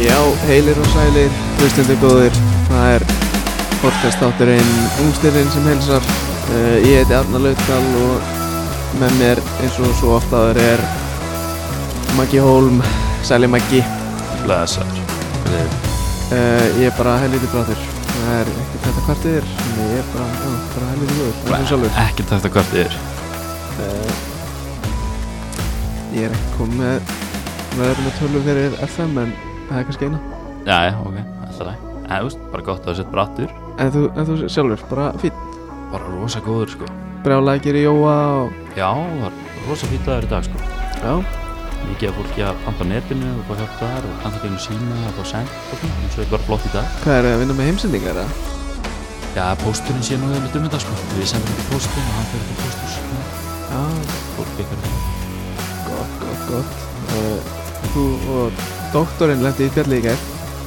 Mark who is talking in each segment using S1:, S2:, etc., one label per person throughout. S1: Já, heilir og sælir, hlustendur góðir, það er podcastátturinn Ungstirinn sem helsar. Uh, ég heiti Arnar Lautal og með mér eins og svo oft áður er Maggi Hólm, sæli Maggi.
S2: Blessaður
S1: Uh, ég er bara helviti bráður, það er ekkert þetta hvart yfir, en ég er bara, já, bara helviti góður, eins og sjálfur.
S2: Ekki takt að hvort yfir
S1: Uh, ég er ekki komið með, við erum að tölu fyrir FM en það er kannski eina.
S2: Jæja, ok, alltaf læg Það veist, bara gott að það sett brattur
S1: En þú, en þú sjálfur, bara fín,
S2: Bara rosa góður sko
S1: brjálækir í jóa og
S2: Já, það var rosa fýtt dagur í dag sko
S1: Já,
S2: Mikið af fólki að panta á netinu og bara hjálpa þar og panta gegnum síma og fá send og svona eins og þetta var flott í dag
S1: hvað er að vinna með heimsendingar eða?
S2: Já, pósturinn sé nú þegar mitt um þetta sko Við sendum ekki póstinn og hann fyrir til pósturs
S1: Já,
S2: sko. Fólk hérna. byggur
S1: gott, gott, gott. Uh, þú og doktorinn lendi í fjalli í gær.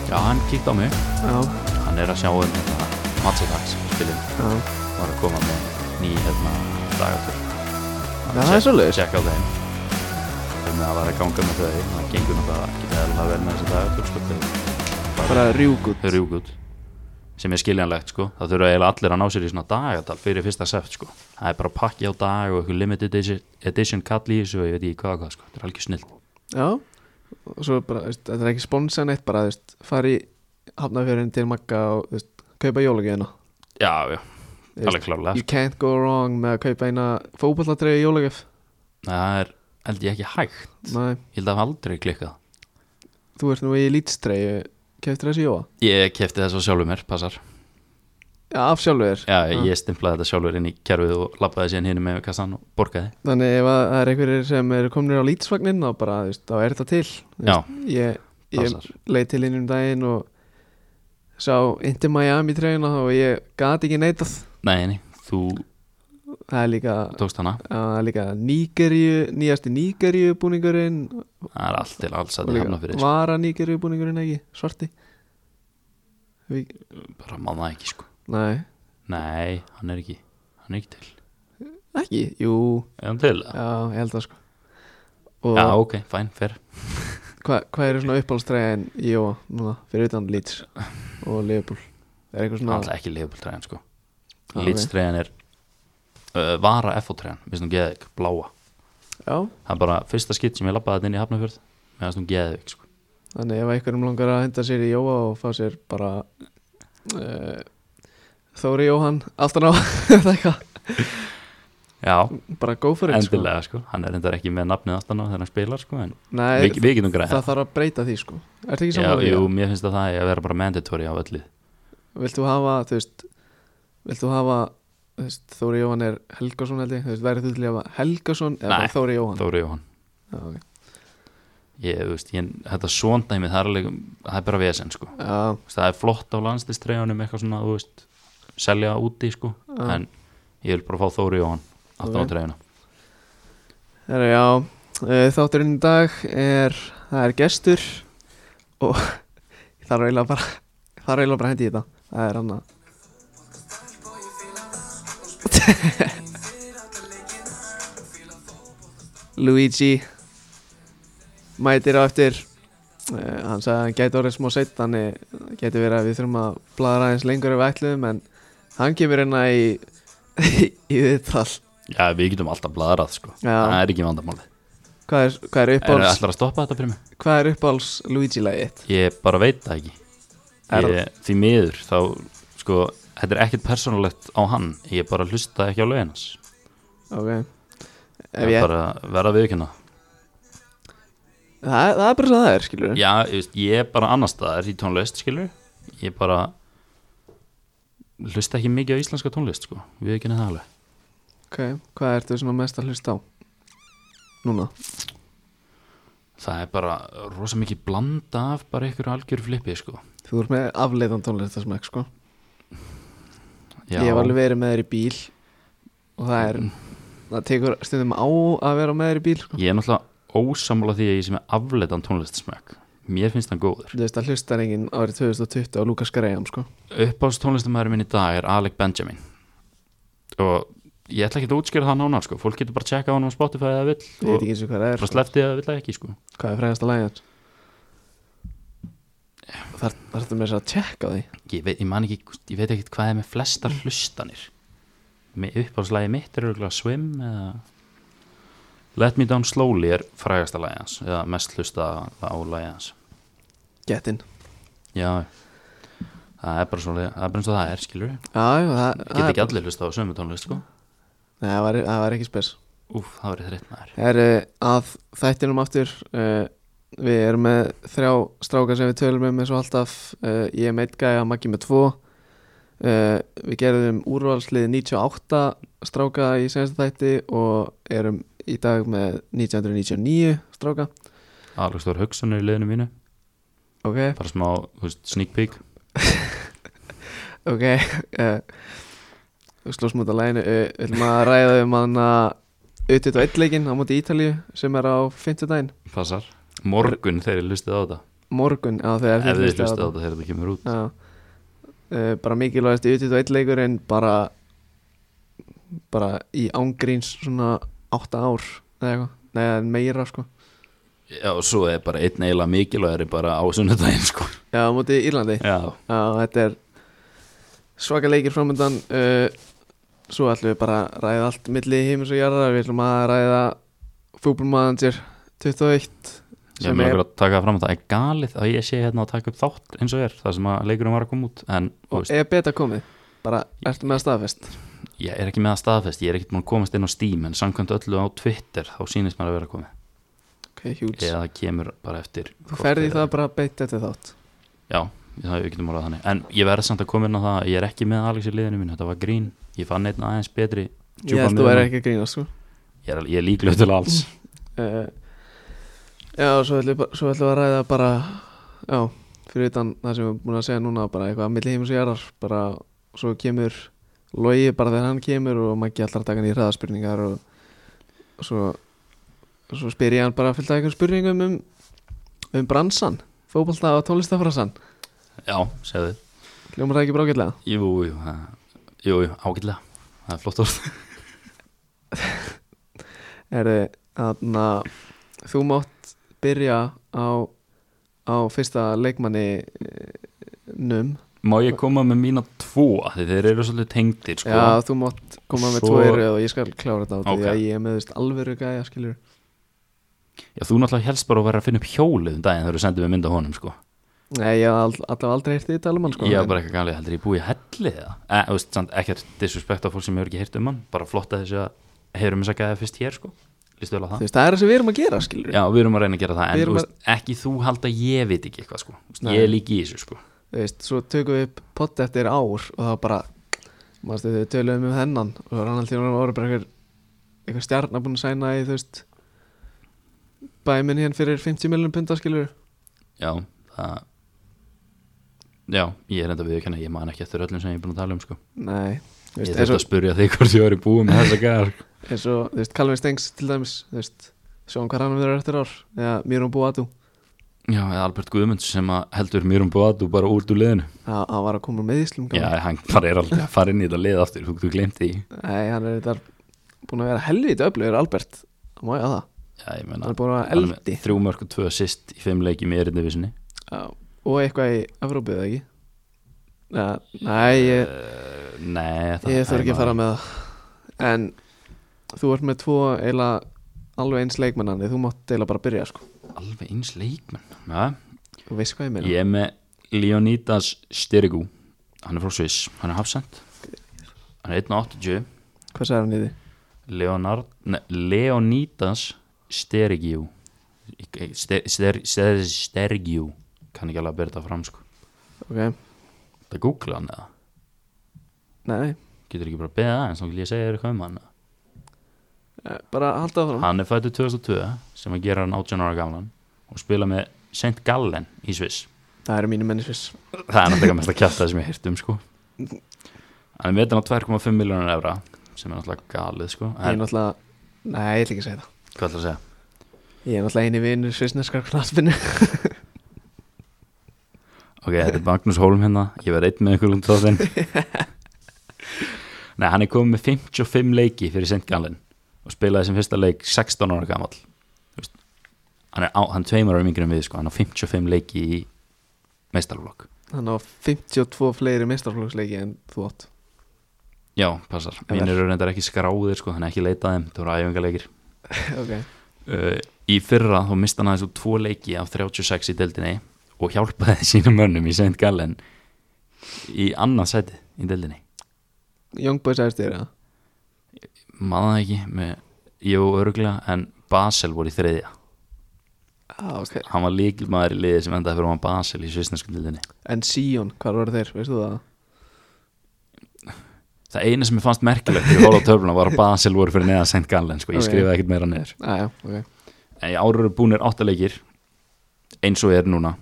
S2: Já, hann kíkt á mig
S1: Já,
S2: Hann er að sjá um þetta matsetags spilin
S1: já.
S2: var að koma með ný hérna dagatur
S1: Já, það er svoleiðis.
S2: Sjekka á þeim Þannig að það var að ganga með þau Það gengur náttúrulega ekki eðalega vel með þessi dagatur sko, þau
S1: Bara rjúgut.
S2: þau eru júkut sem er skiljanlegt sko það þurfa eiginlega allir að ná sér í svona dagatal fyrir fyrsta seft sko það er bara pakki á dag og eitthvað limited edi- edition kall í þessu og ég veit ekki hvað og hvað sko þetta er algjör snill
S1: Já, og svo bara, veist, þetta er ekki sponsan eitt, bara, þú veist, fari í hafnafjörðin til Magga og, þú veist, kaupa jólagjöðina.
S2: já já alveg klárlega sko.
S1: You can't go wrong með að kaupa eina fótballatreyju í jólagjöf.
S2: það er held ég ekki hægt
S1: Nei,
S2: ég held að hafa aldrei klikkað
S1: þú ert nú í lítstreyju, keftir þessi jóa?
S2: ég kefti þess að sjálfur mér passar
S1: Já, af sjálfur.
S2: Já, ég stimplaði þetta sjálfur inn í kerfið og lappaði síðan hinn með kassan og borgaði.
S1: Þannig ef að það er einhverjir sem eru komnir á lítsvagnin þá bara, þú veist, þá er þetta til Þú
S2: Já.
S1: veist, Ég, ég
S2: Passar.
S1: leið til inn um daginn og sá Inti Miami treyna og ég gat ekki neitað
S2: Nei, nei, þú
S1: Það er líka,
S2: tókst hana.
S1: það er líka Nígeríu, nýjasti Nígeríu búningurinn
S2: Það er allt til alls
S1: og
S2: að þið hafna
S1: líka
S2: fyrir. sko.
S1: vara Nígeríu búningurinn ekki, svarti Vi,
S2: Bara manna ekki, sko.
S1: Nei,
S2: Nei, hann er ekki, hann er ekki til.
S1: ekki, jú,
S2: Er hann til? Já,
S1: já, ég held það sko Og
S2: já
S1: hvað
S2: ok, fæn, fer.
S1: hva eru svona uppáhaldstreyjan í Jóa núna, fyrir utan Leeds og Liverpool Er eitthvað svona
S2: Alltaf ekki liðbúltræðan, sko.
S1: Já, ok.
S2: Lítstræðan er uh, vara FO-træðan, minnst hún geðið, bláa.
S1: Já,
S2: Það er bara fyrsta skitt sem ég lappaði þetta inn í hafnafjörð, minnst hún geðið, sko.
S1: þannig ef einhverjum langar að henda sér í Jóa og fá sér bara uh, Þóri Jóhann aftan á það eitthvað
S2: Já,
S1: bara go for it
S2: endilega, sko. Hann er endar ekki með nafnið aftan á þegar hann spilar, sko, en
S1: sko. Nei,
S2: við, við getum græðið.
S1: það þarf að breyta því sko Ertu ekki
S2: Já,
S1: saman
S2: jú, mér finnst að það eigi að vera bara mandatory á öllu
S1: Vilt þú hafa, þú veist Vilt þú hafa, þú veist, Þóri Jóhann er Helgason held ég, þú veist, værið þú til að hafa Helgason eða
S2: Nei,
S1: bara Þóri Jóhann
S2: Þóri Jóhann
S1: Já, okay.
S2: ég, þú veist, ég, Þetta svondæmi, það er, alveg, það er bara vesen sko.
S1: Já,
S2: Þú veist, Það er flott á landslistreifunum eitthvað svona, þú veist selja úti, sko
S1: Já.
S2: en ég vil bara fá Þóri Jóhann aftan
S1: Ok.
S2: á treifuna
S1: Herra, já, eh, þátturinn í dag er, það er gestur og ég þarf eiginlega bara, ég þarf eiginlega bara að hendi í þetta, það er hann að Luigi mætir á eftir, uh, hann sagði að hann gæti orðið smá seitt, þannig gæti verið að við þurfum að bladra aðeins lengur ef við ætluðum, en hann kemur hérna í, í viðtal.
S2: Já, við getum alltaf bladrað, sko
S1: Já.
S2: Það er ekki vandamáli
S1: Hvað er, hvað er
S2: Er
S1: uppáhalds?
S2: það að stoppa þetta fyrir mig?
S1: Hvað er uppáhalds Luigi lagið?
S2: Ég bara veit það ekki
S1: Er
S2: ég, Því miður, þá, sko Þetta er ekkert persónulegt á hann Ég bara hlusta ekki á lögin hans
S1: Ok Ef
S2: Ég
S1: ég,
S2: bara verða viðkynna
S1: það, það er bara svo það er, skilur
S2: Já, ég, veist, ég er bara annar staðar í tónlist, skilur Ég bara hlusta ekki mikið á íslenska tónlist, sko Við ekki nefnir það alveg
S1: Ok, hvað ertu svona mest að hlusta á? Núna
S2: Það er bara rosa mikið blanda af bara ykkur algjör flippi, sko
S1: Þú ert með afleiðan tónlistasmæk, sko
S2: Já,
S1: Ég
S2: Mm.
S1: hef alveg verið með þér í bíl Og það er Það tekur stundum á að vera með þér í bíl sko.
S2: ég er náttúrulega ósammála því að ég sem er afleitan tónlistsmekk Mér finnst hann góður
S1: Þú veist að hlusta enginn árið 2020 á Lukas Graham, sko
S2: Uppáls tónlistamæður minn í dag er Alec Benjamin Og ég ætla ekki að útskýra það nánar, sko Fólk getur bara að checka á hann á Spotify
S1: Ég
S2: eða vill
S1: veit
S2: Og
S1: ekki eins og hvað það er
S2: bara
S1: sko.
S2: sleftið eða vill það ekki, sko
S1: Hvað er fræðasta lagið hans? Þar, þarftu með þess að tjekka á því
S2: ég veit, ég man ekki, ég veit ekki hvað er með flestar hlustanir með uppáðslægi mitt er auðvitað Swim eða Let Me Down Slowly er frægasta lagi hans eða mest hlusta á lagi hans
S1: Gettinn
S2: já það er bara svona, það er bara eins og það er skilur
S1: Já, já, það,
S2: get
S1: það,
S2: ekki allir hlusta á sömu tónlist sko
S1: Nei, það, var, það var ekki spes
S2: úf, það verið þreitt maður
S1: Það er að þættinum aftur uh, Við erum með þrjá strákar sem við tölum um eins og alltaf uh, Ég er með einn gæja, Maggi með tvo uh, Við gerðum úrvalslið 98 stráka í senasta þætti og erum í dag með 1999 stráka
S2: alveg stór hugsun er í liðinu mínu
S1: Ok,
S2: bara smá, þú veist, sneak peek
S1: ok uh, Slósmúta læginu uh, Við ætlum að ræða um hann að auðvitað veitleikin á móti Ítalíu sem er á 50 daginn
S2: passar morgun þegar ég hlustið á þetta
S1: morgun á þegar
S2: ef
S1: þið
S2: þið
S1: hlustið á
S2: hlustið á þetta þegar þetta kemur út
S1: Já uh, Bara mikilvægast í auðvitað veitleikur en bara bara í ángríns svona 8 ár eða eitthvað Nei, en meira sko
S2: já, og svo er bara einn eiginlega mikilvægari bara á sunnudaginn sko
S1: Já, á móti Írlandi
S2: já,
S1: Já, þetta er svaka leikir framöndan uh, Svo ætlum við bara að ræða allt milli heimis og jarðar Við ætlum að ræða fútbolmanager 21
S2: Ég
S1: sem
S2: mér
S1: er
S2: langar að taka það fram að það er galið að ég sé hérna að taka upp þátt eins og er það sem að leikurum var að koma út en þú
S1: og E
S2: veist,
S1: er beta komið bara ertu með að staðfest
S2: ég er ekki með að staðfest ég er ekkert búin að komast inn á Steam en samkvæmt öllu á Twitter þá sýnist mér að vera komið
S1: Ok, hjúts
S2: eða það kemur bara eftir
S1: Þú
S2: hvort
S1: ferði
S2: þeir-
S1: það bara beitt eftir þátt
S2: Já, það er ekki um orðað þannig en ég verð samt að koma inn á það ég er ekki með Alex í liðinu mínu þetta var grín ég fann einn aðeins betri
S1: Ég
S2: djúpan
S1: held þú
S2: miðjumann.
S1: er ekki að grína sko
S2: ég er, ég er líklega til alls
S1: uh, Já, og svo ætlum, við bara- svo ætlum við að ræða bara Já, fyrir utan það sem við erum búin að segja núna bara eitthvað milli heimis og jarðar bara svo kemur logi bara þegar hann kemur og maður ekki allar að taka hann í hraðaspurningar og, og svo svo spyr ég hann bara fylgta einhverjum spurningum um, um bransan fótbolta og tólistafransan
S2: já, segðu
S1: Ljómar það ekki brákillega?
S2: jú, jú, það- jú, jú ágætlega það er flott orð
S1: Er þarna þú mátt byrja á, á fyrsta leikmanni num
S2: Má ég koma með mína tvo Af því þeir eru svolítið tengdir sko.
S1: Já, þú mátt koma með
S2: Svo-
S1: tvo eru og ég skal klára þetta á því
S2: Ok.
S1: að ég er með veist, alvöru gæja skilur
S2: Já, þú náttúrulega helst bara að vera að finna upp hjólið um daginn þegar þú sendir mig mynd af honum sko.
S1: Nei, ég hef all, allavega aldrei heyrt því tala um hann sko
S2: Ég er
S1: en-
S2: bara eitthvað galið, heldur ég búið í helli eða e, þú veist, samt, Ekkert disrespekt á fólk sem ég hefur ekki heyrt um hann Bara flott að þessu að heyrum þess að gæða fyrst hér sko. Listu vel
S1: Þú
S2: á það
S1: veist, það er það sem við erum að gera skilur
S2: Já, við erum að reyna að gera það
S1: Við
S2: En
S1: erum
S2: þú veist, ekki þú halda að ég veit ekki eitthvað sko. Þú veist,
S1: Nei.
S2: Ég er líki í þessu sko.
S1: Þú veist, Svo tökum við upp pott eftir ár og það var bara Manstu þau töluðum um hennan og það var annan tíma voru bara einhver einhver stjarnar búin að sæna í þú veist bæminn hérna fyrir 50 miljonum punda skilur
S2: Já, það Já, ég er enda við ekki Ég man ekki eftir öllum sem ég er búin að tala um sko.
S1: Nei, þú veist,
S2: Ég þurfti
S1: eins
S2: að
S1: og,
S2: spurja þig hvort ég var í búið með þessa sko. gæðar
S1: eins og þú veist, Calvin Stengs til dæmis, þú veist, sjáum hvað hann verður eftir ár, eða Mýrum Búatú
S2: Já, eða Albert Guðmunds sem að heldur mér um bóðat og bara út úr liðinu
S1: það hann var að koma með Íslum
S2: Já, hann bara er aldrei að fara inn í þetta lið aftur þú, þú glemt því
S1: Nei, hann er þetta búin að vera helvítið öflugur Albert, það má ég að það
S2: Já, ég
S1: hann
S2: meina
S1: er búin að vera
S2: hann er með
S1: eldi
S2: Þrjú mörg og tvö assist í fimm leikjum í erindivisinni
S1: Já, og eitthvað í Evrópu eða ekki ja, Nei, ég,
S2: uh, Nei, það
S1: ég þurf ekki að fara með það en þú ert með tvo eila alveg eins leikmennandi, þú mátt eila bara byrja sko,
S2: Alveg eins leikmenn ja,
S1: þú veist hvað ég meina
S2: Ég er með Leonidas Styrgu Hann er frá Sviss, hann er hafsend Hann er 1.80
S1: hvað sagði hann í því?
S2: Leonard, ne, Leonidas Stergiu Ster- Ster- Ster- Stergiu kann ekki alveg að byrja þetta fram sko
S1: Ok,
S2: Það googla hann eða
S1: nei,
S2: Getur ekki bara að beða aðeins, þá vil ég segja þér eitthvað um hann
S1: eh, bara halda áfram
S2: Hann er fættur 2002 sem að gera hann 18 ára gamlan og spila með St. Gallen í Sviss
S1: Það eru mínu mennisvis
S2: Það er náttúrulega mest að kjæfta sem ég heyrt um sko Hann er metin á 2,5 miljónur evra sem er náttúrulega galið sko
S1: Ég er
S2: en,
S1: náttúrulega, nei, ég ætla ekki að segja það
S2: Hvað ætla að segja?
S1: Ég er náttúrulega eini vinur svisneskar knaspinu
S2: Ok, þetta er Magnús Hólm hérna Ég verð einn með ykkur um þáttinn Nei, hann er komið með 55 leiki fyrir St. Gallen og spilaði sem fyrsta leik 16 ára gamall Þú veist, hann er, á, hann er tveimur ára yngri en við sko, hann á 55 leiki í meistarflokk
S1: Hann á 52 fleiri meistarflokksleiki en þú átt
S2: já, passar,
S1: En
S2: mínir eru reyndar ekki skráðir sko, þannig ekki leitað þeim, það voru æfingarleikir
S1: Ok
S2: uh, í fyrra þá mista hann aðeins úr tvo leiki af 36 í deildinni og hjálpaði sínum mönnum í St. Gallen í annað sæti í deildinni
S1: Young Boys eftir eða?
S2: maður það ekki með, jú, örgla en Basel voru í þriðja
S1: Ah, ok
S2: hann var líkilmaður í liði sem endaði fyrir hann Basel í svisneskum dildinni
S1: En Sion, hvar voru þeir, veistu það?
S2: það eina sem ég fannst merkilegt fyrir hóla töfluna var að Basel voru fyrir neða St. Gallen sko. ég
S1: Ok.
S2: skrifaði ekkert meira neður
S1: Aja, Ah, ok
S2: en í ára eru búinir áttaleikir eins og er núna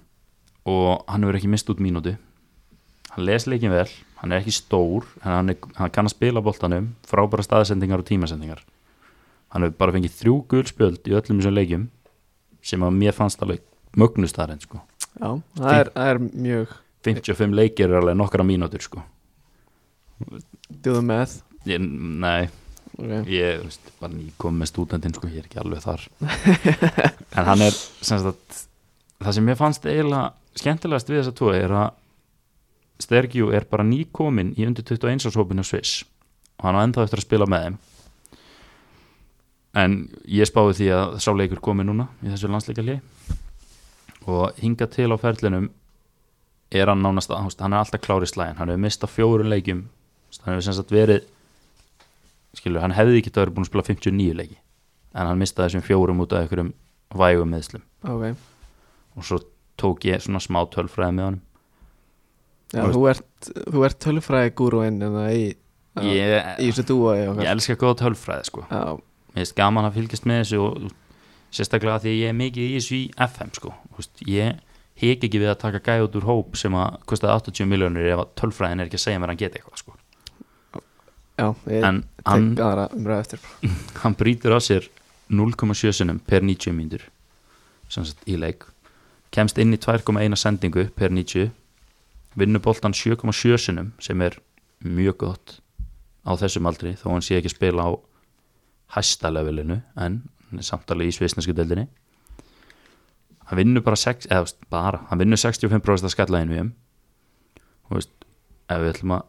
S2: og hann hefur ekki mist út mínútu hann les leikin vel hann er ekki stór en hann, er, hann kann að spila boltanum frábæra staðsendingar og tímasendingar hann hefur bara fengið þrjú gulspjöld í öllum þessum leikjum sem að mér fannst alveg mögnustarinn sko.
S1: Já, það er, það er mjög
S2: 55 leikir er alveg nokkra mínútur sko.
S1: djúðum með
S2: ég, nei,
S1: okay.
S2: ég þú veist, bara nýkom með stúdentinn sko, ég er ekki alveg þar en hann er sem sagt, það sem ég fannst eiginlega skemmtilegast við þessa tvo er að Stergjú er bara nýkomin í undir 21 ásópinu Sviss og hann á ennþá eftir að spila með þeim en ég spáði því að sá leikur komi núna í þessu landsleikalið og hinga til á ferlinum er hann nánast að, þú veist, hann er alltaf klár í slæðin hann hefur mistað fjóru leikjum þú veist, hann hefur sem sagt verið skilur, hann hefði ekki verið búin að spila 59 leiki en hann mistaði þessum fjórum út af einhverjum vægum meðslum
S1: ok
S2: og svo tók ég svona smá tölfræði með honum
S1: Já,
S2: Og-
S1: þú ert, þú ert tölfræði gúruinn en það í í
S2: ég,
S1: þessu dúa ég
S2: ég
S1: okkar
S2: elska góða tölfræði sko
S1: Já,
S2: mér finnst gaman að fylgjast með þessu og sérstaklega því að ég er mikið í þessu í FM sko, Þú veist, ég hek ekki við að taka gæði út úr hóp sem að kostaði 80 miljónir ef að tölfræðin er ekki að segja mér að hann geti eitthvað sko.
S1: já, ég
S2: en hann,
S1: tek aðra umræðu eftir
S2: hann brýtur af sér 0,7 sinnum per 90 mínútur sem sagt í leik kemst inn í 2,1 sendingu per 90 vinnur boltan 7,7 sinnum sem er mjög gott á þessum aldri þó hann sé ekki að spila á hæsta levelinu en hann er samtalið í svisnesku deildinni hann vinnur bara 6, eða, þú veist, bara, hann vinnur 65% að skalla einu um og veist, ef við ætlum að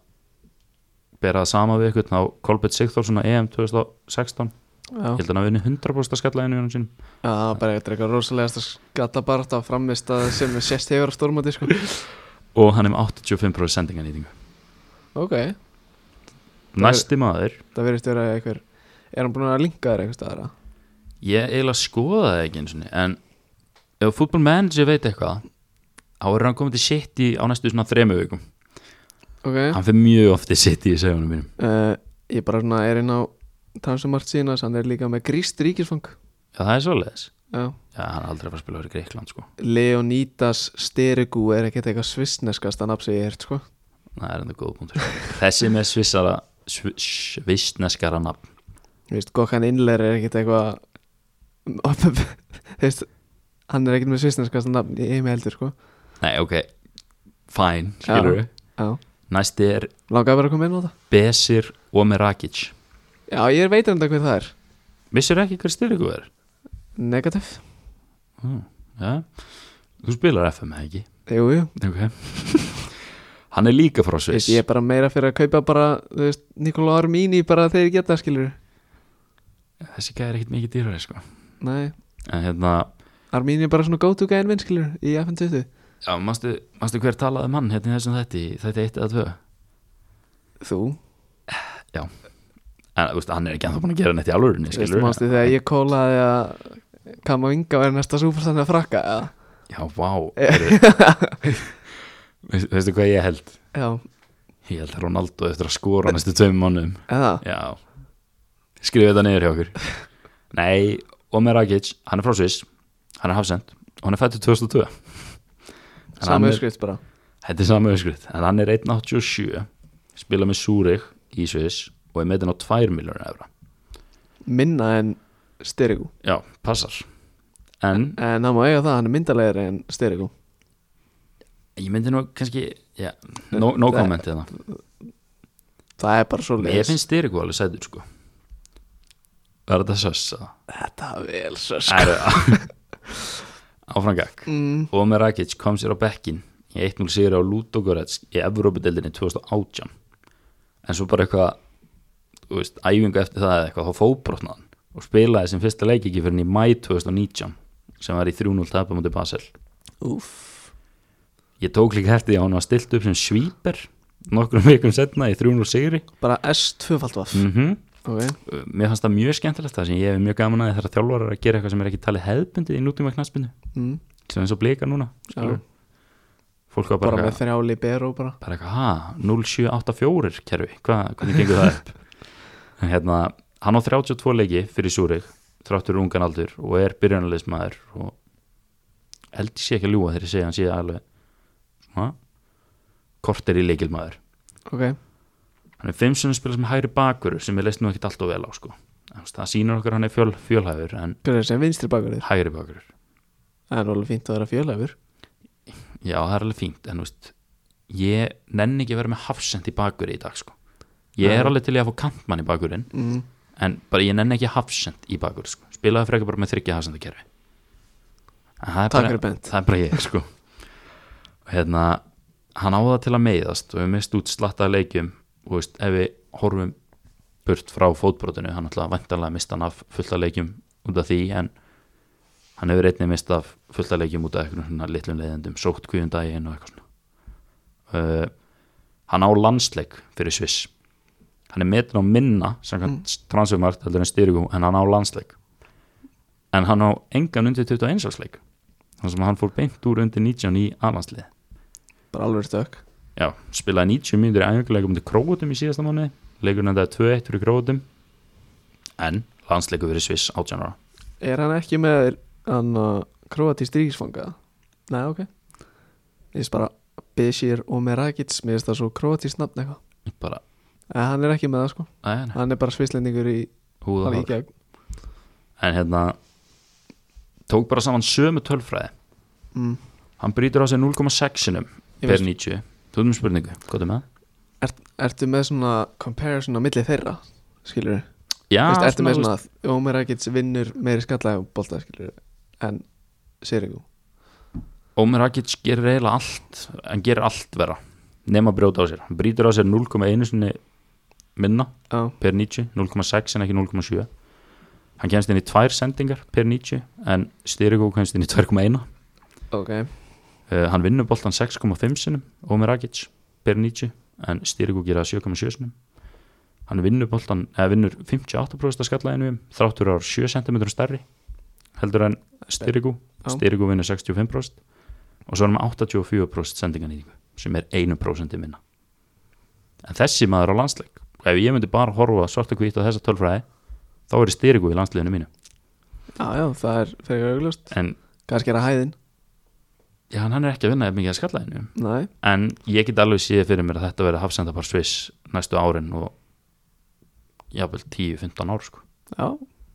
S2: bera það sama við ykkur þá Kolbett Sigþórsson á E EM 2016
S1: Já,
S2: ég held að hann hafi vinni 100% að skalla einu í hann sín
S1: já bara eitthvað eitthvað rosalegasta skattabarta framist að sem við sést hefur á stórmóti sko.
S2: og hann er með 85% sendinganýtingu
S1: Ok, er-
S2: næsti maður,
S1: það verðist vera eitthvað Er hann búin að linka þér eitthvað staðara?
S2: ég eiginlega skoða það ekki eins og en ef fútbolmanager veit eitthvað þá er hann komið til City á næstu svona þremu vikum
S1: Ok
S2: hann fyrir mjög oft til City í segunum mínum
S1: uh, Ég bara svona er inn á Tansumart sína, hann er líka með gríst ríkisfang
S2: já það er svoleiðis
S1: Já
S2: já hann er aldrei að fara að spila fyrir Greikland sko
S1: Leonidas Sterigu er ekkert eitthvað svissneskasta nafn sem ég hert sko
S2: það er enda góð punktur þessi með svissara sv- svissneskara nafn
S1: Þú veist, Gokkan Inler er ekkert eitthvað Þú veist, hann er ekkert með svissneskasta nafn í heimi heldur sko
S2: nei ok, fine, skilur við
S1: Já,
S2: næsti er
S1: langaði bara að koma inn á það
S2: Besir Omeragic
S1: Já, ég veit enda hvað það er
S2: vissir ekki hver styrku er
S1: Negativ
S2: ja. Hmm, þú spilar FM eða ekki
S1: Jú, jú
S2: okay. hann er líka frá
S1: Veist,
S2: Sviss
S1: Ég er bara meira fyrir að kaupa bara þú veist, Nikola Armini bara þegar ég geta skilur
S2: þessi gæði er ekkit mikið dýrari sko.
S1: Nei,
S2: en hérna,
S1: Armini er bara svona go to guy minn skilur í FN20
S2: já, manstu, manstu hver talaði um hann hérna í þessum þetta, þetta eitt eða tvö
S1: Þú,
S2: en úst, hann er ekki anþá búin að gera neitt í alvörunni
S1: veist,
S2: skilurðu.
S1: mástu þegar ég kólaði að Kama Inga var næsta súperstann að frakka eða?
S2: já, vá heyrðu. Veist- veistu hvað ég held
S1: Já,
S2: ég held að Ronaldo eftir að skora næstu tveim mannum
S1: eða
S2: Já Skrifu þetta niður hjá okkur Nei, Omer Rakic, hann er frá Sviss Hann er hafsend og hann er fættur 2002 En hann
S1: Samu
S2: er-
S1: skrift bara
S2: Þetta er samu öskrit En hann er 1.87 Spila með Súrik í Sviss Og er metin á 2 miljónir evra
S1: Minna en Styrigu
S2: Já, passar En
S1: En hann má eiga það, hann er myndarlegri en Styrigu
S2: ég myndi nú kannski Já, no, no comment hérna
S1: Það er bara svo
S2: Ég finnst styrir alveg sætur sko Var þetta söss? eða?
S1: Þetta vel svo
S2: Æru, Áfram gag
S1: mm,
S2: Omer Rakic kom sér á bekkin í 1-0 sigur á Ludogorets í Evrópudeldinni 2018 en svo bara eitthvað þú veist, æfingu eftir það eða eitthvað þá fóbrotnaðan og spilaði sem fyrsta leik ekki fyrir hann í mæ 2019 sem var í 3-0 tapum út í Basel
S1: Úff
S2: ég tók líka hætti því að hann var stilt upp sem svíper nokkrum vikum setna í 3-0 sigri
S1: Bara S2-fald vaff
S2: mm
S1: Ok,
S2: mér fannst það mjög skemmtilegt það sem ég hef mjög gaman að þegar þjálfarar eru að gera eitthvað sem er ekki talið hefðbundið í nútíma knaspinu
S1: mm.
S2: sem eins og blika núna
S1: Já.
S2: skilur. fólk var
S1: bara,
S2: bara,
S1: með
S2: eitthvað-
S1: þrjá libero bara
S2: bara eitthvað, ha, 0784 kerfi, hvað, hvernig gengur það upp En hérna, hann á 32 leiki fyrir Súrik, þráttur ungan aldur og er byrjunarleismæður og held ég sé ekki að ljúga þegar ég segja hann sé alveg svona kortir í leikilmaður
S1: Ok,
S2: hann er fimm sem spila sem hægri bakur sem ég leist nú ekkit alltof vel á sko En þú veist, það sýnir okkur að hann er fjöl, fjölhæfur en
S1: hver er þessi vinstri bakar þér?
S2: hægri bakur
S1: Það er alveg fínt að vera fjölhæfur
S2: Já, það er alveg fínt, en þú veist ég nenni ekki að vera með hafsend í bakveri í dag, sko. Ég er
S1: Nei.
S2: alveg til í að fá kantmann í bakverinn,
S1: mm.
S2: en bara ég nenni ekki hafsend í bakveri, sko. Spilaði frekar bara með þryggja hafsendakerfi. En það er
S1: Takk
S2: bara,
S1: er bent
S2: það er bara ég, sko. Og hérna, hann á það til að meiðast og við mist út slattaða leikjum og veist, ef við horfum burt frá fótbrotinu, hann ætlaði að væntanlega mista hann af fullta leikjum út af því en hann hefur einnig mista af fullta leikjum út af einhvern svona litlum leiðendum sótt kvíðum daginn og eitthvað svona uh, hann á landsleik fyrir Sviss hann er metin á minna samkvæmt mm. transfermart heldur en styrgum en hann á landsleik en hann á engan undir 21 leik þannig sem hann fór beint úr undir 19 í aðlandslið
S1: Bara alveg stök
S2: já, spilaði 90 mínútur í æfingarleikum til Króatum í síðasta mánu leikur nefndaði 2-1 fyrir Króatum en landsleiku fyrir Sviss 18 ára
S1: Er hann ekki með hann kroatist ríkisfanga? Nei, ok Ég veist bara Bishir og Merakits Mér finnst það svo kroatist nafn eitthvað
S2: bara,
S1: En hann er ekki með það sko
S2: nei, nei,
S1: Hann er bara svislendingur í
S2: húða
S1: hann í gegn
S2: en hérna tók bara saman sömu tölfræði
S1: mm.
S2: hann brýtur á sig 0,6-inum
S1: Ég
S2: per
S1: veist-
S2: 90 þú erum spurningu, hvað er með?
S1: Ertu með svona comparison á milli þeirra? Skilur við?
S2: Já,
S1: ertu með
S2: þú
S1: svona að Ómer Akits vinnur meiri skallaði og bolta skilur við En Sirigu
S2: Ómer Rakic gerir eiginlega allt hann gerir allt vera nema að brjóta á sér, hann brýtur á sér 0,1 sinni minna
S1: Já,
S2: per 90 0,6 en ekki 0,7 hann kemst inn í tvær sendingar per 90 en Styrigó kemst inn í 2,1 uh,
S1: ok
S2: Eh, hann vinnur boltan 6,5 sinum Ómer Rakic per 90 en Styrigó gera 7,7 sinum hann vinnur boltan, eða vinnur 58% skallaðinu þráttur á 7 cm stærri heldur en Styrigó
S1: Já.
S2: Styrigó vinnur 65% og svo er hann með 84% sendinganýtingu sem er 1% minna en þessi maður á landsleik ef ég myndi bara horfa svart og hvít á þessa tölfræði þá er Styrigó í landsleikinu mínu
S1: Já, já, það er fyrir auglust
S2: en
S1: Kannski er að hæðin
S2: já, hann hann er ekki að vinna ef mikið að skalla hennu
S1: Nei,
S2: en ég get alveg séð fyrir mér að þetta verði hafsendapar Sviss næstu árin og jáfnvel 10-15 ár sko
S1: já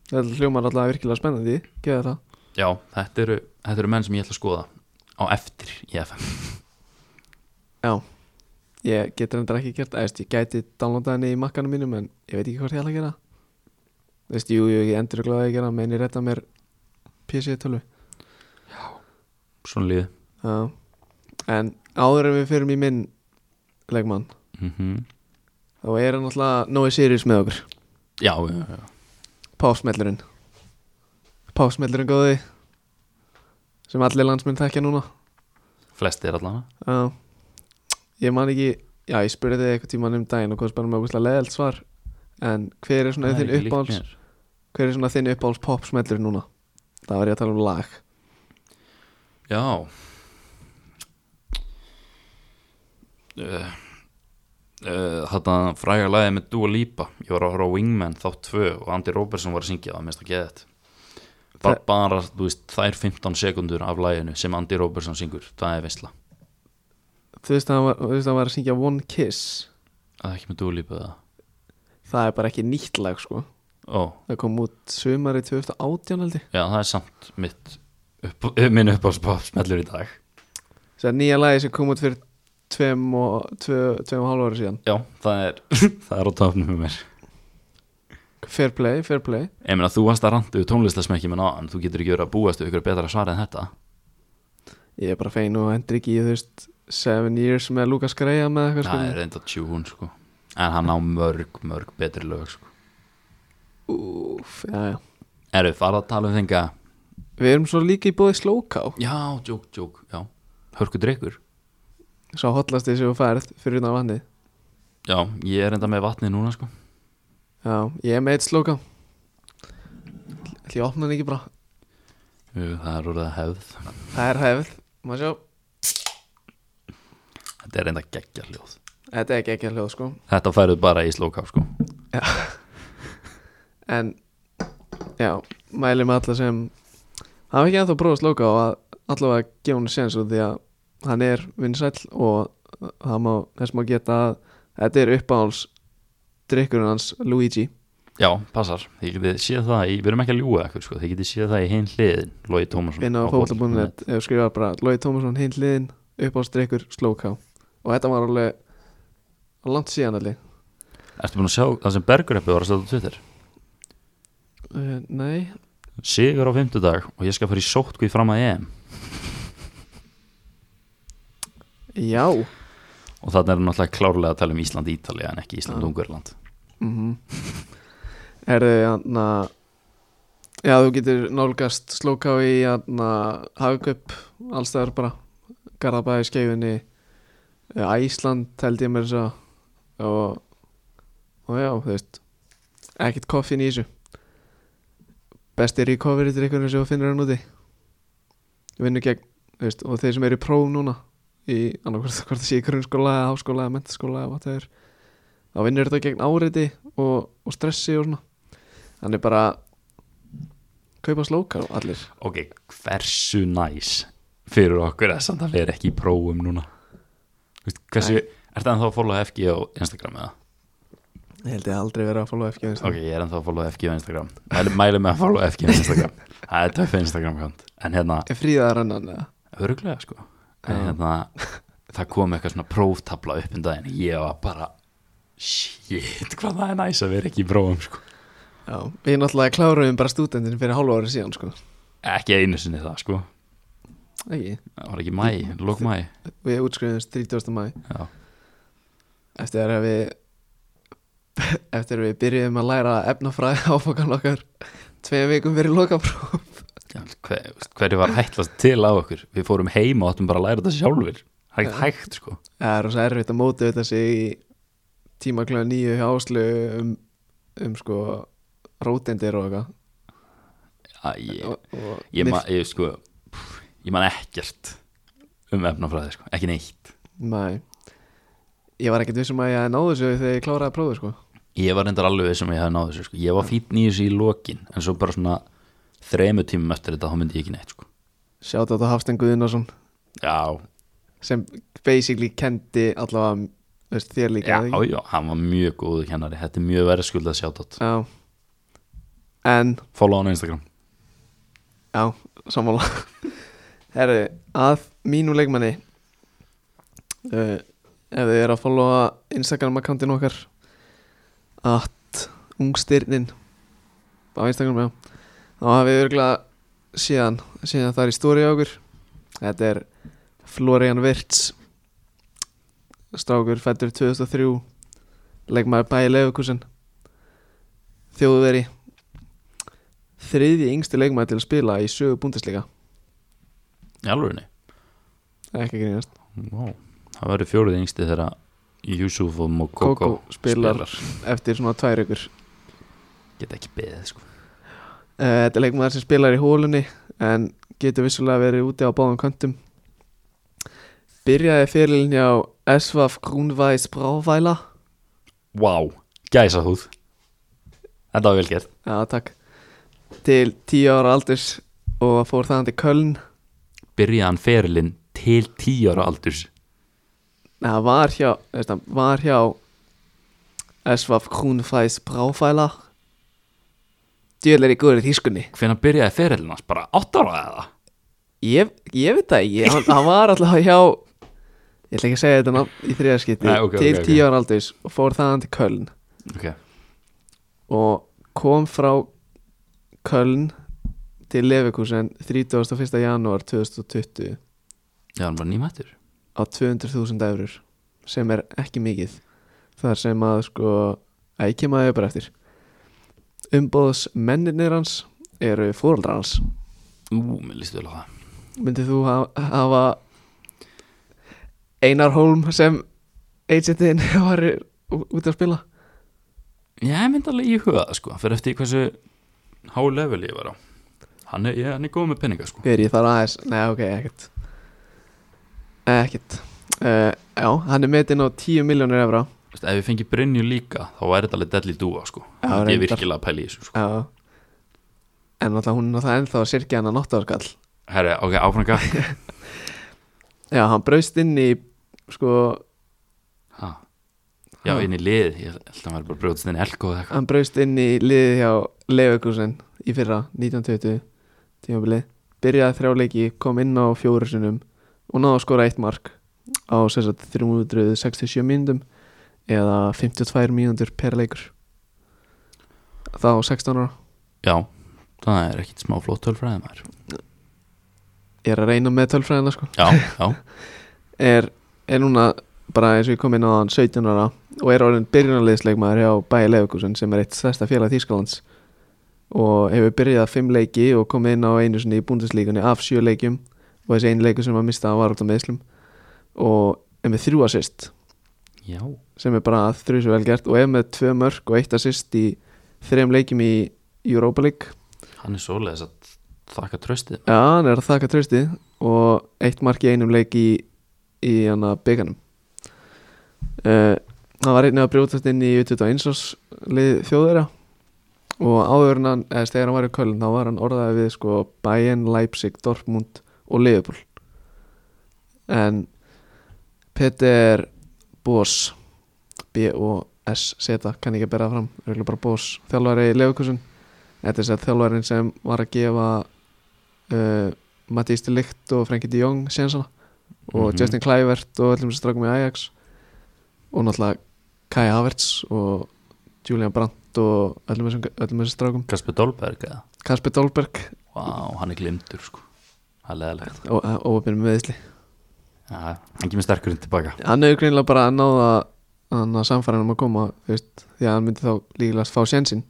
S1: Þetta hljómar alltaf virkilega spennandi Geða það
S2: já, þetta eru, þetta eru menn sem ég ætla að skoða á eftir í FM
S1: Ég get reyndar ekki gert, eða ég gæti downloadað henni í makkanum mínum en ég veit ekki hvort ég ætla að gera Þú veist, jú, jú, ég endur gláði að gera menn ég redda mér PC-tölu
S2: svona lífið
S1: Já En áður en við fyrum í minn leikmann,
S2: mm
S1: þá er hann alltaf Nói Sirius með okkur,
S2: já, já, já
S1: pásmellurinn Pásmellurinn góði sem allir landsmynd þekkja núna
S2: flestir allavega
S1: Já Ég man ekki, já, ég spurði þig eitthvað tíman um daginn og hvað spennum með okkur leðelt svar en hver er svona
S2: Það er
S1: þinn
S2: ekki líkt
S1: uppáhalds
S2: mér.
S1: Hver er svona þinn uppáhalds popsmellur núna? Það var ég að tala um lag
S2: Já uh, uh, Þetta fræga lagið með Dua Lipa Ég var að horfa á Wingman þátt 2 og Andy Robertson var að syngja það minnst að geða þetta bara,
S1: Það-
S2: bara þú veist, þær 15 sekundur af laginu sem Andy Robertson syngur það er veistla
S1: Þú veist að hann var, þú veist að hann var að syngja One Kiss
S2: Það er ekki með Dua Lipa það
S1: Það er bara ekki nýtt lag sko
S2: Ó,
S1: Það kom út sumari 2018 held ég
S2: já það er samt mitt upp, eh, minn uppáðspop smellur í dag
S1: Það er nýja lagi sem kom út fyrir tveim og, tve, tveim og hálf ára síðan
S2: Já, það er, það er á tafnum með mér
S1: Fair play, fair play
S2: Ég meina þú varst að randu tónlistasmekki með náðan þú getur ekki verið að búast við ykkur betra svar en þetta
S1: Ég er bara fein og endur ekki í þú veist Seven Years með Lucas Graham með eitthvað
S2: það
S1: sko
S2: er enda tjún sko en hann á mörg, mörg betri lög sko.
S1: Úf, já, já
S2: eru farað að tala um þenga
S1: Við erum svo líka í bóði Slowká
S2: já, djók, djók, já hörku drikkur
S1: Sá hotlast þessi og færð fyrir utan vannið
S2: já, ég er enda með vatni núna sko
S1: Já, ég er með eitt Slowká Ætli ég opna hann ekki bara
S2: Jú, það er orðið að hefð
S1: Það er hefð, maður sjá
S2: þetta er enda geggja hljóð
S1: Þetta er ekki ekki hljóð sko
S2: þetta færðu bara í slóká sko
S1: En, já, mælum alla sem hafa ekki ennþá prófað slóka og að allavega gefa hún séns út því að hann er vinsæll og það má, þess má geta að þetta er uppáhalds drikkurinn hans Luigi
S2: já, passar, þið getið séð það í, við erum ekki að ljúga ekkur sko, þið getið séð það í hinn hliðin Lói Tómasson
S1: inn á fólkabúnnet ef skrifa bara Lói Tómasson hinn hliðin uppáhalds drikkur slóka og þetta var alveg langt síðan allir
S2: ertu búin að sjá það sem Bergureppi var að setja á Twitter
S1: uh, Nei,
S2: sigur á fimmtudag og ég skal fara í sótkvíð fram að EM
S1: já
S2: og þannig er hann náttúrulega klárlega að tala um Ísland-Ítalja en ekki Ísland-Ungverland
S1: mm Herðu, jæna Já, þú getur nálgast slóká í jæna Hagköp, allstæðar bara Garðabæði, Skeifinni Æsland, held ég mér þess að og, og já, þú veist ekkert koffin í þessu besti recovery drikkurinn sem þú finnur hann úti vinnu gegn, þú veist og þeir sem eru í próf núna í annarkvort hvort það sé í grunnskóla eða háskóla eða mentaskóla eða whatever þá vinnur þetta gegn áreiti og, og stressi og svona þannig bara kaupa slókar og allir
S2: ok, hversu næs fyrir okkur að samt að vera ekki í prófum núna Þú veist, hversu, er það ennþá að followa FG á Instagram eða?
S1: ég held ég aldrei verið að followa FG
S2: ok, ég er ennþá að followa FG á Instagram mælu, mælu með að followa FG á Instagram það er töff Instagram kant en hérna,
S1: er fríðað að renna hann
S2: öruglega sko en
S1: Já.
S2: hérna, það kom eitthvað svona próftabla upp um daginn ég var bara shit, hvað það er næs að vera ekki í prófum sko
S1: já, við náttúrulega kláruðum bara stúdendin fyrir hálfa ári síðan sko
S2: ekki einu sinni það sko
S1: ekki,
S2: það var ekki mæ, lók mæ
S1: við útskriðumst 30. mæ
S2: já
S1: eftir að við eftir að við byrjuðum að læra efnafræði áfokan okkar tveim vikum fyrir lokapróf
S2: Já, hver, hverju var hætlast til á okkur við fórum heima og áttum bara að læra þetta sjálfur það er ekkert hægt sko
S1: Það er rosa erfitt að móta þetta sig í tíma klæða nýju hjá Áslu um, um sko rótendir og eitthvað
S2: Æ, ég,
S1: og, og
S2: ég, ma, ég, sko, pff, ég man ekkert um efnafræði sko, ekki neitt
S1: Nei Ég var ekkert vissum að ég náðu þessu þegar ég kláraði að prófa sko
S2: ég var reyndar alveg sem ég hafði náð þessu sko. ég var fítn í þessu í lokin en svo bara svona þremu tímum eftir þetta þá myndi ég ekki neitt sko.
S1: Sjátt á þetta Hafstein Guðnason
S2: já,
S1: sem basically kendi allavega um, þú veist, þér líka
S2: já,
S1: eða
S2: já,
S1: ekki?
S2: hann var mjög góðu kennari þetta er mjög verið skuldað sjátt
S1: já En
S2: follow hann á Instagram
S1: Já, sammála Herru, að mínum leikmanni uh, Ef þið eru að followa Instagram akkantinn okkar At ungstyrnin Á Instagram, já Þá hafið við örgulega síðan Síðan það er í stóri á okkur Þetta er Florian Virts Strákur fættur 2003 Leikmaður bæði leifukúsin Þjóðveri þriðji yngsti leikmaður til að spila í sögu búndisleika
S2: í alvörinni
S1: ekki að grínast
S2: wow. það verður fjóruð yngsti þegar Yusuf og Mokoko
S1: Koko spilar. eftir svona tvær ykkur
S2: get ekki beðið sko
S1: Eh, þetta er leikmaður sem spilar í hólunni en getur vissulega verið úti á báðum kantum byrjaði fyrirlin hjá Esvaf Grunvæs Brávæla
S2: Vá, gæsa húð Þetta var vel gert
S1: já takk til 10 ára aldurs og fór þaðan til Köln
S2: Byrjaði hann ferilinn til 10 ára aldurs
S1: Nei, það var hjá, veist það, var hjá Esvaf Grunvæs Brávæla djöðlega í góður í þýskunni
S2: Hvenær byrjaði ferilinn hans? Bara 8 ára eða?
S1: Ég, ég veit það ekki, hann, hann var alltaf hjá Ég ætla ekki að segja þetta nafn í þriðarskipti
S2: Nei, ok, ok,
S1: Til
S2: ok.
S1: tíu ára aldurs og fór þaðan til Köln
S2: Ok,
S1: Og kom frá Köln til Leverkusen 31. janúar 2020
S2: Já, hann var nýmættur
S1: á 200.000 eurur sem er ekki mikið þar sem að sko að ég kem að ég bara eftir umbóðs menninir hans eru fóreldrar hans
S2: Ú, mér líst vel á það
S1: myndið þú ha- hafa Einar Holm sem agentin var út að spila
S2: Já, ég myndi alveg í huga það sko Fyrir eftir hversu há level ég var á Hann er, ég, hann er góð með peninga sko
S1: Hver ég þarf aðeins, nei ok, ekkert Ekkert uh, Já, hann er metinn á 10 miljónir evra
S2: Vist, Ef ég fengi Brynju líka, þá væri þetta alveg deadly dúa sko
S1: Já,
S2: Það er
S1: reyndar.
S2: virkilega að pæla í þessu sko
S1: Já En náttúrulega hún er náttúrulega ennþá að sirkja hann að náttáðarskall
S2: Herri, ok, áfranga
S1: Já, hann braust inn í sko,
S2: Já,
S1: Ha.
S2: inn í lið, ég held að hann væri bara brjóðst inn í elko eða eitthvað
S1: hann braust inn í liðið hjá Leifekusen í fyrra 1920 tímabilið byrjaði þrjáleiki, kom inn á fjóru sinum og náði að skora eitt mark á sem sagt, 367 mínúndum eða 52 mínúndur per leikur þá 16 ára
S2: Já, það er ekkit smá flott tölfræði maður
S1: ég er að reyna með tölfræðina sko
S2: Já, já,
S1: er, er núna bara eins og ég kom inn á hann 17 ára og er orðin byrjunarliðsleikmaður hjá Bæi Leifkusen sem er eitt stærsta félag Þýskalands og hefur byrjað fimm leiki og komið inn á einu sinni í búndeslíkunni af sjö leikjum og þessi einu leiku sem að mista var út á meðslum og er með þrjú assist
S2: já
S1: sem er bara þrjus vel gert og er með tvö mörk og eitt assist í þrejum leikjum í Europa League
S2: Hann er svoleiðis að þakka tröstið
S1: Já, hann er að þakka tröstið og eitt mark í einum leik í, í hann að bygganum uh, Hann var einnig að brjótast inn í U21 árs lið þjóðverja og áður en hann, eða þegar hann var í Köln þá var hann orðaði við sko Bayern, Leipzig, Dortmund og Liverpool en Peter Bós B-O-S seta, kann ekki að bera það fram örugglega bara Bós, þjálfari í Leverkusen þetta er þess að þjálfarin sem var að gefa uh, Matís de Ligt og Frenkie de Jong sénsana og
S2: Mhm.
S1: Justin Kluivert og öllum sem strákum í Ajax og náttúrulega Kai Havertz og Julian Brandt og öllum þessum, öllum þessum strákum
S2: Kasper Dolberg eða
S1: Kasper Dolberg
S2: Vá, hann er glimtur sko Það er leðalegt
S1: og óöfnir meðisli
S2: Já, hann kemur sterkurinn tilbaka
S1: hann hefur greinilega bara að náða hann að samfæra hann um að koma þú veist, því að hann myndi þá líklegast fá sénsinn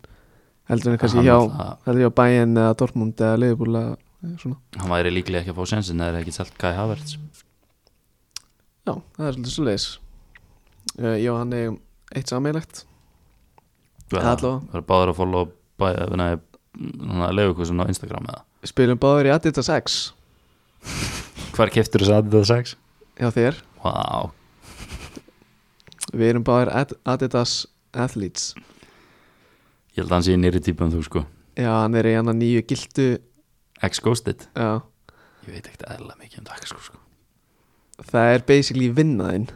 S1: heldur hann kannski
S2: Hann
S1: hjá
S2: náttúrulega-
S1: heldur hjá Bayern eða Dortmund eða Liverpool eða svona
S2: Hann væri líklega ekki að fá sensin eða er ekki selt Kai Havertz
S1: Já, það er svolítið svoleiðis uh, Já, hann er eitt sameilegt
S2: Eða-
S1: allavega.
S2: Það er báður að follow bæða Leifukúsin á Instagram eða
S1: Spilum báður í Adidas X
S2: Hvar keftur þess að þetta sex?
S1: hjá þér
S2: Vá,
S1: Við erum báður Ad Adidas Athletes
S2: ég held að hann sé nýri típa um þú sko
S1: Já, hann er í hann að nýju gildu
S2: Ex-ghosted
S1: Já,
S2: Ég veit ekkert eðla mikið um takkaskó sko
S1: það er basically vinnaðinn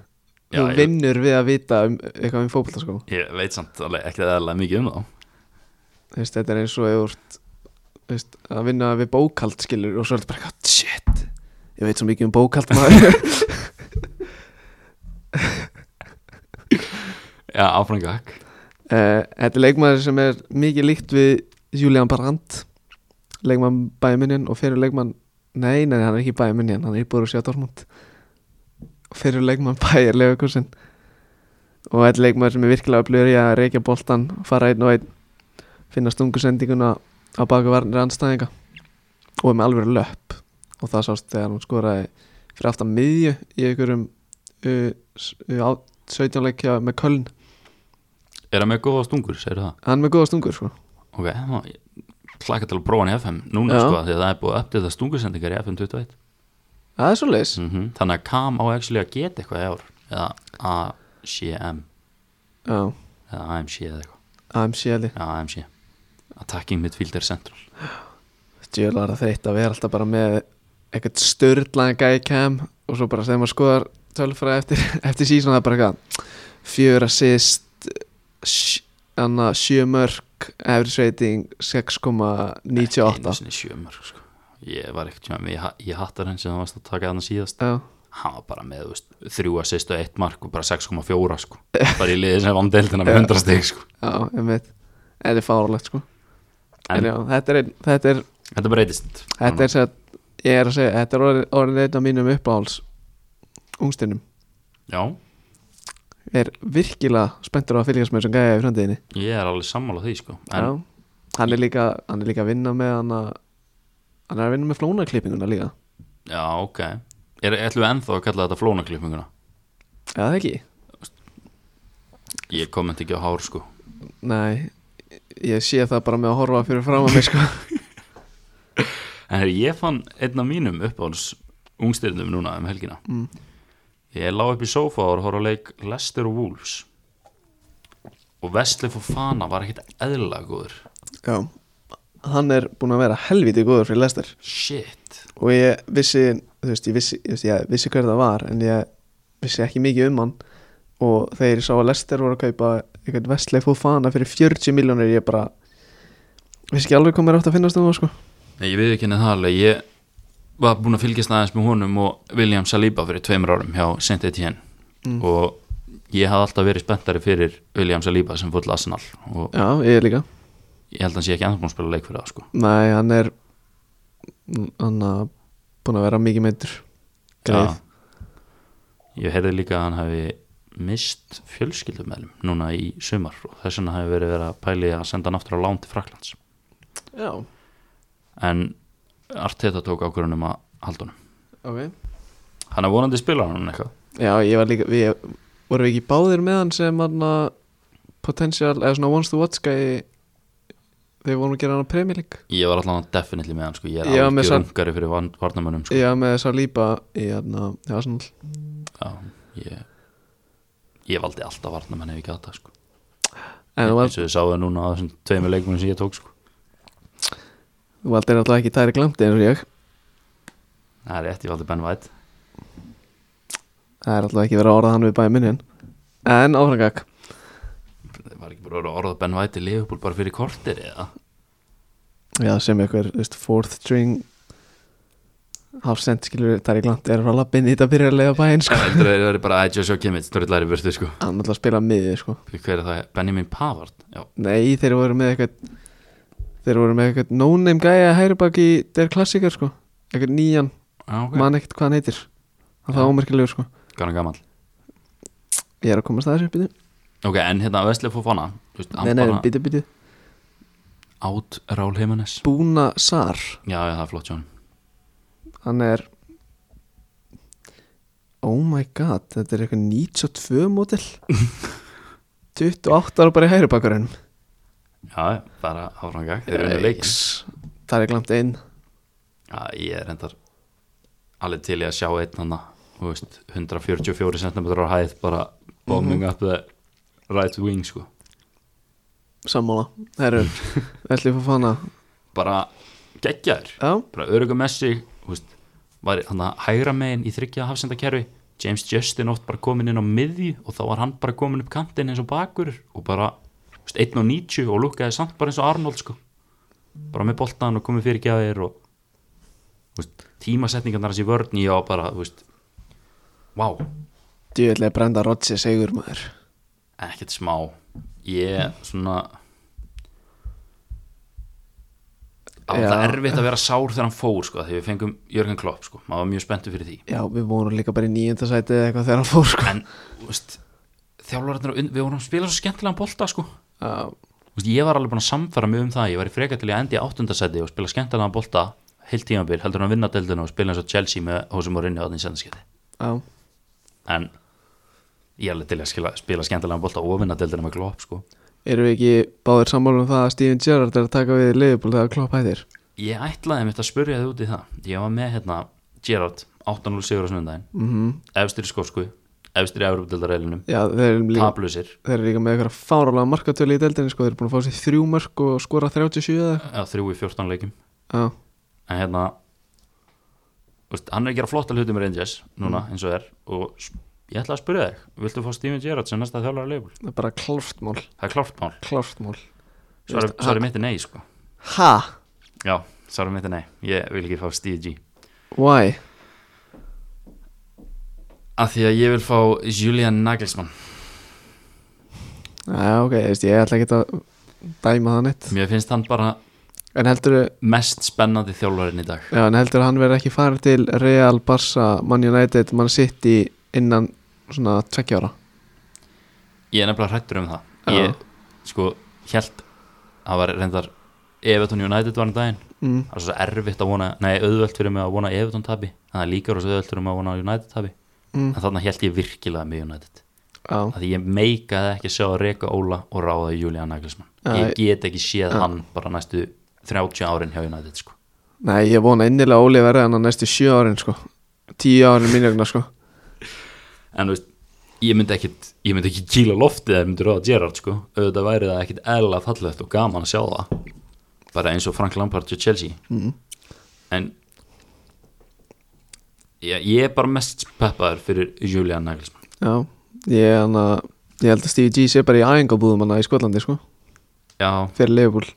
S1: Þú
S2: Já, ég,
S1: vinnur við að vita um, eitthvað um fótbolta sko
S2: ég veit samt alveg ekkert eðla mikið um þá
S1: Þú veist, Þetta er eins og eða úrt veist, að vinna við bókald skilur og svo er þetta bara eitthvað shit Ég veit svo mikið um bókald maður
S2: Já, áfram gakk
S1: Eh, Þetta er leikmaður sem er mikið líkt við Julian Brandt leikmann bæjumunnin og fyrir leikmann nei, nei, hann er ekki bæjumunnin, hann er í Borussia Dortmund og fyrir leikmann bæjur leikursinn og þetta er leikmaður sem er virkilega upplýður í að reykja boltan, fara einn og einn finna stungusendinguna á baka varnir anstæðinga og er með alveg löpp og það sást þegar hún skoraði fyrir aftan miðju í einhverjum uh, s- uh, á- 17 leikja með Köln
S2: Er hann með góða stungur, segir það?
S1: hann er með góða stungur sko
S2: Ok, þá ég hlakka til að prófa hann í FM núna
S1: Já.
S2: sko því að það er búið að uppdata stungusendingar í FM 21
S1: Það er svo leis
S2: mm Þannig að KAM á actually að geta eitthvað í ár eða ACM
S1: Já,
S2: eða AMC eða eitthvað
S1: AMC-li
S2: Já, AMC Attacking Midfielder Central
S1: Djöl var það þeitt að vera alltaf bara með eitthvað störðlaðan gæi kem og svo bara þegar maður skoðar tölfræði eftir, eftir síðan það er bara eitthvað fjör assist sj- anna, sjö mörk average rating 6,98
S2: sinni sjömar sko Ég var ekkert tjóðan, ég, ha- ég hattar henn sem það varst að taka hann síðast
S1: Já,
S2: Hann var bara með þú veist, þrjú að sýstu eitt mark og bara 6,4 sko Bara í liðið sem vann deildina með 100 stig sko
S1: já, ég veit Þetta er fárlegt sko
S2: En-
S1: En já, þetta er, ein- þetta er,
S2: Þetta breytist
S1: þetta er sér ég er að segja, þetta er orðið, orðið einn af mínum uppáhalds ungstinum
S2: Já,
S1: er virkilega spenntur á að fylgjast með þessum gæja í framtíðinni
S2: ég er alveg sammála því sko
S1: Já.
S2: En
S1: hann er líka hann er líka að vinna með hann að hann er að vinna með flónaklippinguna líka
S2: já, ok Er, ætlum við ennþá að kalla þetta flónaklippinguna?
S1: eða það ekki?
S2: Ég komment ekki á hár sko
S1: Nei, ég sé það bara með að horfa fyrir fram að mig sko
S2: En herri, ég fann einn af mínum uppáhalds ungstyrnum núna um helgina
S1: Mm.
S2: Ég lá upp í sófa og var að horfa á leik Lester og Wolves og Wesley Fofana var ekkit eðlilega góður
S1: Já Hann er búin að vera helviti góður fyrir lestar
S2: Shit
S1: og ég vissi, þú veist, ég vissi, ég vissi, ég vissi hver það var en ég vissi ekki mikið um hann og þegar ég sá að Lester voru að kaupa eitthvað vestleif og fana fyrir 40 miljónir ég bara vissi ekki alveg hvað mér átt að finnast um það sko
S2: Nei, ég við ekki henni það alveg Ég var búinn að fylgjast aðeins með honum og William Saliba fyrir tveimur árum hjá Saint Etienne
S1: Mm.
S2: og ég hafði alltaf verið spenntari fyrir William Saliba sem fóll Arsenal og
S1: Já, ég líka
S2: ég held að hann sé ekki ennþá búinn að spila leik fyrir það sko
S1: Nei, hann er hann að búin að vera mikið meittur
S2: Já. Ég heyrði líka að hann hafi mist fjölskyldumæðlum núna í sumar og þess vegna hafi verið verið að pæli að senda hann aftur á lán til Fraklands
S1: Já,
S2: en Arteta tók ákvörunum að halda honum
S1: ok
S2: hann er vonandi spila hann eitthvað
S1: Já, ég var líka, við vorum við ekki báðir með hann sem hann að potential, eða svona once to watch guy þegar við vorum að gera hann að Premier League
S2: ég var allan definitely með hann sko, ég
S1: Ég
S2: er
S1: var með
S2: alveg
S1: sam-
S2: rungari fyrir varnamönnum sko.
S1: Já, með þess að lípa í hann að Arsenal
S2: Já, ég, ég valdi alltaf varnamenn ef ég gata sko.
S1: En þú val-
S2: eins og við sáum núna á þessum tveimur leikmunum sem ég tók sko.
S1: þú valdir alltaf ekki tæri glamti eins og ég
S2: það er rétt, ég valdi Ben White
S1: Það er alltaf ekki verið að orða hann við bæði minnin En áframgak
S2: það var ekki bara að orða Ben White í Liverpool bara fyrir kortir eða
S1: Já, sem eitthvað, þú veist, fourth string Hafsend, skilur, tæri glamti er frá lappin í þetta byrjarlega bæinn, sko
S2: Það er bara að Joshua Kimmich dröllari burtu sko
S1: Hann alltaf spila miðið, sko
S2: Hver er það? Benjamin Pavard Já,
S1: Nei, þeir voru með eitthvað Þeir voru með eitthvað no-name gæja hægri bak í Der Klassiker sko Eitthvað nýjan,
S2: ok
S1: man ekkert hvað hann heitir Það
S2: Já.
S1: var ómerkilegur sko
S2: Garnar gammal
S1: Ég er að komast að þessu, býtu
S2: Ok, en hérna Vesli Fofana þú veist,
S1: Nei,
S2: Hann
S1: nei,
S2: bara
S1: býtu, býtu
S2: át Rál Heimannes
S1: Búna Sar,
S2: Já, já, það er flott John
S1: hann er Oh my god, þetta er eitthvað 92 mótil 28 ára bara í hægri bakurinn
S2: Já, já, bara áfram gang Þeir eru leiks
S1: Það er glamt einn
S2: Já, ég er endar alveg til ég að sjá einn hann Þú veist, 144 cm á hæð bara
S1: Mhm.
S2: bombing up the right wing sko
S1: Sammála, herru Ætli fór fana
S2: Bara geggjaður
S1: Já,
S2: bara örugum Messi þú veist, var hann að hægra megin í þryggja hafsendakerfi James Justin oft bara komin inn á miðju og þá var hann bara komin upp kantinn eins og bakur og bara þú veist, 1 og 90 og lukkaði samt bara eins og Arnold sko. bara með boltan og komið fyrir gæðir og þú veist, tímasetningarnar hans í vörn ég á bara þú veist, wow,
S1: djúðlega brenda Rotsi segur maður
S2: ekkert smá ég svona á
S1: Já.
S2: það erfitt að vera sár þegar hann fór sko, því við fengum Jörgen Klopp sko, maður var mjög spenntu fyrir því
S1: Já, við vorum líka bara í nýjönda sæti eða eitthvað þegar hann fór sko.
S2: en þú veist, þjálfararnir, á und- við vorum að spila svo skemmtilegan bolta sko. Þú
S1: Já,
S2: veist, ég var alveg búin að samfara mig um það ég var í frekar til að enda í áttundasæti og spila skemmtilegan bolta heilt tímabil, heldur hann að vinna deildina og spila eins og Chelsea með hósum og rinni á þannig sendaskipti
S1: já,
S2: en ég er alveg til að skila, spila skemmtilegan bolta og vinna deildina með Klopp sko.
S1: erum við ekki báðir sammála um það að Steven Gerrard er að taka við leiðbúl þegar Klopp hættir
S2: ég ætlaði mitt að spurja þið út í það ég var með hérna Gerard 8-0 sigur á sunnundaginn
S1: mm
S2: efstir í skósku, efstir í Európa-dildareilunum
S1: Já, þeir eru líka,
S2: tablusir,
S1: þeir eru líka með eitthvað fáralega markatölu í deildinni sko, þeir eru búin að fá sér þrjú mörg og skora 37 eða eitthvað.
S2: eða þrjú í 14 leikum
S1: Já,
S2: en hérna þú veist, hann er að gera flotta hluti með Rangers núna eins og er og s- ég ætla að spyrja þig, viltu fá Steven Gerrard sem næsta þjálfara leifur?
S1: það er bara kláftmál
S2: Það er klárt mál,
S1: kláftmál
S2: svarið
S1: Veist,
S2: svar mitt er nei sko,
S1: Ha?
S2: já, svarið mitt er nei ég vil ekki fá Steve G
S1: Why?
S2: af því að ég vil fá Julian Nagelsmann
S1: Já, ok, ég, veist, ég ætla ekki að dæma það neitt
S2: mér finnst hann bara
S1: En heldur
S2: mest spennandi þjálfarinn í dag
S1: Já, en heldur að hann verði ekki farið til Real, Barca, Man United, Man City innan svona tveggja ára
S2: ég er nefnilega hrættur um það ég, sko, held það var reyndar Everton United var um daginn
S1: mm.
S2: það er svo erfitt að vona, nei, auðvelt fyrir mig að vona Everton tabi, en það er líka rosa auðvelt fyrir mig að vona United tabi,
S1: Mm.
S2: en þarna held ég virkilega með United,
S1: Já,
S2: af því ég meikaði ekki sjá að reka Óla og ráða Julian Nagelsmann,
S1: Æ.
S2: ég get ekki séð
S1: Já.
S2: hann bara næstu 30 árin hjá United sko.
S1: nei, ég vona innilega að Óli verði hann að næstu sjö árin sko Tíu árin mín vegna sko
S2: en þú veist, ég myndi ekkit ég myndi ekki kýla loftið eða myndi ráða Gerrard sko, auðvitað væri það ekkit eðla fallegt og gaman að sjá það bara eins og Frank Lampard til Chelsea
S1: mm.
S2: en ég, ég er bara mest peppaður fyrir Julian Nagelsmann
S1: Já, ég, hana, ég held að Stevie G sé bara í æfingabúðum hana í Skotlandi sko
S2: já,
S1: Fyrir Liverpool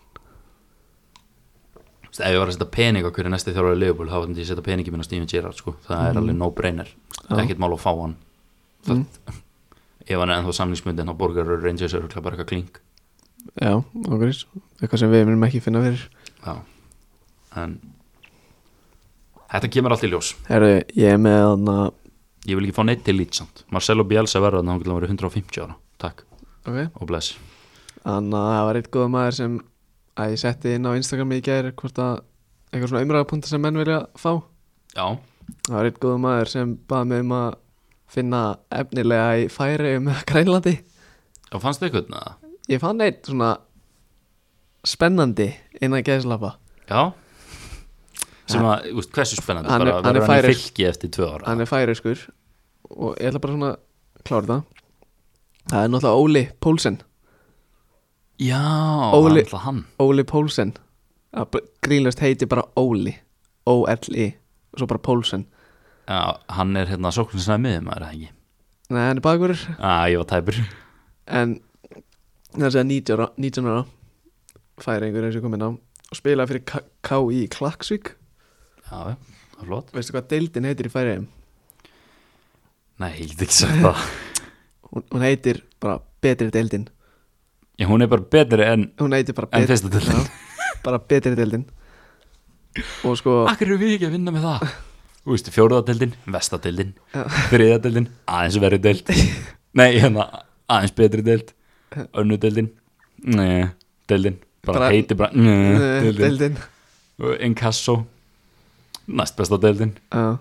S2: þú veist, ef ég var að setja pening á hverju næsti þjálfur í Liverpool þá vandi ég setja peningi minn á Steven Gerrard sko. það er alveg no brainer,
S1: Já.
S2: ekkert mál að fá hann
S1: mm.
S2: ef hann er ennþá samlingsmyndin þá borgar og Rangers eru bara eitthvað klink
S1: Já, okkur Eitthvað sem við munum ekki finna fyrir
S2: já. en þetta kemur allt í ljós
S1: Herru, ég er með hann að
S2: ég vil ekki fá neitt til lítsamt Marcelo Bielsa verður þannig að hann getur verið 150 ára takk
S1: okay.
S2: og bless
S1: Þannig að það var eitt góða maður sem að ég setti inn á Instagram í gær hvort að eitthvað svona umræðapunta sem menn vilja fá
S2: já,
S1: Það var eitt góða maður sem baði mig um að finna efnilega í færi um Grænlandi
S2: og fannst þið eitthvað neða?
S1: Ég fann eitt svona spennandi innan gæðslappa
S2: já sem að, úst, hversu spennandi
S1: Hann er-
S2: bara
S1: hann er
S2: verður hann í
S1: færir.
S2: fylki eftir tvö ára
S1: Hann er færi skur og ég ætla bara svona að klára það Það er náttúrulega Óli Pólsen
S2: já,
S1: Óli-
S2: hann, hann.
S1: Óli Pólsen Það bara- Grínlaust heiti bara Óli O-L-I og svo bara Pólsen
S2: Já, hann er hérna sókninsnæði miðum er það ekki
S1: Nei, hann er bakur
S2: að ég var tæpur
S1: en það er að 19 ára, 19 ára færi einhverju eins og komin á og spila fyrir K- KÍ í Klaksvík
S2: já, já, það er flott
S1: veistu hvað deildin heitir í færiðum
S2: nei, ég get ekki sagt það
S1: hún, hún heitir bara betri deildin
S2: já, hún er bara betri en
S1: hún heitir bara,
S2: En
S1: betri-
S2: fyrsta deildin.
S1: Já, bara betri deildin og sko
S2: akkur eru við ekki að vinna með það þú veist, fjóruðadeldin, vestadeldin
S1: Já.
S2: þriðadeldin, aðeins verri deild nei, hérna, aðeins betri deild önnudeldin nei, deildin, bara,
S1: Bara-
S2: heiti bara nei,
S1: eh,
S2: deildin,
S1: deildin
S2: deildin. inkasso næst besta deildin,
S1: já,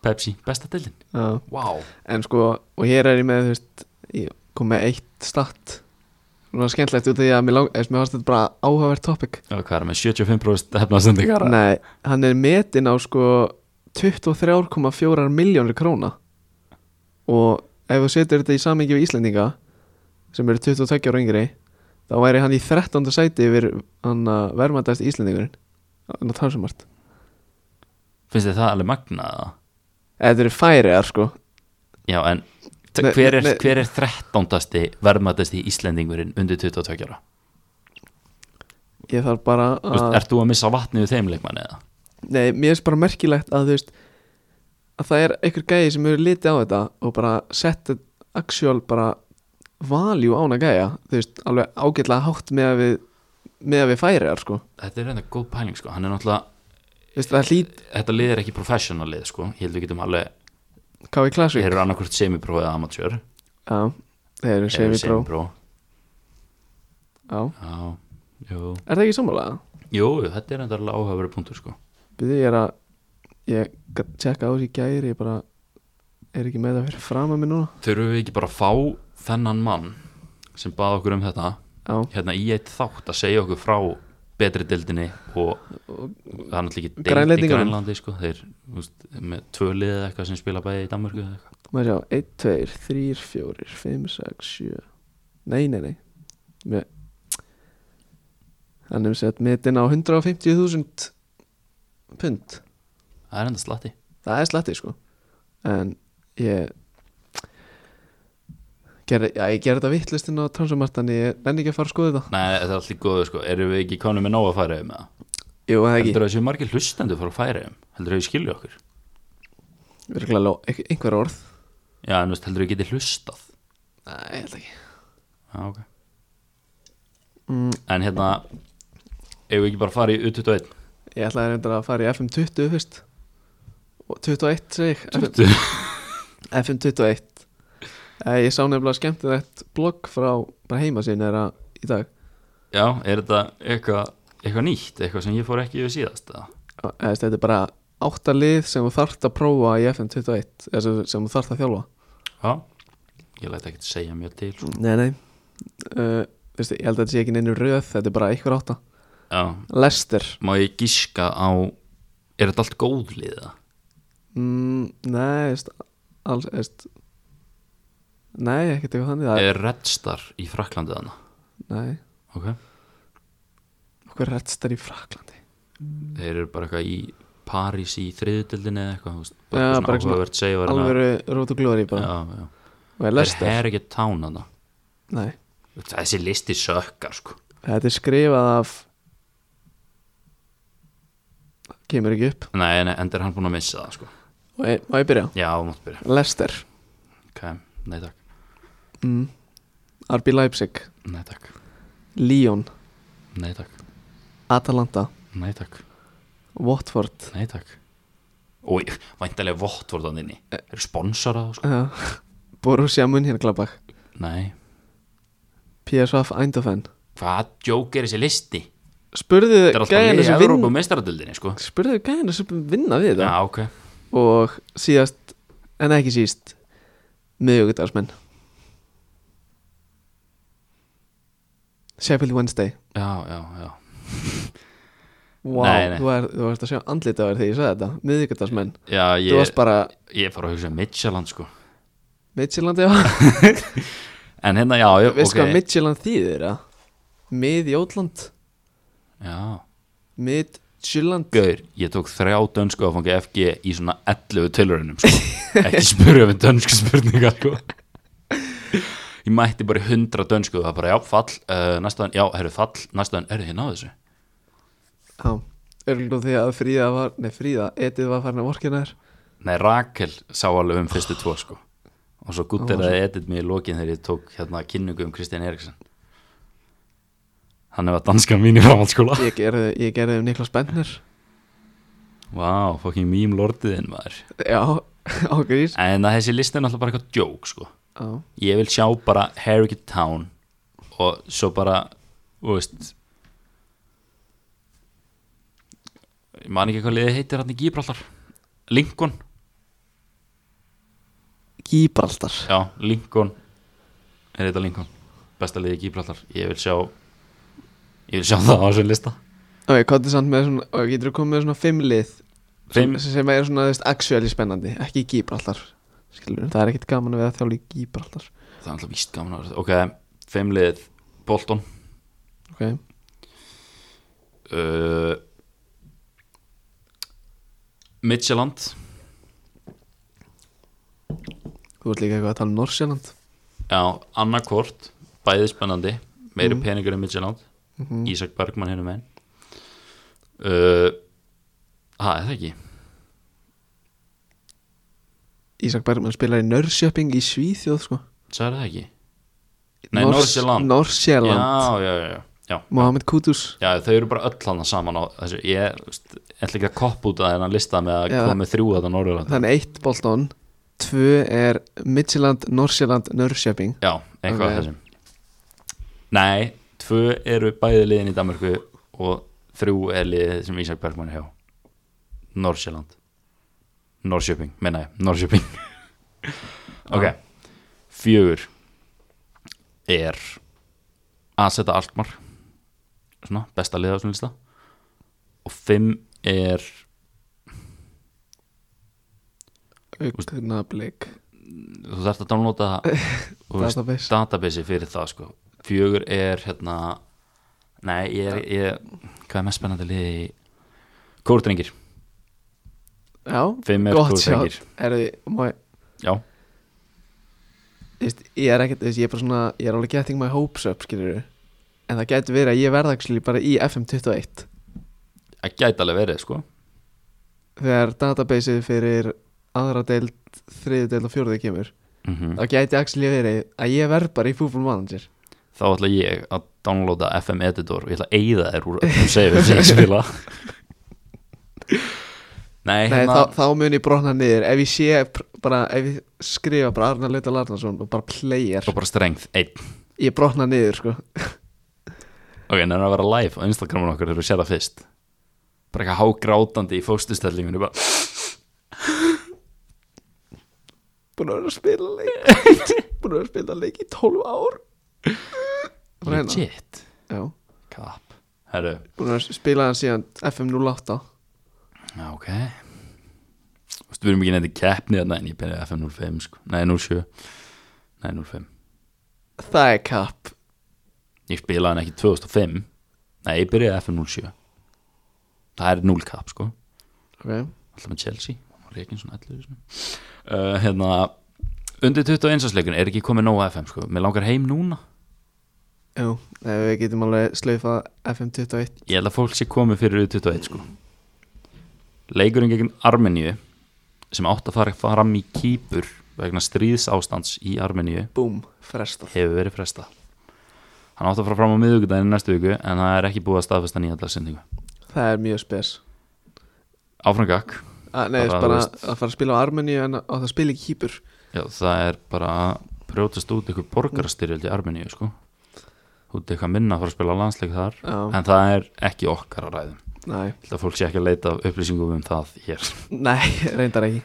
S2: Pepsi besta deildin,
S1: já.
S2: wow
S1: en sko og hér er ég með þú veist ég kom með eitt statt Nú er skemmtlegt út af því að mér, lang, eða, mér varst þetta bara áhugavert topic
S2: og hvað er með 75% hefnaðsendingar
S1: Nei, hann er metinn á sko 23,4 miljónir króna og ef þú setur þetta í samengi við Íslendinga sem eru 22 ára yngri þá væri hann í 13. sæti yfir hann að verðmættast Íslendingurinn þannig að það er sem margt
S2: finnst þið það alveg magnað eða?
S1: Þetta eru færiðar sko
S2: já, en t-
S1: Nei,
S2: hver er,
S1: nei.
S2: hver er 13. verðmættasti Íslendingurinn undir 22 ára?
S1: Ég þarf bara
S2: Þú veist,
S1: að
S2: Ert þú að missa vatnið við þeim leikmanni eða?
S1: Nei, mér finnst bara merkilegt að þú veist að það er einhver gæi sem eru litið á þetta og bara setta actual bara value á hana gæja þú veist, alveg ágætlega hátt með að við með að við færiðar sko
S2: Þetta er reynda góð pæling sko, hann er náttúrulega
S1: þú veist, það hlýt
S2: þetta lið er ekki professional lið sko ég held við getum alveg,
S1: KV
S2: þeir
S1: Classic
S2: eru annarkvort semipro eða amatjör
S1: Já, þeir eru
S2: Eða
S1: semi-pro Já,
S2: já, jú,
S1: er það ekki sammálaða?
S2: jú, þetta er reynda alveg áhugaverið punktur sko
S1: Býðu ég er að ég gat tjekka á þessi gæri ég bara er ekki með það fyrir fram að mér núna
S2: þurfum við ekki bara að fá þennan mann sem bað okkur um þetta
S1: Já,
S2: hérna í eitt þátt að segja okkur frá betri deildinni og það er náttúrulega ekki deild í
S1: Grænlendingunum.
S2: Grænlandi sko, þeir, þú veist, með tvö lið eða eitthvað sem spila bæði í Danmörku eða eitthvað
S1: maður sjá, 1, 2, 3, 4, 5, 6, 7 Nei, nei, nei Mér... Hann hefur sett metin á 150.000 pund
S2: það er enda slatti
S1: Það er slatti sko En ég gerði, já, ég gerði þetta vittlistin á transfermartan Ég nenni ekki að fara að skoða þetta
S2: Nei, þetta er alltaf góðu sko, erum við ekki konum með nóg að færa um það?
S1: Jú, það ekki
S2: Heldur það séu margir hlustendur frá færiðum? Heldur það ég skilja okkur?
S1: Örugglega ló- ein- Einhver orð
S2: Já, en veist, heldur það ég geti hlustað?
S1: Nei, ég held ekki
S2: Já, ok
S1: mm,
S2: En hérna, eigum við ekki bara að fara í U21
S1: Ég ætlaði reyndar að fara í FM 20 fyrst Og 21 segi ég FM
S2: 20
S1: FM 21 Eh, Ég sá nefnilega skemmtilegt blogg frá bara heimasinn er að í dag
S2: Já, er þetta eitthvað eitthvað nýtt, eitthvað sem ég fór ekki yfir síðast eða?
S1: eða þú veist, þetta er bara átta lið sem þú þarft að prófa í FM 21 eða sem, sem þú þarft að þjálfa
S2: Já, ég læt ekki að segja mjög til sko.
S1: Nei, nei uh, veistu, Ég held að þetta sé ekki neinu röð þetta er bara einhver átta
S2: Já,
S1: Lester
S2: má ég gíska á er þetta allt góð liða?
S1: mm, Nei, veist, alls, veist, nei, ekkert eitthvað þannig það, er,
S2: Er Red Star í Fraklandið hana?
S1: Nei,
S2: Ok,
S1: okkur rettstar í Fraklandi
S2: þeir eru bara eitthvað í París í þriðutildinni eða eitthvað, þú veist,
S1: Já,
S2: bara
S1: bara
S2: eitthvað
S1: svona
S2: svona áhugavert segjur
S1: Alvöru Rót og Glóri bara
S2: Já, já
S1: Og er
S2: Þeir
S1: Lester,
S2: er ekki tán hana
S1: nei
S2: Þessi listi sökkar sko
S1: Þetta er skrifað af Kemur ekki upp
S2: Nei, nei, enda er hann búin að missa það sko
S1: Og ég, og ég byrja
S2: Já, þú mátt byrja
S1: Lester
S2: Ok, nei takk
S1: mm. RB Leipzig
S2: Nei takk
S1: Lyon
S2: Nei takk
S1: Atalanta
S2: Nei takk
S1: Watford
S2: Nei takk Eh. Úi, væntalega vott voru þannig inni Þeir eru sponsorað sko
S1: uh, Borussia Mönchengladbach
S2: Nei
S1: PSV Eindhoven
S2: Hvað djók er þessi listi?
S1: Spurðu
S2: Þetta er alltaf
S1: gæðina
S2: liði
S1: sem
S2: Evrópa
S1: vinna
S2: meistaradildinni sko
S1: Spurðu gæðina sem vinna við
S2: Já,
S1: þetta
S2: ok
S1: Og síðast En ekki síðast Miðugudarsmenn Sheffield Wednesday
S2: Já, já, já
S1: Vá,
S2: Nei, nei.
S1: Þú, er, þú varst að sjá andlita verið þegar ég sagði þetta Miðugudarsmenn
S2: Já,
S1: Þú varst
S2: ég,
S1: bara
S2: ég fór að hugsa Midtjaland sko
S1: Midtjylland já okay.
S2: En hérna, já, já,
S1: Veist hvað
S2: ok
S1: Midtjylland þýðir að? Miðjótland
S2: Já,
S1: Midtjylland
S2: Gaur, ég tók þrjá dönsku áfangi FG í svona 11 tilurinnum sko. ekki spurja við dönsku spurningar sko. ég mætti bara í 100 dönsku og það bara já, fall, uh, næstaðan, já, herru, fall næstaðan, herru, hérna á þessu
S1: Já, örglum því að Fríða var, nei Fríða, Edið var farin að vorkina þér
S2: nei, Rakel sá alveg um fyrstu tvo sko. og svo gutt er að edit mig í lokin þegar ég tók hérna kynningu um Kristján Eriksson hann hefur að danska mín í framhaldsskóla
S1: Ég gerði, ég gerði um Niklas Bentner
S2: vá, fokkin mím lortiðinn maður
S1: Já, á grís
S2: en að þessi listi er náttúrulega bara eitthvað joke sko
S1: Já,
S2: ég vil sjá bara Harrogate Town og svo bara þú veist ég man ekki hvað liðið heitir hann í Gíbraltar Lincoln,
S1: Gíbraldar
S2: já, Lincoln er þetta Lincoln, besta liðið í Gíbraltar ég vil sjá ég vil sjá það á þessum lista
S1: Ok, hvað er samt með svona, og getur þú komið með svona fimm lið
S2: Fimm,
S1: sem, sem er svona, þú veist, actually spennandi ekki Gíbraldar, skilur það er ekkit gaman að vera þjálf í Gíbraldar
S2: það er alltaf víst gaman að vera ok, fimm liðið Bolton
S1: Ok,
S2: uh, Midtjaland
S1: þú ert líka eitthvað að tala um Norsjaland
S2: Já, annarkvort, bæði spennandi meiri peningur en Midtjaland
S1: Mm. Mhm.
S2: Ísak Bergmann hérna með uh, Það er það ekki
S1: Ísak Bergman spilar í Nörrköping í Svíþjóð, sko
S2: Það er það ekki Nei, Norsjaland
S1: Norsjaland,
S2: já, já, já, já,
S1: Mohamed Kudus
S2: já, þau eru bara öll hana saman á þessu Ég þú veist, ætla ekki að koppa út að hennan lista með að
S1: Já.
S2: koma með þrjú þetta Norðurland
S1: Þannig eitt Bolton Tvö er Midtjylland, Norsjaland, Nörrköping
S2: Já, eitthvað
S1: Ok.
S2: okay. þessum Nei, tvö eru bæði liðin í Danmarku og þrjú er liðið sem Ísak Bergmann er hjá Norsjöland Norsjöping, menna ég, Norsjöping Ok Fjögur er að setja Altmar svona, besta liða á svona lista og fimm er
S1: Augnablik
S2: þú þarft að downloada þú veist,
S1: Database.
S2: database fyrir það sko. fjögur er hérna nei, ég er ég, hvað er mest spennandi liði í kórdrengir,
S1: Já,
S2: fimm er
S1: gott sjátt
S2: kórdrengir
S1: Er þið, má ég
S2: já,
S1: þú veist, Ég er ekkert, þú veist, ég er bara svona Ég er alveg getting my hopes up, skilur En það getur verið að ég verða actually bara í FM21
S2: það gæti alveg verið sko.
S1: Þegar databaseið fyrir aðra deild, þriði deild og fjóruði kemur
S2: mm
S1: Mhm. Það geti actually verið að ég verð bara í fútbol manager
S2: þá ætla ég að downloada FM Editor og ég ætla að eyða þér úr öllum save sem ég spila Nei,
S1: Nei,
S2: hérna,
S1: þá, þá mun ég brotna niður ef ég sé pr- bara, ef ég skrifa bara Arnar Lautal Arnarsson og bara player
S2: svo bara strength einn.
S1: ég brotna niður sko
S2: Ok, en það er að vera live á Instagramun okkur þegar þú sér það fyrst bara eitthvað hágrátandi í fóstustellinginu bara,
S1: búin að vera að spila leik búin að vera að spila leik í 12 ár Bara hérna.
S2: legit
S1: Já,
S2: Kap, herru,
S1: búin að spila hann síðan FM 08
S2: já ok Þú veist, við erum ekki neitt í keppni þarna en ég byrja FM 05 sko, nei 07 nei 05
S1: það er kapp
S2: Ég spilaði hann ekki 2005 Nei, ég byrjaði F07 Það er 0 kap, sko
S1: okay.
S2: Alltaf með Chelsea Hann var Rekinn svona 11 sinni. uh, Hérna Undir 21 sleikun er ekki komið nóg af FM, sko Mér langar heim núna
S1: Já, nei, við getum alveg slaufa FM 21
S2: Ég held að fólk sé komið fyrir 21, sko Leikurinn gegn Armeníu Sem átt að fara fram í Kýpur Vegna stríðsástands í Armeníu
S1: Búm, frestað
S2: Hefur verið fresta Hann átt að fara fram á miðvikudaginn í næstu viku En það er ekki búið að staðfesta nýja dagsendingu
S1: Það er mjög spes
S2: Áframgak
S1: að, Nei,
S2: Bara,
S1: bara, bara
S2: þú
S1: að
S2: veist.
S1: fara að spila á Armeníu en að, að það spila ekki kýpur
S2: Já, það er bara að brjótast út ykkur borgarastyrjöld í Armeníu, sko. Út eitthvað minna að fara að spila landsleik þar,
S1: Já,
S2: en það er ekki okkar að ræðum.
S1: nei,
S2: Þetta fólk sé ekki að leita af upplýsingum um það hér.
S1: nei, reyndar ekki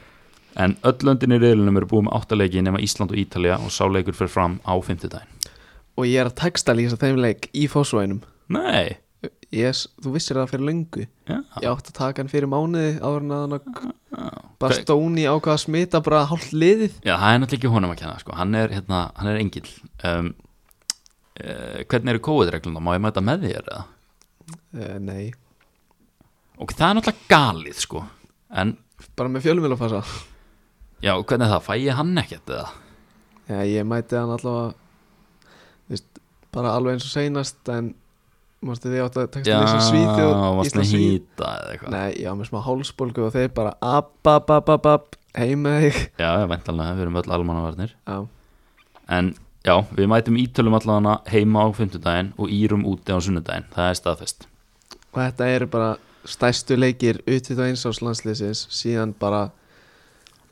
S2: En öll löndin í reyðlunum eru búið með áttaleiki nema Ísland og Ítalja og sáleikur fyrir fram á fimmtudaginn.
S1: Og ég er að texta lýsa þeim leik í fósvænum
S2: Nei,
S1: Yes, þú vissir það fyrir löngu
S2: já.
S1: Ég átti að taka hann fyrir mánuði áður en að hann
S2: Já.
S1: bara stóni ákvað að smita bara hálft liðið
S2: Já, það er náttúrulega ekki honum að kenna, sko. Hann er, hérna, hann er engill. Um, uh, hvernig eru kóðregluna? Má ég mæta með þér eða?
S1: uh, Nei,
S2: Og það er náttúrulega galið, sko. En,
S1: bara með fjölumilafasa
S2: já, hvernig er það? Fæ ég hann ekkert eða?
S1: Já, ég mæti hann allavega þú veist, bara alveg eins og seinast en mástu því átt að texta lýsa svíti og
S2: varst að
S1: Íslandsvíð
S2: hýta eða eitthvað
S1: Nei, já, með smá hálsbólgu og þeir bara app, app, app, app, app, heim með þig
S2: Já, já, væntanlega, við erum öll almannavarnir
S1: Já,
S2: En já, við mætum ítölum allavega heima á fimmtudaginn og írum úti á sunnudaginn Það er staðfest
S1: og þetta eru bara stærstu leikir utið á einsás landslýsins síðan bara,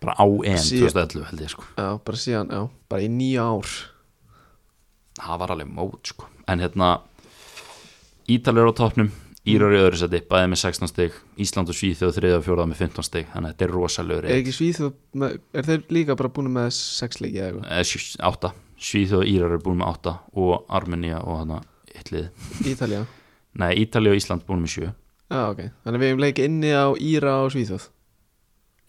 S2: Bara á EM
S1: Sí.
S2: 2011 held ég sko
S1: já, bara síðan, já, bara í nýja ár
S2: Það var alveg mót sko En hérna, Ítalir á topnum Írar í öðru seti, bæði með 16 stig Ísland og Svíþjóð þriðja og fjóraða með 15 stig Þannig að þetta er rosalegur
S1: Er ekki Svíþjóð, með- er þeir líka bara búin með sex leiki eða eitthvað?
S2: eh, sjö- átta, Svíþjóð og Írar eru búin með átta og Armenia og hana Ítlið
S1: Ítalja?
S2: Nei, Ítali og Ísland búin með sjö
S1: Já, ok. Þannig að við hefum leiki inni á Íra og Svíþjóð.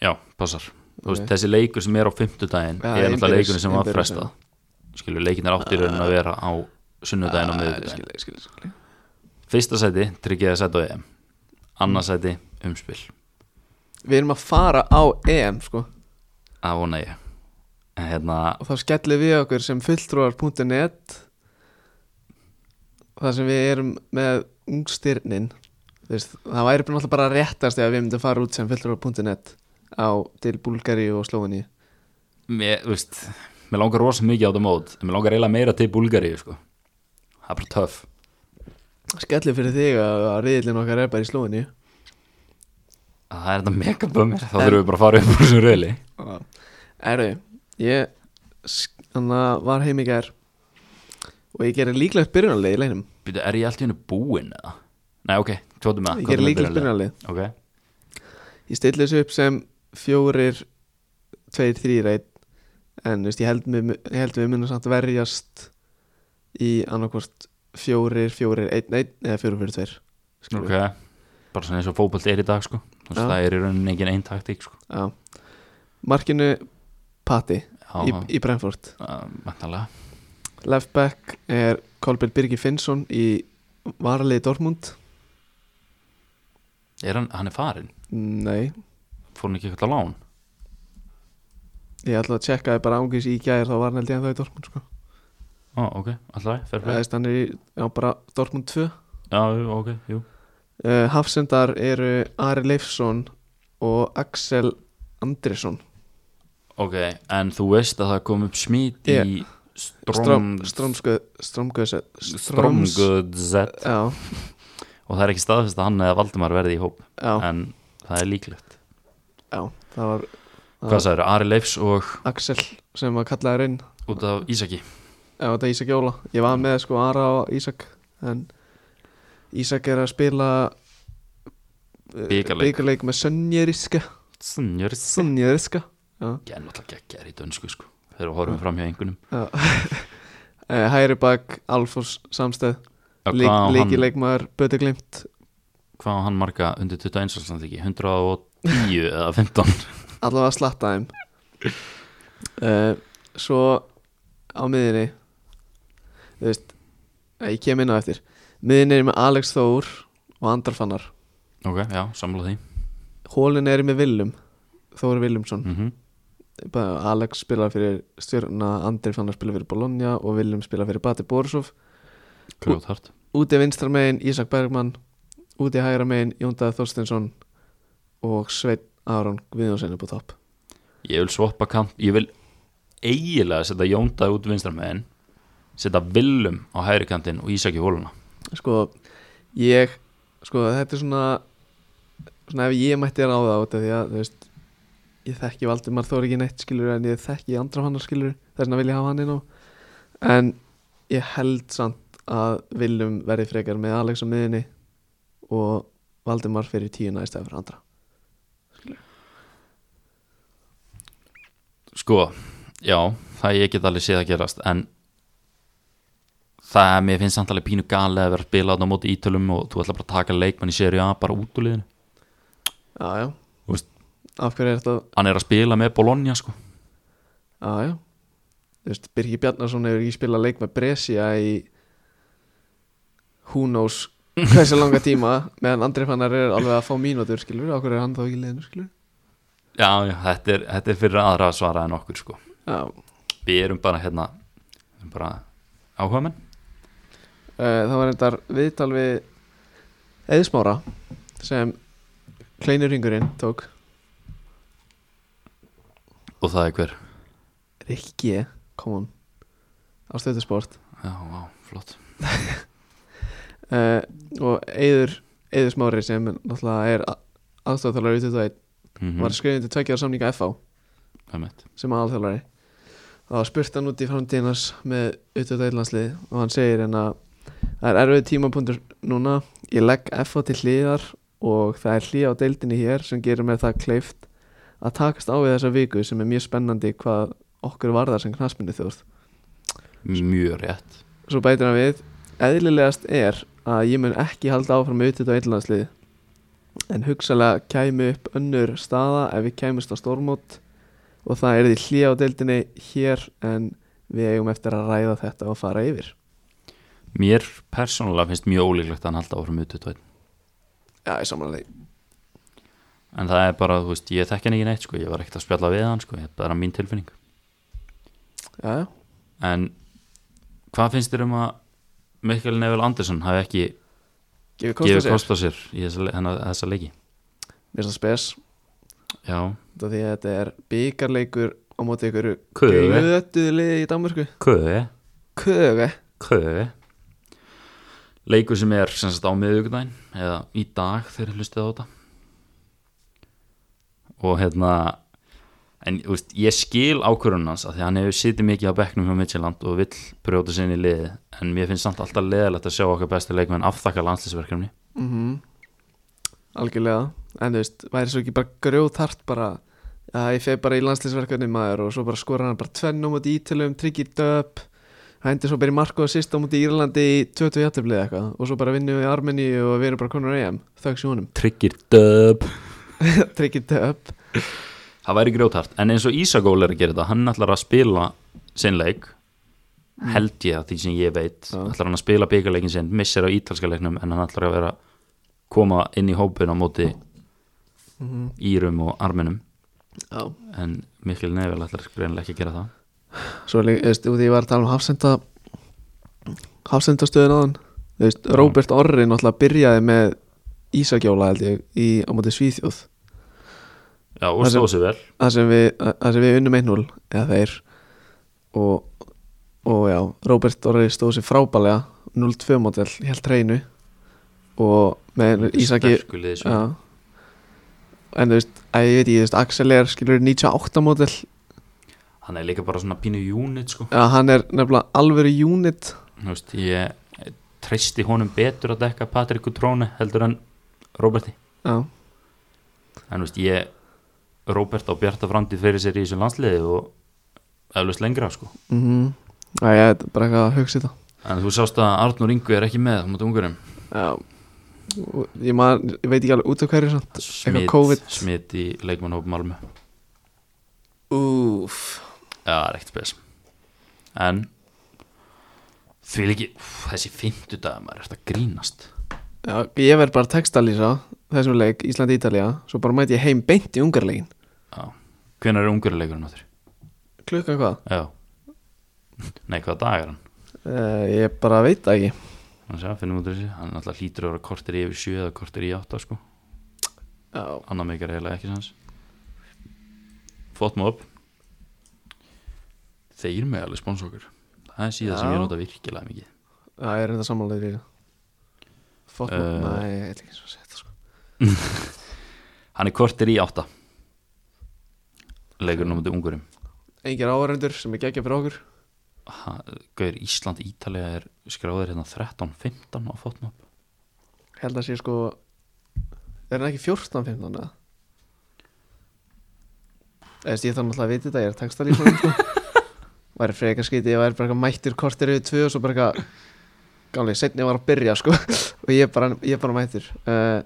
S2: Já, passar Þú veist,
S1: Ok.
S2: þessi leikur sem er á fimmtudaginn
S1: Ja,
S2: er náttúrulega
S1: innbyrðis-
S2: leikurinn sem var
S1: innbyrðis,
S2: frestað skilur, leikin er átt í raunin að vera á
S1: Ah,
S2: sunnudaginn og miðugdaginn
S1: Skilja, skilja, skilja.
S2: Fyrsta sæti, tryggjaði sæti á EM Annað sæti, umspil
S1: Við erum að fara á EM, sko.
S2: Það vona ég En hérna,
S1: Og þá skellir við okkur sem fulltrúar.net þar sem við erum með ungstyrnin. Þú veist, það væri bara náttúrulega bara réttast ef við myndum fara út sem fulltrúar.net á til Búlgari og Slóni.
S2: mér, þú veist Mér langar rosa mikið á þetta mót en Mér langar eiginlega meira til Búlgaríu, sko Það er bara töff
S1: Skellir fyrir þig að, að riðlinn okkar er bara í Slóni.
S2: Það er þetta mega bömmir Þá
S1: En-
S2: þurfum við bara að fara upp úr þessum reyli
S1: Erðu, ég Þannig að var heim í gær Og ég gerði líklegt byrjunarlið í leinum
S2: Býtu, er ég allt í hennu búinn eða? Nei, ok, tvotum með
S1: Ég gerði líklegt
S2: byrjunarlið?
S1: byrjunarlið
S2: Ok,
S1: Ég stilli þessu upp sem fjórir Tveir, þrýr, einn En þú veist, ég held, mig, ég held við munum samt verjast Í annarkvort Fjórir, fjórir, einn, einn Eða fjórir, fjórir, tveir skilur
S2: Ok,
S1: við.
S2: bara svona eins og fótbolt er í dag sko Þú veist,
S1: Já.
S2: Það er í rauninni engin einn taktík sko
S1: Já. Markinu Patti
S2: Já,
S1: í, í Brentford
S2: mentalega
S1: Left back er Kolbjörn Birgi Finnsson Í varaliði Dortmund
S2: Er hann, hann er farin?
S1: Nei,
S2: Fór hann ekki eitthvað á lán?
S1: Ég ætla að tjekka það bara ángis í gæðir þá var hann held ég en það í Dortmund sko.
S2: Ó, ok, alltaf,
S1: Það
S2: fyrir fyrir
S1: veist hann er í, já bara Dortmund 2 uh,
S2: Já, jú, ok, jú
S1: Eh, Hafsendar eru Ari Leifsson og Axel Andrisson
S2: Ok, en þú veist að það kom upp smít í Strom
S1: Stromgöðsett
S2: Stromgöðzett
S1: Já,
S2: og það er ekki staðfest að hann eða Valdimar verði í hóp
S1: já,
S2: en það er líklegt
S1: já Það var það
S2: Hvað
S1: var
S2: sagður, Ari Leifs og
S1: Axel sem var kallaður inn
S2: út af Ísaki
S1: Já, þetta er Ísak Jóla Ég var með sko Ara og Ísak En Ísak er að spila eh,
S2: Bikarleik.
S1: Bikarleik með Sönjeriska
S2: Snjörs
S1: Sönjeriska
S2: Ég er náttúrulega geggjær í dönsku sko Þegar við horfum fram hjá einhvernum
S1: Hæri Eh, bak Alfons Samstæð
S2: Já,
S1: Leik,
S2: Hvað á hann,
S1: Leikileikmaður Böti Glimt
S2: hvað á hann marga undir 21 ástand ekki? 110 eða 15
S1: allavega að slatta þeim uh, svo á miðinni þú veist eh, ég kem inn á eftir miðinni er með Alex Þór og Andrar Fannar
S2: Ok, já, samla því
S1: hólin er með Willum Þór Willumson
S2: mm
S1: Bara Alex spila fyrir stjórna Andri Fannar spila fyrir Bologna og Willum spila fyrir Bati Borisov
S2: Grjóthart
S1: úti vinstra megin Ísak Bergmann úti hægra megin Jóndað Þorstinsson og Sveinn Aron Guðjónsson upp á topp
S2: Ég vil svoppa kant Ég vil eiginlega setja Jónda út vinstramegin setja Willum á hægri kantinn og Ísaki hóluna
S1: sko ég sko þetta er svona svona ef ég mætti ráða á þetta því að þú veist ég þekki Valdimar Þór ekki neitt skilur en ég þekki andra fannar skilur þess vegna vil ég hafa hann inn á en ég held samt að viljum verði frekar með Alex á miðinni og Valdimar fyrir tíuna í stæði fyrir andra
S2: Sko, já, það ég get alveg séð að gerast en það mér finnst samt alveg pínu gali að vera að spila þarna á móti ítölum og þú ætla bara að taka leikmann í séri A bara út úr liðinu
S1: já já
S2: Þú veist-
S1: af hverju er þetta
S2: hann er að spila með Bologna sko
S1: já já þú veist Birgi Bjarnarsson hefur ekki spilað leik með Brescia í who knows hversu langa tíma meðan Andri Fannar er alveg að fá mínútur skilur okkur er hann þá ekki í liðinu skilur
S2: já, já, þetta er, þetta er fyrir aðra að svara en okkur sko
S1: já
S2: við erum bara hérna við erum bara áhuga menn
S1: Eh, Það var endar viðtal við Eðismára sem Kleinur Ringurinn tók
S2: og það er hver
S1: Rikki, come on á stöðusport
S2: já, já, flott
S1: uh, og Eður Eðismári sem náttúrulega er aðstofþjálari í 21
S2: mm
S1: var skrifin til tveikjar samninga FH
S2: -hmm.
S1: sem aðalþjálari það var spurt hann út í framtíðinans með auðvitað eilanslið og hann segir en að það er erfið tímapunktur núna ég legg FH til hliðar og það er hlið á deildinni hér sem gerir mér það kleift að takast á við þessa viku sem er mjög spennandi hvað okkur varðar sem knaspinni þjóð
S2: mjög rétt
S1: svo bætir hann við eðlilegast er að ég mun ekki halda áfram með auðvitað eilanslið en hugsalega kæmi upp önnur staða ef við kæmumst á stórmót og það er því hlýja á deildinni hér en við eigum eftir að ræða þetta og fara yfir
S2: mér persónulega finnst mjög ólíklegt að hann halda áfram út út
S1: Já, ég samanlega
S2: en það er bara, þú veist, ég þekk hann ekki neitt sko ég var ekkert að spjalla við hann sko, þetta er mín tilfinning
S1: Já, já
S2: En hvað finnst þér um að Mikael Neville Anderson hafi ekki
S1: Gefið kost að
S2: gefið
S1: sér
S2: kost á sér í þessa, le- hennar, þessa leiki?
S1: Mér finnst það spes
S2: Já,
S1: út af því að þetta er byggarleikur á móti ykkur
S2: köfi,
S1: Götuðu liði í Danmörku
S2: köfi,
S1: Köge
S2: köfi. Leikur sem er sem sagt á miðugdæn eða í dag þegar ég hlustið á þetta. Og hérna, en þú veist, ég skil ákvörun hans að því að hann hefur sitið mikið á bekknum hjá Midtjylland og vill brjóta sinni í liði en mér finnst samt alltaf leðilegt að sjá okkar besti leikmenn aftakka landslýsverkefni.
S1: mm Algjörlega En þú veist, væri svo ekki bara grjóðhart bara að ég feg bara í landslýsverkefni maður og svo bara skora hann bara tvenn á móti ítölum, tryggir döp hændi svo bara í marko og sýst á móti Írlandi í 20 jættiflið eitthvað og svo bara vinnum við Armeni og við erum bara konur á EM þöggs í honum,
S2: Tryggir döp.
S1: tryggir döp
S2: það væri grjótart en eins og Ísagól er að gera þetta hann ætlar að spila sinn leik held ég að því sem ég veit
S1: Já.
S2: ætlar hann að spila byggarleikin sinn missir á ítalska leiknum en hann ætlar að vera koma inn í hópin á móti Írum og Arminum
S1: Já
S2: en Mikkel Nevel ætlar greinlega ekki að gera það
S1: Svo er líka, þú veist, út í ég var að tala um hafsenda hafsendastöðun á hann Þú veist, Róbert Orri náttúrulega byrjaði með Ísakjóla held ég í, á móti Svíþjóð
S2: já og
S1: Það sem-
S2: stóð sér vel
S1: þar sem við, þar sem við unnum 1-0 eða þeir og og já, Robert Dorri stóð sér frábælega 0-2 mótel, helt reynu og með Ísaki
S2: Sterkulið þessu.
S1: já. en þú veist, að ég veit ég, þú veist, Axel er skilur 98 mótel
S2: Hann er líka bara svona pínu unit sko.
S1: já, hann er nefnilega alvöru unit
S2: Þú veist, Ég treysti honum betur að dekka Patrik Tróni heldur en Róberti
S1: já,
S2: En þú veist, ég Róbert á Bjarta framtíð fyrir sér í þessu landsliði og eflust lengra sko.
S1: mhm já, já, þetta er bara eitthvað að hugsa þetta
S2: En þú sást að Arnur Ingu er ekki með á móti ungurum
S1: já, Og ég, man, ég veit ekki alveg út af hverju samt Eitthvað COVID.
S2: smit í leikmannhóp Malmö
S1: úf,
S2: Já, reykt spes En Því líki, úf, þessi fimmtudag maður er þetta grínast
S1: já, ég verð bara textalýsa þessum leik, Ísland-Ítalía svo bara mæti ég heim beint í ungarlegin
S2: Já, hvenær er unguruleikurinn á þér?
S1: klukkan hvað?
S2: Já Nei, hvaða dag er hann?
S1: Uh, ég bara veit það ekki
S2: Hann sé, finnum út úr þessi, hann alltaf hlýtur að vera kortir í yfir sjö eða kortir í átta sko
S1: Já,
S2: Annað mikið er eiginlega ekki sans Fótt maður upp Þeir mig alveg spons okkur Það er síðan sem
S1: Já.
S2: ég nota virkilega mikið
S1: það er enda sammálaður í það Fótt
S2: Eh.
S1: maður, næ, ég veit ekki svo að setja sko.
S2: Hann er kortir í átta Leikur námið ungurum
S1: Engir áhverjandur sem er geggja fyrir okkur
S2: Ha- Gaur Ísland Ítalija er skráðir hérna 13-15 á fótnop
S1: Held að sé sko Er hann ekki 14-15 eða? Eða veist, ég þarf náttúrulega að vita þetta, ég er textalýsum sko. Væri frekar skiti, ég væri bara eitthvað mættur kortir yfir tvö og svo bara eitthvað Gamlega, setni var að byrja sko Og ég er bara, ég er bara mættur uh,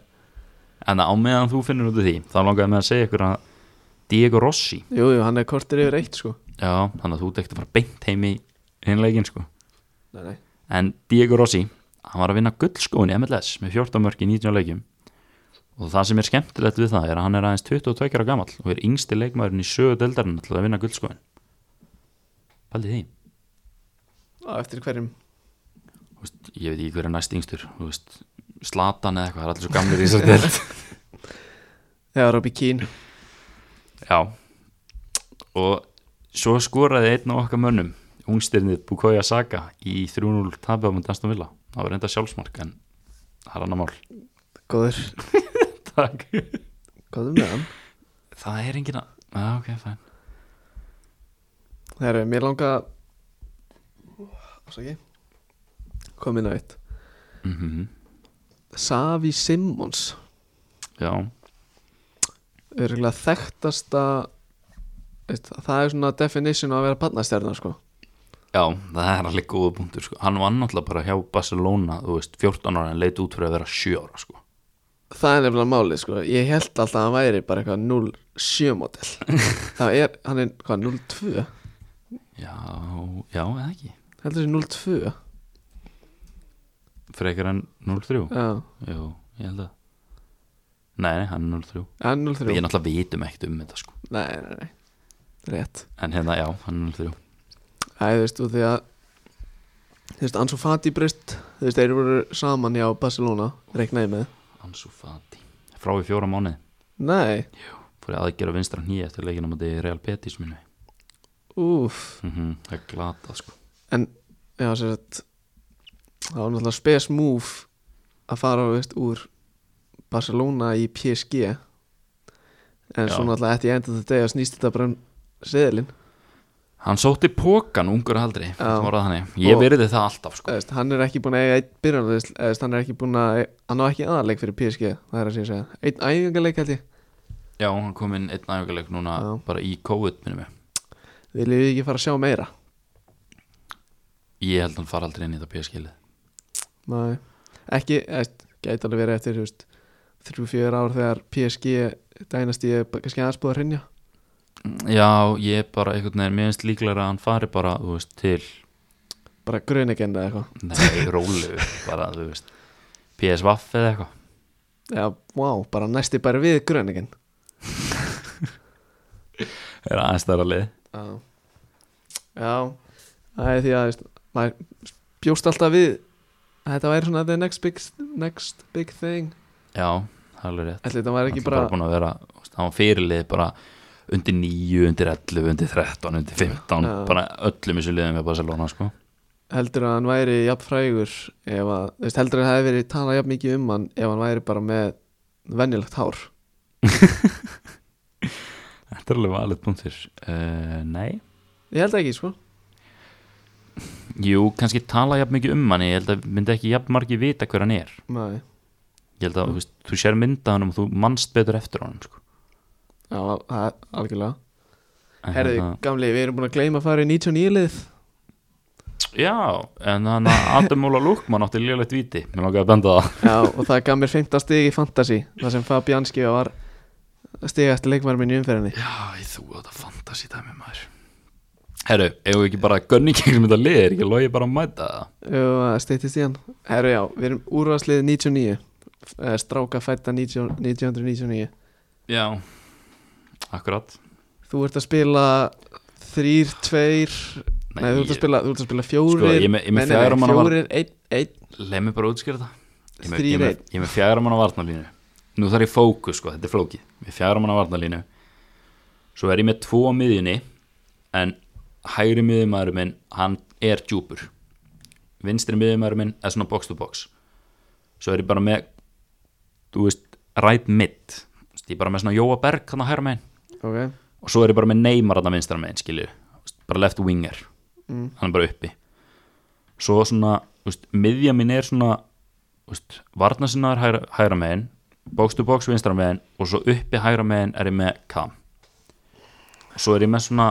S2: En á meðan þú finnur út af því Þá langaði með að segja ykkur að Diego Rossi
S1: Jú, jú, hann er kortir yfir eitt sko
S2: Já, þannig að þú tekti að fara beint heim í hinleikin sko
S1: Nei, nei
S2: En Diego Rossi, hann var að vinna gullskóin í MLS með 14 mörk í 19 leikjum og það sem er skemmtilegt við það er að hann er aðeins 22 ára gamall og er yngsti leikmaðurinn í sögu deldarinn til að vinna gullskóin Paldið því,
S1: Á, Eftir hverjum
S2: Þú veist, ég veit ekki hver er næst yngstur Þú veist, Slatan eða eitthvað, það er allir svo gamlir í þessar delt
S1: Þegar Robbie Keane
S2: Já og svo skoraði einn af okkar mönnum ungstirnið Bukoya Saka í 3-0 tapja á mútið Aston Villa það var reynda sjálfsmark en það er annar mál
S1: Góður,
S2: Takk
S1: góður með hann
S2: Það er enginn að, ah, ok, fæn
S1: Herru, mér langa Ásaki Kom inn á eitt
S2: mm
S1: Savi Simmons
S2: Já,
S1: Örgulega þekktasta veist, Það er svona definition á að vera barnastjarnar sko
S2: já, það er alveg góða punktur sko. Hann var náttúrulega bara hjá Barcelona þú veist, 14 ára en leit út fyrir að vera 7 ára sko.
S1: Það er nefnilega málið sko Ég held alltaf að hann væri bara eitthvað 07 model Það er, hann er hvað, 02
S2: Já, já, eða ekki
S1: Heldur þessi 02
S2: Frekar en 0-3
S1: Já,
S2: Jú, ég held að Nei, nei, hann er 0-3
S1: en
S2: Við
S1: 03 Nei,
S2: náttúrulega vitum ekkert um þetta sko.
S1: nei, nei, rétt
S2: En hérna, já, hann er 0-3
S1: Æ, þú veist, og því að Þú veist, Ansu Fati breyst Þú veist, þeir voru saman hjá Barcelona Reknaði með
S2: Ansu Fati Frá í fjóra mánuði
S1: Nei,
S2: Fór ég aðgera vinstra nýja eftir leikina Mátti Real Betis minni
S1: úf
S2: mm -hmm, Það er glatað sko.
S1: En, já, sér að Það var náttúrulega spes move Að fara, þú veist, úr Barcelona í PSG En
S2: Já.
S1: svo náttúrulega eftir ég enda þetta deg að snýst þetta bara um seðilinn
S2: Hann sótti pókan ungur að aldrei
S1: Já.
S2: Ég
S1: Og-
S2: verði það alltaf sko.
S1: Þú veist, hann er ekki búin að eiga einn byrjan Þú veist, hann er ekki búin að Hann á ekki aðarleik fyrir PSG, það er að sé að segja Einn æfingarleik held ég
S2: Já, hann kom inn einn æfingarleik núna
S1: Já.
S2: bara í COVID minnum við.
S1: Viljið þið ekki fara að sjá meira?
S2: Ég held hann fara aldrei inn í þetta PSG-lið.
S1: Nei, ekki, eðst, gæti alveg verið eftir þú veist, 3-4 ár þegar PSG dænast ég kannski aðeins búið að hreinja
S2: Já, ég er bara einhvern veginn, mér finnst líklega að hann fari bara, þú veist, til,
S1: bara grunigend eða eitthvað
S2: nei, rólu, bara, þú veist, PSVaff eða eitthvað.
S1: Já, vá, bara næsti bara við grunigend
S2: Er aðeins þar að lið.
S1: Já, já það er því að þú veist, maður bjóst alltaf við að þetta væri svona the next big, next big thing
S2: Já, það er alveg rétt.
S1: Ætli þetta væri
S2: Hann
S1: ekki
S2: er bara
S1: bara,
S2: búin að vera, þú veist, hann var fyrirlið bara, undir 9, undir 11, undir 13 undir 15,
S1: Já.
S2: bara öllum þessu liðum við Barcelona sko
S1: heldur að hann væri jafn frægur ef að, þú veist, heldur að það hefði verið talað jafn mikið um hann ef hann væri bara með venjulegt hár
S2: Þetta er alveg valið punktur uh, Nei,
S1: ég held ekki sko
S2: jú, kannski tala jafn mikið um hann ég held að myndi ekki jafn margir vita hver hann er
S1: Nei.
S2: ég held að þú veist, þú sér mynda hann og þú manst betur eftir honum sko.
S1: Já, það er algjörlega
S2: En
S1: Herðu,
S2: hérna-
S1: gamli, við erum búin að gleyma að fara í 99 lið
S2: Já, en hann að Adam Óla Lukman átti lélegt viti, mér langaði að benda á það
S1: Já, og það gaf mér 15 stig í Fantasy þar sem Fabianski var stigast leikmæður minn í umferðinni
S2: Já, ég þú átt að fantasi dæmi maður Herru, eigum við ekki bara gönni kegum þetta lið, er ekki logi bara að mæta það
S1: og steytist í hann Herru, já, við erum úrvarslið 99 eh, stráka fætta 90 1999
S2: Já, akkurat
S1: Þú ert að spila 3, 2 Nei, þú ert að
S2: ég-
S1: spila, þú ert að spila fjórir
S2: Sko, ég er með- ég er með
S1: Nei, nei,
S2: fjögurra
S1: nei,
S2: manna var-
S1: Fjórir, einn, einn
S2: Leið mér bara að útskýra það Ég er með-
S1: Þrír
S2: ég er með- ég er með fjæra manna varnarlínu Nú þarf ég fókus sko, þetta er flókið Ég er fjæra manna varnarlínu Svo er ég með tvo á miðjunni En hægri miðjumæður minn Hann er djúpur Vinstri miðjumæður minn er svona box to box Svo er ég bara með Þú veist, right mid Þú veist, Ég er bara með svona Jóa Berg hann að hægra megin
S1: Ok,
S2: og svo er ég bara með Neymar þarna vinstra megin skilju, bara left winger
S1: Mm.
S2: hann er bara uppi svo svona, þú veist, miðja mín er svona þú veist, varnasinnar hægra, hægra megin, box to box vinstra megin og svo uppi hægra megin er ég með kam og svo er ég með svona,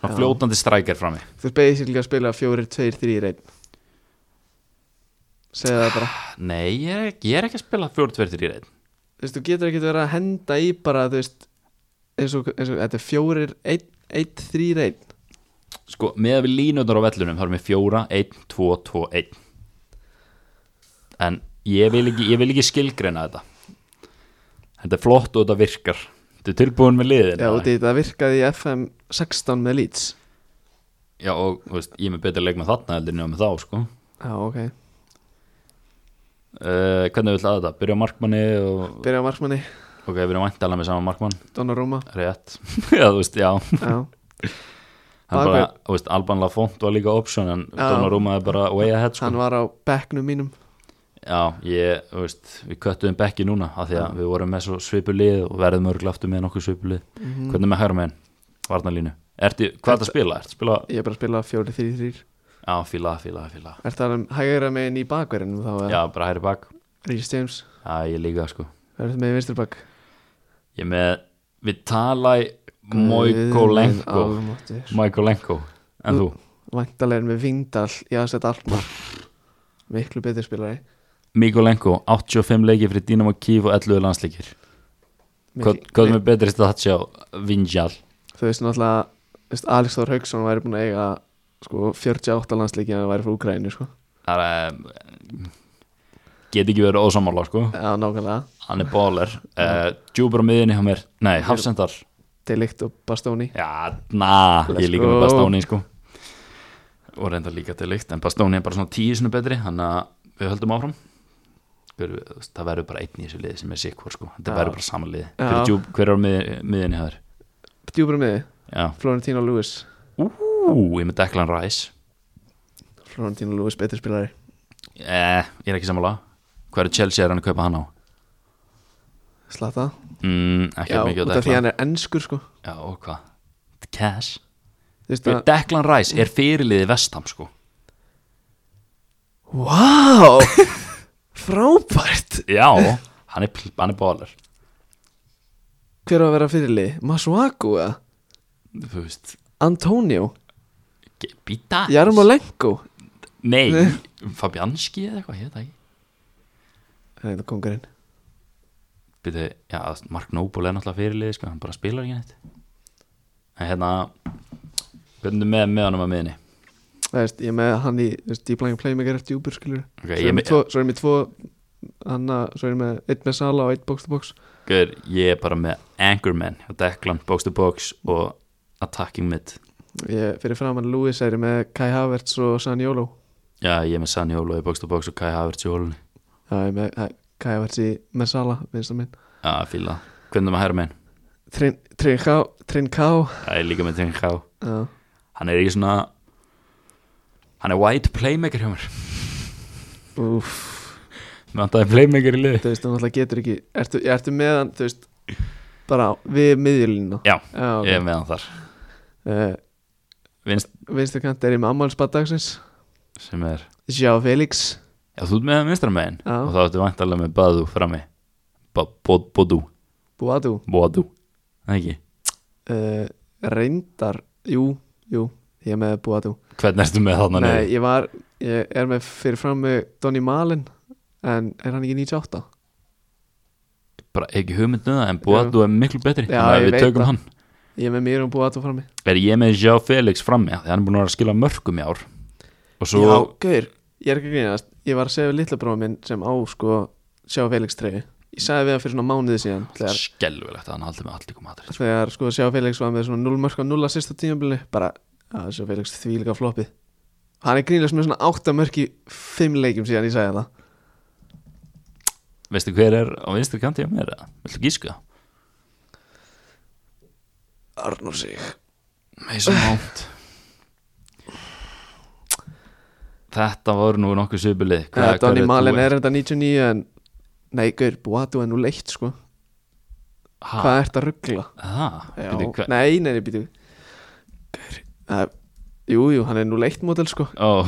S2: svona
S1: Já.
S2: fljótandi strækjar frammi
S1: þú ert basically að spila fjórir, tveir, þrýr, einn Segðu það bara
S2: nei, ég er ekki, ég er ekki að spila 4-2-3 reynd
S1: Þú veist, þú getur ekkert verið að henda í bara, þú veist eins og, eins og þetta er fjórir, einn, einn, þrýr, einn
S2: sko, með við línunar á vellunum þá erum við fjóra, einn, tvo, tvo, einn en ég vil ekki, ég vil ekki skilgreina þetta þetta er flott og þetta virkar þetta er tilbúin með liðin
S1: Já, út í þetta virkaði í FM 16 með Leeds
S2: Já, og þú veist, ég er með betur leik með þarna heldur en ég var með þá sko.
S1: Já, ok,
S2: uh, hvernig vil það þetta, byrja á markmanni og,
S1: byrja á markmanni,
S2: ok, við erum væntalega með sama markmann
S1: Donnarumma
S2: rétt, já, þú veist, já
S1: Já,
S2: hann bara,
S1: Bakvörð.
S2: þú veist, Alban Lafont var líka option en
S1: Já.
S2: Donnarumma er bara way ahead sko.
S1: hann var á bekknum mínum
S2: Já, ég, þú veist, við köttuðum bekki núna af því að við vorum með svo svipulið og verðum örgulega aftur með nokkuð svipulið
S1: Mhm.
S2: Hvernig er með hægra meginn, varnalínu Mm. Ertu, hvað er það að spila? Ertu að spila,
S1: Ég er bara að spila fjórir, þrýr, þrýr
S2: já, fíla, fíla, fíla
S1: Er það um hægra megin í bakverðinum þá?
S2: Já, bara hægri bak,
S1: Rís James,
S2: já, ég líka sko
S1: verður með vinstur bakk
S2: Ég er með, við tala í Moikolenko Moikolenko, en þú?
S1: Væntalega er með Vindal í aðsett Almar Miklu betur spilari
S2: Mikolenko, 85 leiki fyrir Dynamo Kiev og 11 landsleikir Hvað
S1: Mikil-
S2: hvað er með betri statsi á Vinjal?
S1: Þú veist náttúrulega þú veist, Alex Þór Hauksson væri búin að eiga sko, 48 landsleiki en það væri frá Ukraínu sko.
S2: Það er, eh, get ekki verið ósamála sko
S1: Já, nákvæmlega
S2: hann er bóler uh, djúpar á miðinni hjá mér, nei, hafsendar
S1: Delikt og Bastóni
S2: já, na,
S1: Let's
S2: ég er líka
S1: go.
S2: með Bastóni sko. og reynda líka til líkt en Bastóni er bara svona tíu sinni betri þannig að við höldum áfram Hver, þú veist, það verður bara einn í þessu liði sem er sikkur sko. þetta
S1: Já.
S2: verður bara saman liði
S1: Já.
S2: hver, er djúp, hver er á mið, miðinni hjá þér
S1: Djúbrum miði,
S2: já,
S1: Florentino um Lewis
S2: ú, ég er með Declan Rice
S1: Florentino Lewis betur spilari
S2: eh, ég er ekki samanlega hver er Chelsea er hann að kaupa hann á
S1: Slata
S2: mm, ekki
S1: Já,
S2: mikið
S1: út
S2: á
S1: af því
S2: Declan
S1: hann er ennskur sko.
S2: já, og hvað, cash
S1: Þú veist
S2: Hver,
S1: að
S2: Declan Rice er fyrirliði vestam sko
S1: Vá Frábært
S2: Já, hann er, pl- hann er bólar
S1: Hver á að vera fyrirlið? Masuaku eða?
S2: Þú veist
S1: Antonio?
S2: Býta
S1: Jarmolenko?
S2: Nei,
S1: Nei.
S2: Fabianski eða eitthvað, ég veit það ekki
S1: Það er það kongurinn
S2: Býta, já, Mark Noble er náttúrulega fyrirliði sko, hann bara spilar ekki neitt En hérna Hvernig er með með honum að miðinni
S1: Það veist, ég er með hann í þú veist, Deep Line Playmaker eftir Uber skilur
S2: Ok,
S1: Svo
S2: ég
S1: er
S2: er
S1: ég með
S2: með
S1: tvo, svo er ég með tvo Hanna, svo er ég með einn með Sala og einn box to box
S2: Gaur, ég er bara með Anchorman og Declan, Box to Box og Attacking Mid
S1: ég, Fyrir framann Lewis er ég með Kai Havertz og Sanjólo
S2: Já, ég er með Sani Ólo í Box to Box og Kai Havertz í hólunni
S1: Já, ég er með hæ, Kai Havertz í með Sala, minnst að minn
S2: Já, fíla það. Hvernig er með hæra megin?
S1: Trin- Trinká Trinká
S2: Það er líka með Trinká
S1: Já,
S2: Hann er í svona Hann er white playmaker hjá mér
S1: úff
S2: Mér vantaði playmaker í lið
S1: Þú veist, hann alltaf getur ekki Ertu, ertu með hann, þú veist Bara á- við miðjulínu
S2: Já,
S1: Já
S2: Ég er
S1: okay.
S2: með hann þar
S1: uh,
S2: Vinst
S1: Vinstu kant er ég með ammálsbaddagsins
S2: sem er
S1: Sjá Felix
S2: Já, þú ert með hann vinstra megin
S1: Já.
S2: Og þá ertu vantarlega með Badu frammi Ba- Bo- Bodu
S1: Boadu
S2: Bodu Það ekki
S1: uh, Reyndar, jú, jú Ég er með Boadu
S2: Hvernig ertu með þarna
S1: Nei,
S2: niður?
S1: ég var, ég er með fyrir fram með Donny Malin En er hann ekki 98?
S2: Bara ekki hugmynd um það En Bodu er miklu betri
S1: Já,
S2: Þannig að
S1: ég
S2: við
S1: veit
S2: tökum
S1: það.
S2: hann
S1: Ég er með mér um Boadu frammi
S2: Er ég með Sjá Felix frammi Þannig hann er búin að vera að skila mörgum í ár Og svo
S1: Já, gaur, ég er ekki að grínast Ég var að segja við litla bróðum minn sem á sko Sjá Felix treyju Ég sagði við hann fyrir svona mánuði síðan Þegar
S2: skelvilegt að hann haldi með allir koma aðri
S1: þegar sko sjá Felix var með svona 0 mörg og 0 að sérsta tímabili bara að sjá Felix því líka floppið hann er grínlega með svona 8 mörg í 5 leikjum síðan ég sagði það
S2: Veistu hver er á vinstri kanti hjá mér? eða? Viltu gíska?
S1: Arnur sig
S2: Mason Mount Þetta voru nú nokkuð sögubili
S1: Donny Malin er þetta 99 en nei, gaur, Boatu er nú leitt sko hvað ert að ruggla? Já,
S2: Það
S1: nei, nei, nei, býtu gaur, uh, jú, jú, hann er nú leitt mótel sko
S2: Ó,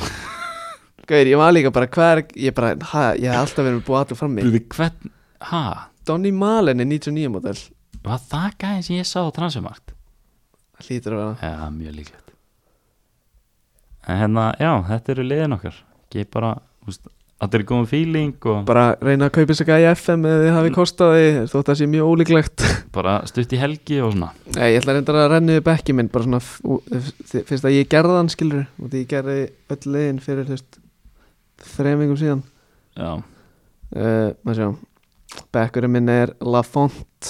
S1: gaur, ég var líka bara hvað er, ég bara, ha, ég hef alltaf verið með Boatu frammi
S2: byrðu hvern Hæ,
S1: Donny Malin er 99 mótel
S2: var það gæðin sem ég sá á transfermarkt?
S1: hlýtur að vera
S2: Já, mjög líklegt En hérna, já, þetta eru liðin okkar Ég bara, þú veist, allir er góðum feeling og
S1: bara reyna að kaupa sér gæja FM eða þið hafi kostaði þótt að sé mjög ólíklegt
S2: bara stutt í helgi og svona
S1: Nei, ég ætla reyndar að renna upp ekki minn bara svona f- ú- f- þi- fyrst að ég gerði hann skilur og því ég gerði öll legin fyrir þú veist, þremingum síðan
S2: Já,
S1: uh, maður sjá bekkurinn minn er Lafont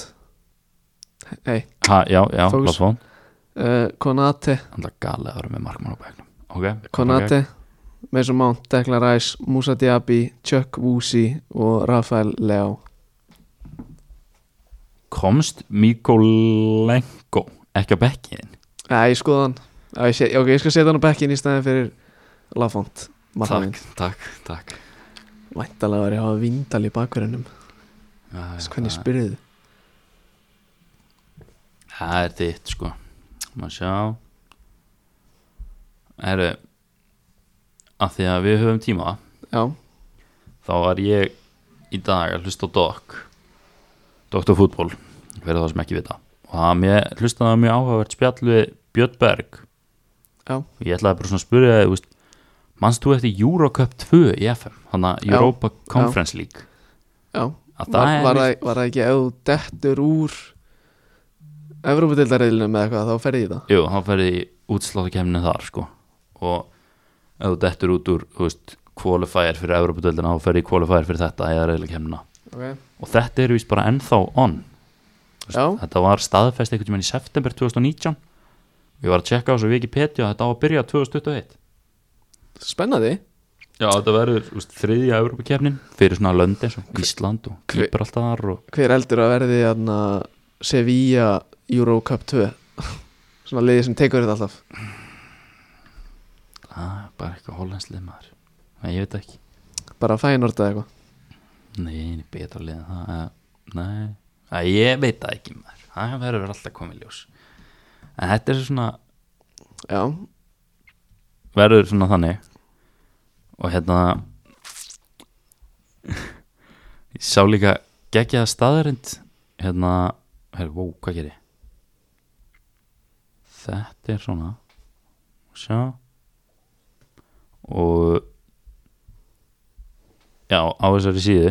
S1: hei,
S2: ha, já, já,
S1: Fókus.
S2: Lafón
S1: uh, Konate
S2: Þannig að galið að vera með markmann á bæknum Ok,
S1: Konate Mason Mount, Declan Rice, Musa Diaby Chuck Woosi og Rafael Leao
S2: komst Mikolenko ekki á bekkiðin
S1: Nei, Eh, ég skoða hann Já, ég sé, ok, ég skal setja hann á bekkin í staðin fyrir Lafont markmanninn.
S2: takk, takk, takk
S1: Væntalega var ég að hafa vindal í bakverðinum
S2: Já, já,
S1: Hvernig
S2: það-
S1: spyrðu þið?
S2: það er þitt sko maður sjá herru að því að við höfum tíma
S1: Já,
S2: þá var ég í dag að hlusta á Doc Dr. Fútbol fyrir það sem ekki vita og það mér, hlustaði á mjög áhugavert spjall við Björn Berg
S1: Já.
S2: og ég ætlaði bara svona að spyrja þig, þú veist, mannst þú eftir Eurocup 2 í FM þannig að
S1: Já.
S2: Europa Conference League
S1: já
S2: að
S1: Var,
S2: það
S1: var,
S2: er
S1: það, var það ekki ef þú dettur úr Evróputildarreilinu með eitthvað þá ferði ég það
S2: Jú, hann ferði í útsláttakemni þar sko og ef þú dettur út úr þú veist, qualifier fyrir Evropadeldina þá ferði í qualifier fyrir þetta eða reyðlega kemna
S1: okay.
S2: og þetta er vist bara ennþá on Þú veist,
S1: Já.
S2: þetta var staðfest einhvern tímann í september 2019 ég var að checka á þessu Wikipedia og þetta á að byrja 2021
S1: Spennandi
S2: Já, þetta verður þú veist, þriðja Evropakefnin fyrir svona löndi eins og Ísland og
S1: hver-
S2: Gibraltar og
S1: Hver eldur að verði þarna Sevilla Euro Cup 2 Svona liðið sem tekur þetta alltaf
S2: að, Ah, bara eitthvað hollenslið maður Nei, ég veit ekki
S1: Bara fænorda eitthvað
S2: Nei, betra lið en það eh, Nei, að ég veit það ekki maður Það verður alltaf komið ljós En þetta er svona
S1: Já,
S2: Verður svona þannig Og hérna Ég sá líka Gekkjaða staðarind Hérna, hérna, wow, hvað gerir ég? Þetta er svona Sjá Og Já, á þessari síðu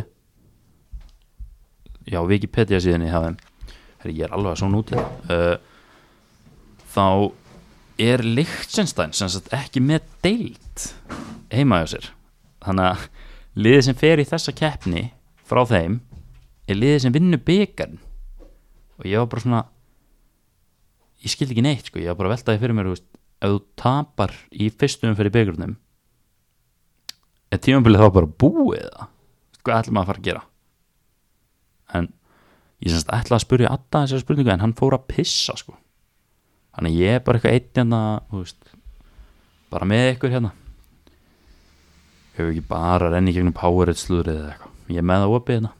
S2: Já, Wikipedia síðunni hafði Herri, ég er alveg að svona úti uh, Þá er Lichtenstein sem sagt ekki með deilt heima hjá sér Þannig að liðið sem fer í þessa keppni frá þeim er liðið sem vinnur byggarn og ég var bara svona ég skildi ekki neitt sko, ég var bara að velta því fyrir mér þú veist, ef þú tapar í fyrstu umferð í byggarnum er tímabilið þá bara búið það hvað ætlum maður að fara að gera en ég semst ætlaði að spyrja Adda þessar spurningu en hann fór að pissa sko þannig að ég er bara eitthvað eitt hérna þú veist, bara með ykkur hérna hefur ekki bara renni gegnum Powerade slúðrið eða eitthvað ég er með það opið hérna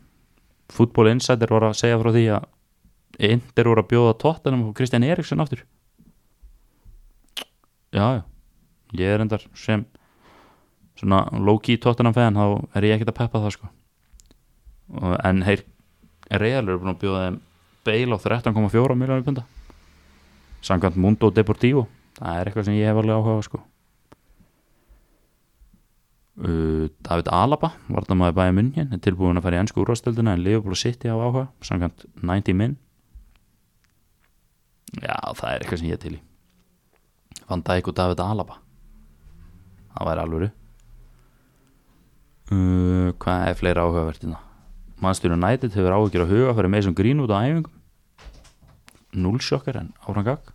S2: Football Insider var að segja frá því að Inter voru að bjóða tóttanum og Kristján Eriksson aftur já, já ég er endar sem svona low-key tóttanum fæðan þá er ég ekkert að peppa það sko Og- en heyr Real eru búin að bjóða þeim beil á 13,4 miljónir punda samkvæmt Mundo Deportivo það er eitthvað sem ég hef alveg áhuga á, sko uh, David Alaba vartamæði bæja munnin er tilbúin að fara í ennsku úrvastöldina en Liverpool og City á áhuga samkvæmt 90 minn já það er eitthvað sem ég er til í Van Dijk og David Alaba það væri alvöru uh, hvað er fleira áhugavertina Manchester United hefur áhyggjur að huga fyrir Mason Greenwood á æfingum nullsjokkar en áframgag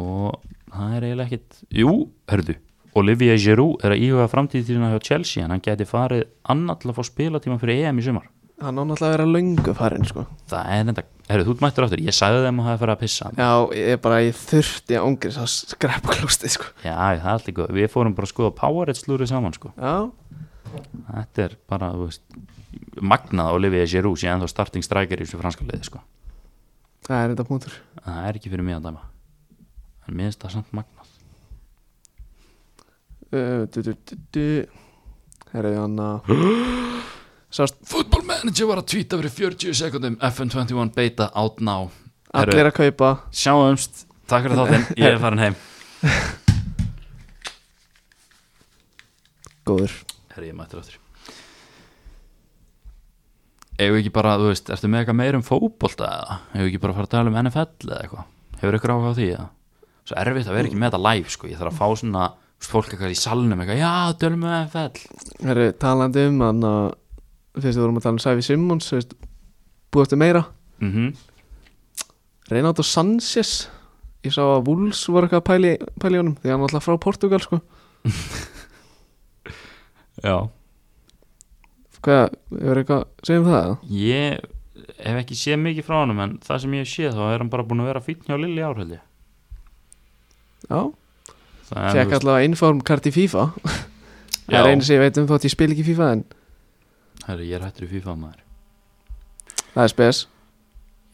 S2: og það er eiginlega ekkit jú, hörðu, Olivier Giroud er að íhuga framtíðtíðina hjá Chelsea en hann geti farið annar til að fá spilatíma fyrir EM í sumar
S1: Hann á náttúrulega að vera löngu farinn sko
S2: það er enda, herru, þú ert mættur áttur ég sagði þeim að það er farið að pissa já,
S1: Já, ég er bara, ég þurfti að ungri svo skreppaklústi sko
S2: það er allt ykkur, við fórum bara að skoða Powerade slúrið saman sko,
S1: Já,
S2: þetta er bara, þú veist magnað Olivier Giroud sé ennþá starting striker í þessu franska liði sko
S1: það er þetta punktur
S2: það er ekki fyrir mig að dæma en mér finnst það samt magnað
S1: uh, du, du, du, du. Herðu hann að Sást,
S2: Football Manager var að tvíta fyrir 40 sekundum FN21 beta out now
S1: allir að kaupa
S2: Sjáumst, takk fyrir þáttinn, ég er farin heim
S1: Góður
S2: Herri, ég mættir áttur Ef ekki bara, þú veist, ertu með eitthvað meir um fótbolta eða? Ef ekki bara að fara að tala um NFL eða eitthvað? Hefur ykkur áhuga á því eða? Svo erfitt að vera ekki með þetta live, sko Ég þarf að fá svona, þú veist, fólk eitthvað í salnum eitthvað Já, tölum um við NFL
S1: Herru, talandi um hann að Fyrst við vorum að tala um Sæfi Simmons þú veist, Búið eftir meira
S2: mm
S1: Reynaldo Sanchez Ég sá að Wolves voru eitthvað að pæli, pæli í honum Því hann var alltaf frá Portugal sko
S2: Já
S1: Hvað, hefur eitthvað, segjum það eða?
S2: Ég hef ekki séð mikið frá honum en það sem ég hef séð þá er hann bara búin að vera fínn hjá Lilli árhaldi
S1: Já, tjekk allavega inform karti FIFA Það er einu sem ég veit um þótt ég spil ekki FIFA en
S2: Herri, ég er hættur í FIFA maður
S1: það er spes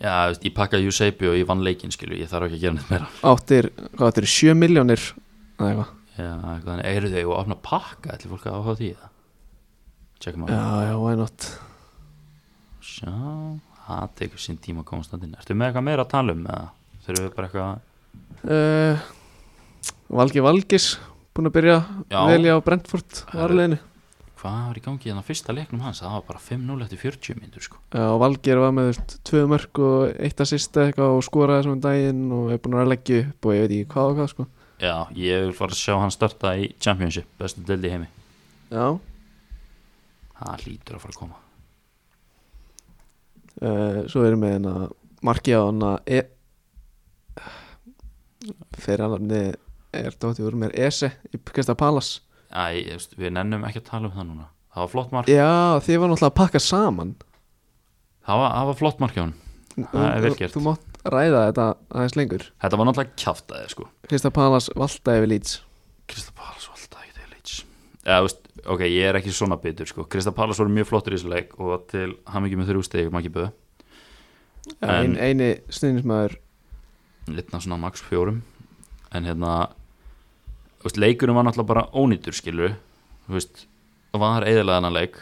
S2: Já, þú veist, ég pakkaði Jusebi og ég vann leikinn skilju, ég þarf ekki að gera neitt meira
S1: Áttir, hvað áttir, 7 miljónir Það er eitthvað
S2: Já, eitthvað, en eru þau að opna pakka ætli fólk að áhuga á því það Tjekkum að
S1: Já, já, why not
S2: Sjá, það tekur sín tíma að komast að inn Ertu með eitthvað meira að tala um eða? Þurfum við bara eitthvað
S1: uh, Valgi Valgis Búin að byrja
S2: Já.
S1: að velja á Brentford
S2: Herru.
S1: Varleginu
S2: Hvað var í gangi þannig að fyrsta leiknum hans? Það var bara 5-0 eftir 40 myndur sko
S1: Já, Eh, og Valgir var með þú veist, tvö mörg og eitt að sista eitthvað og skoraði þessum daginn og er búin að leggja upp og ég veit ekki hvað og hvað sko
S2: Já, ég vil fara að sjá hann starta í Championship, bestu deldi heimi
S1: Já
S2: Það hlýtur að fara að koma
S1: uh, Svo erum við hérna markið á hana e Fyrir hann nafni er dóttið úr mér Ese í Krista Palace
S2: Æ, þú veist, við nennum ekki að tala um það núna Það var flott mark
S1: Já, þið var náttúrulega að pakka saman
S2: Það var, það var flott mark hjá hann Það er vel gert.
S1: Þú mátt ræða þetta aðeins lengur
S2: Þetta var náttúrulega kjaftaði sko
S1: Krista Palas valda yfir Leeds
S2: Krista Palas var alltaf ekki til leits Já, þú veist, ok, ég er ekki svona bitur sko Krista Palas voru mjög flottur í þessu leik og til hann ekki með þrjú stegi, maður ekki böða
S1: Ein,
S2: En-
S1: Eini sniðnismæður
S2: litna svona max fjórum en hérna þú veist, leikurinn var náttúrulega bara ónýtur skilur þú veist, var eðilega þennan leik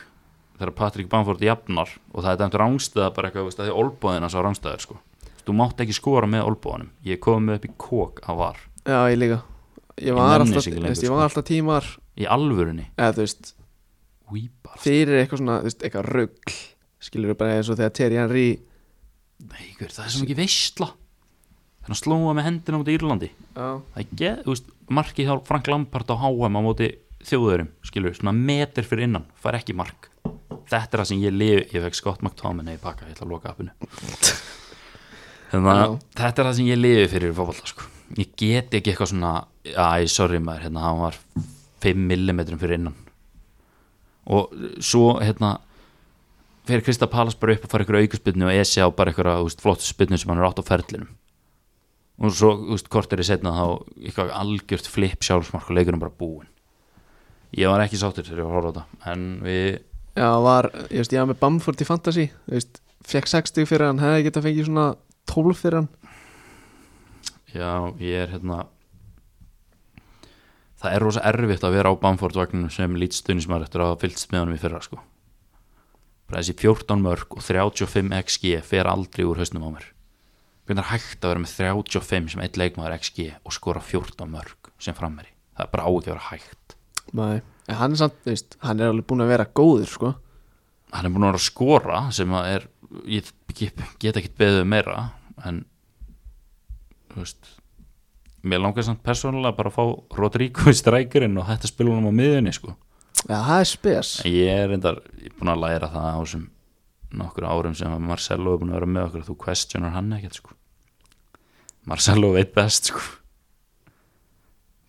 S2: þegar Patrik Bamford jafnar og það er dæmt rángstæða bara eitthvað þú veist, af því olbóðina sá rángstæðar sko Þú veist, þú mátt ekki skora með olbóðanum ég komið upp í kók að var
S1: Já, ég líka Ég
S2: Ég
S1: var,
S2: nenni
S1: alltaf,
S2: þessu ekki
S1: lengur,
S2: lengur,
S1: veist, ég
S2: sko.
S1: var alltaf tímar
S2: í alvörunni
S1: eða þú veist,
S2: Úbar.
S1: fyrir eitthvað svona þú veist, eitthvað rugl skilur bara eins og þegar Terry Henry
S2: Nei, hver, það er sem ekki veistla þannig að slóa með hendina út í Írlandi
S1: Já,
S2: það er geð, þú veist, markið þá Frank Lampard á HM á móti þjóðurum skilur, svona meter fyrir innan, fær ekki mark þetta er það sem ég lifi ég fekk Scott McTominay í pakka, ég ætla að loka appinu þannig að
S1: Já.
S2: þetta er það sem ég lifi fyrir fótbolta sko. ég get ekki eitthvað svona æ, sorry maður, hérna, hann var 5 mm fyrir innan og svo, hérna fer Krista Palas bara upp og fara ykkur aukaspinnu og esi á bara ykkur úst, flott spinnu sem hann er átt á ferlinum og svo úst, kort er ég setna þá ykkur algjört flip sjálfsmark og leikurinn bara búinn ég var ekki sáttur þegar ég var að horfa á þetta en við,
S1: Já, var, ég veist, ég var með Bamford í Fantasy þú veist, fekk 60 fyrir hann hefði getað fengið svona 12 fyrir hann
S2: já, ég er hérna það er rosa erfitt að vera á Bamford vagninu sem lítstunismar eftir að hafa fylgst með honum í fyrra sko bara þessi 14 mörg og 35 XG fer aldrei úr hausnum á mér hvernig er hægt að vera með 35 sem eitt leikmaður XG og skora 14 mörg sem frammeiri, það er bara á ekki að vera hægt
S1: Nei, en hann er samt, þú veist, hann er alveg búin að vera góður, sko
S2: hann er búin að vera að skora sem að er, ég get, get ekki beðið um meira en þú veist mér langar samt persónulega bara að fá Rodrigo í strækirinn og hætti að spila honum á miðunni sko.
S1: Já, það er spes
S2: en ég er reyndar, ég er búin að læra það á þessum nokkur árum sem að Marcelo er búin að vera með okkur, þú questionar hann ekkert sko. Marcelo veit best sko.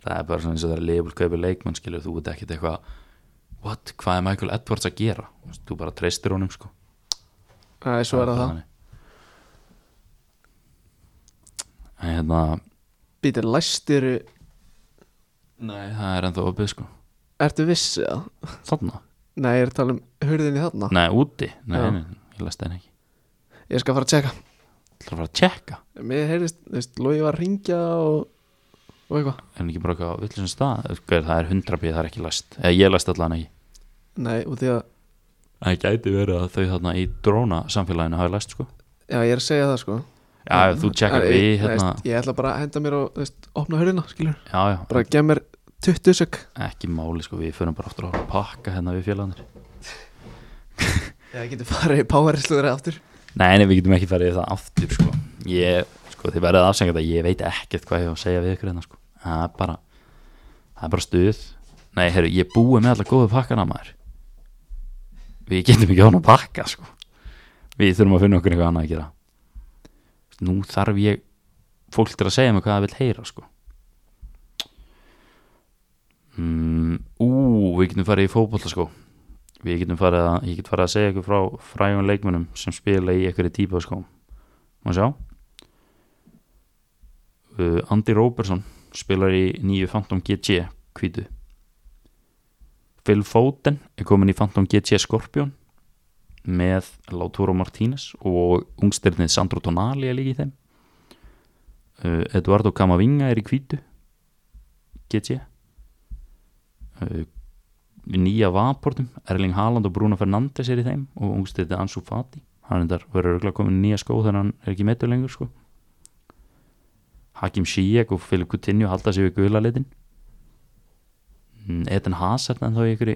S2: það er bara svona eins og það er leifur kaupið leikmann skilur, þú veit ekkert eitthvað what, hvað er Michael Edwards að gera Þú veist, þú bara treystir honum sko
S1: Nei, svo er það það
S2: þannig. En hérna
S1: Býtir, læstir,
S2: Nei, það er ennþá opið sko
S1: ertu viss eða?
S2: Þarna?
S1: Nei, ég er að tala um hurðinni þarna
S2: Nei, úti Nei,
S1: Já.
S2: nei, ég læst það ekki
S1: Ég skal fara að tjekka
S2: Það er að fara að tjekka
S1: Mér heyrðist, þú veist, Lói var að ringja og, og eitthvað
S2: Er hann ekki bara eitthvað á villisum stað Hver, Það er hundra bíð, það er ekki læst Eða ég læst allan ekki
S1: Nei, út í að,
S2: Það gæti verið að þau þarna í dróna samfélaginu hafi læst sko
S1: já, ég er að segja það, sko
S2: Já, ef þú
S1: En
S2: tjekkar
S1: ég-
S2: við
S1: þú
S2: hérna
S1: veist, Ég ætla bara að henda mér og, þú veist, opna hurðina, skilur
S2: Já, já,
S1: Bara gef mér 20 sök
S2: ekki máli sko Við förum bara aftur að horfa á pakka hérna við félagarnir
S1: Já, ég getur farið í powerslúður aftur
S2: Nei, nei, við getum ekki farið í það aftur sko Ég, sko, þið verðið afsengat að ég veit ekkert hvað ég á að segja við ykkur hérna sko Það er bara, það er bara stuð Nei, herru, ég búi með alla góðu pakkana maður Við getum ekki án að pakka sko Við þurfum að finna okkur eitthvað annað að gera Nú þarf ég fólk til að segja mig hvað það vil heyra sko mm, Ú, við getum farið í fótbolta sko við getum farið að, ég get farið að segja ykkur frá fræjum leikmönnum sem spila í ykkur í típa skóm má sjá uh, Andy Robertson spilar í nýju Phantom GT kvítu Phil Foden er komin í Phantom GT Scorpion með Lautaro Martínez og ungstirnið Sandro Tonali er líka í þeim uh, Eduardo Camavinga er í kvítu GT uh, nýja vaportum, Erling Haaland og Bruno Fernandes er í þeim og ungstætti Ansu Fati hann er þar, verður örgulega komin í nýja skó þannig að hann er ekki meittur lengur sko Hakim Ziyech og Filip Coutinho halda sig við gula litin Mm, Eden Hazard en þá í ykkur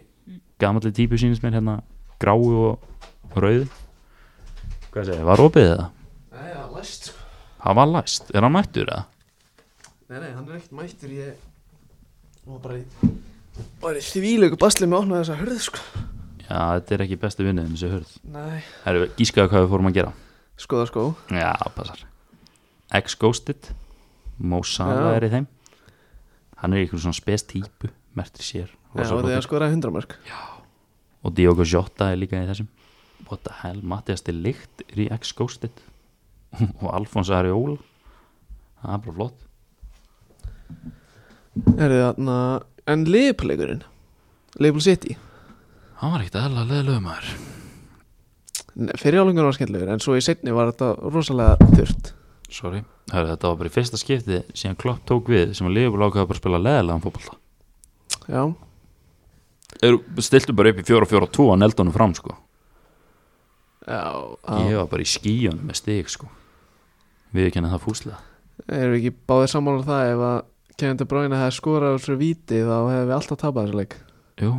S2: gamalli típu sínist mér hérna gráu og rauðu hvað segir, var opið það?
S1: Nei, já, læst, sko
S2: Hann var læst, er hann mættur það?
S1: Nei, nei, hann er ekkert mættur, ég var bara í bara í þvílegu basli með að opna þessa hurð, sko
S2: Já, þetta er ekki bestu vinnuðin sem hörð
S1: Nei
S2: Herru, gískaðu hvað við fórum að gera
S1: Skoða sko. skó
S2: Já, passar X-Ghosted Mo Salah
S1: Já.
S2: er í þeim Hann er í einhvern svona spes típu Mertri sér
S1: Já,
S2: rosa
S1: og þegar
S2: góður.
S1: skoraði 100 mörg
S2: Og Diogo Jota er líka í þessum What the hell, Mattias til líkt er í X-Ghosted Og Alfons Ariola Það er bara flott
S1: Er þið þarna En liðpuleikurinn Liðpul City
S2: Hann var ekkert aðlega leðilega maður
S1: Nei, Fyrir álengur var skemmtilegur En svo í setni var þetta rosalega þurft
S2: Sorry Hörru, þetta var bara í fyrsta skipti síðan Klopp tók við sem að Liverpool ákveða bara að spila leðilegan fótbolta
S1: Já
S2: Eru, Stiltu bara upp í 4-4-2 að neldunum fram sko
S1: Já
S2: Ég var bara í skíunum með stig sko Við erum það fúslega
S1: Erum við ekki báðið sammála um það Ef að Kevin De Bruyne hefði skorað úr svo víti Þá hefðum við alltaf tapað þessu leik
S2: Jú,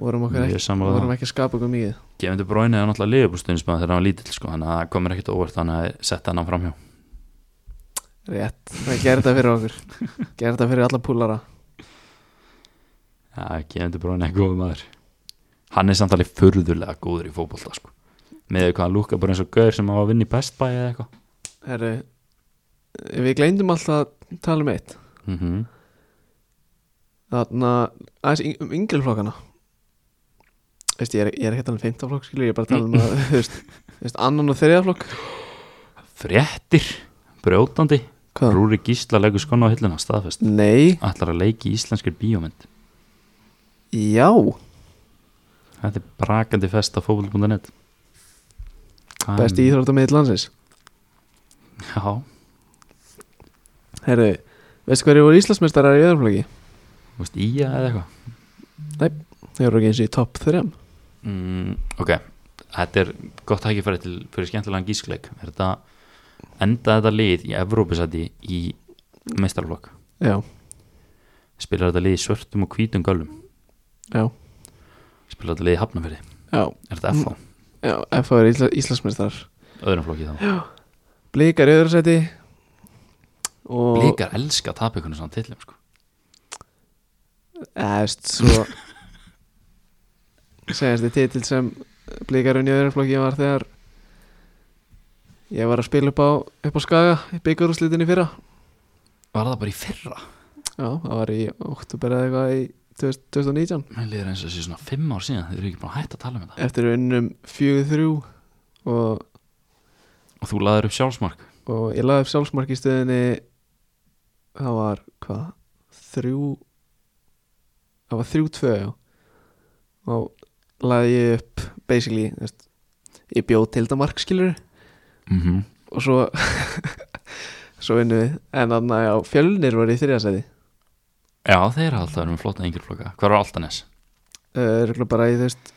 S1: Vorum okkar
S2: ég
S1: ekki
S2: er sammála
S1: Vorum
S2: það
S1: ekki að skapa okkur mikið
S2: Gefindi Bróinu er náttúrulega liðbústunismann þegar hann var lítill sko, þannig að það komur ekkert á óvart þannig að ég setta hann framhjá
S1: Rétt Það gerir þetta fyrir okkur Gerir þetta fyrir alla púlara
S2: Já, Gefindi Bróinu er góð maður Hann er samt alveg furðulega góður í fótbolta sko með því hvað hann lúka bara eins og gaur sem hann var að vinna í Best Buy eða eitthvað
S1: Herru Við gleyndum alltaf að tala um eitt
S2: mm -hmm.
S1: Þarna aðeins yng- um yngriflokkana veist, ég er, ég er ekki að tala um 15 flokk skilur, ég er bara að tala um að, þú veist, þú veist annan og þriða flokk
S2: Fréttir, brjótandi
S1: Hvað?
S2: Rúri Gísla leggur skona á hilluna staðfest
S1: Nei,
S2: Ætlar að leiki íslenskir bíómynd
S1: já
S2: Þetta er brakandi fest á fókvöld.net
S1: Besti íþróttamið landsins
S2: Já,
S1: Herðu, veistu hverju voru Íslandsmeistarar í öðrum flokki?
S2: þú veist, ía eða eitthvað
S1: Þeir eru ekki eins og í topp þrem
S2: mm, Ok, þetta er gott hækifæri til fyrir skemmtilegan gískleik Er þetta, enda þetta lið í Evrópisæti í meistarflokk
S1: Já,
S2: Spilar þetta lið í svörtum og hvítum gölum
S1: já,
S2: Spilar þetta lið í hafnafyrði
S1: já,
S2: Er þetta FH?
S1: já F.A. eru Ísla, Íslandsmeistarar
S2: Öðrum flokki þá
S1: Blikar í öðru seti og
S2: Blikar elska að tapa ykkur svona tillum sko.
S1: Eðst, svo segjast þið titil sem blikarinn í öðrum flokki var þegar ég var að spila upp á, upp á skaga í byggarúslitinni fyrra
S2: Var það bara í fyrra?
S1: já, það var í oktober eða eitthvað í 2000 2019
S2: Mér liður eins og þessi svona fimm ár síðan Þið eru ekki búin að hætta að tala um þetta
S1: eftir við unnum 4-3 og,
S2: Og þú laður upp sjálfsmark
S1: og ég laði upp sjálfsmark í stöðinni það var hvað þrjú það var þrjú tvö já og laði ég upp basically, þú veist, ég bjóð til þetta markskilur
S2: mm -hmm.
S1: og svo svo vinnum við en þannig að já, fjölnir var í þriðasæði
S2: Já, þeir hafa alltaf verið með flotta yngri flokka Hvar var Altanes?
S1: örgulega Eh, bara í þú veist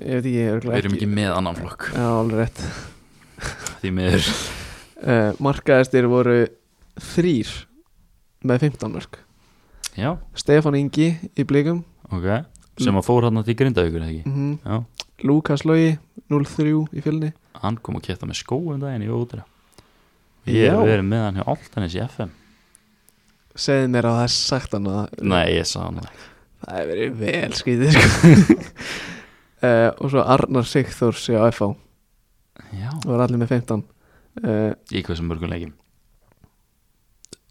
S1: ég veit ekki,
S2: Við
S1: örgulega
S2: erum ekki með annan flokk
S1: já, alveg rétt
S2: Því miður
S1: uh, markaðistir voru þrýr með 15 mörg
S2: Já,
S1: Stefán Ingi í blíkum
S2: ok Sem að fór hann til grindaðugur ekki
S1: mm
S2: Já,
S1: Lúkas Lógi 0-3 í fjölni
S2: hann kom og ketta með skó um daginn í ódra Ég
S1: Já.
S2: hef verið með hann hjá Altanes í FM
S1: segði mér að það er sagt hann að
S2: Nei, ég sagði hann það ekki.
S1: það hefur verið vel skrítið sko. uh, og svo Arnar Sigþórs í AFA
S2: Já,
S1: og var allir með 15 uh,
S2: í hversu mörgum leikjum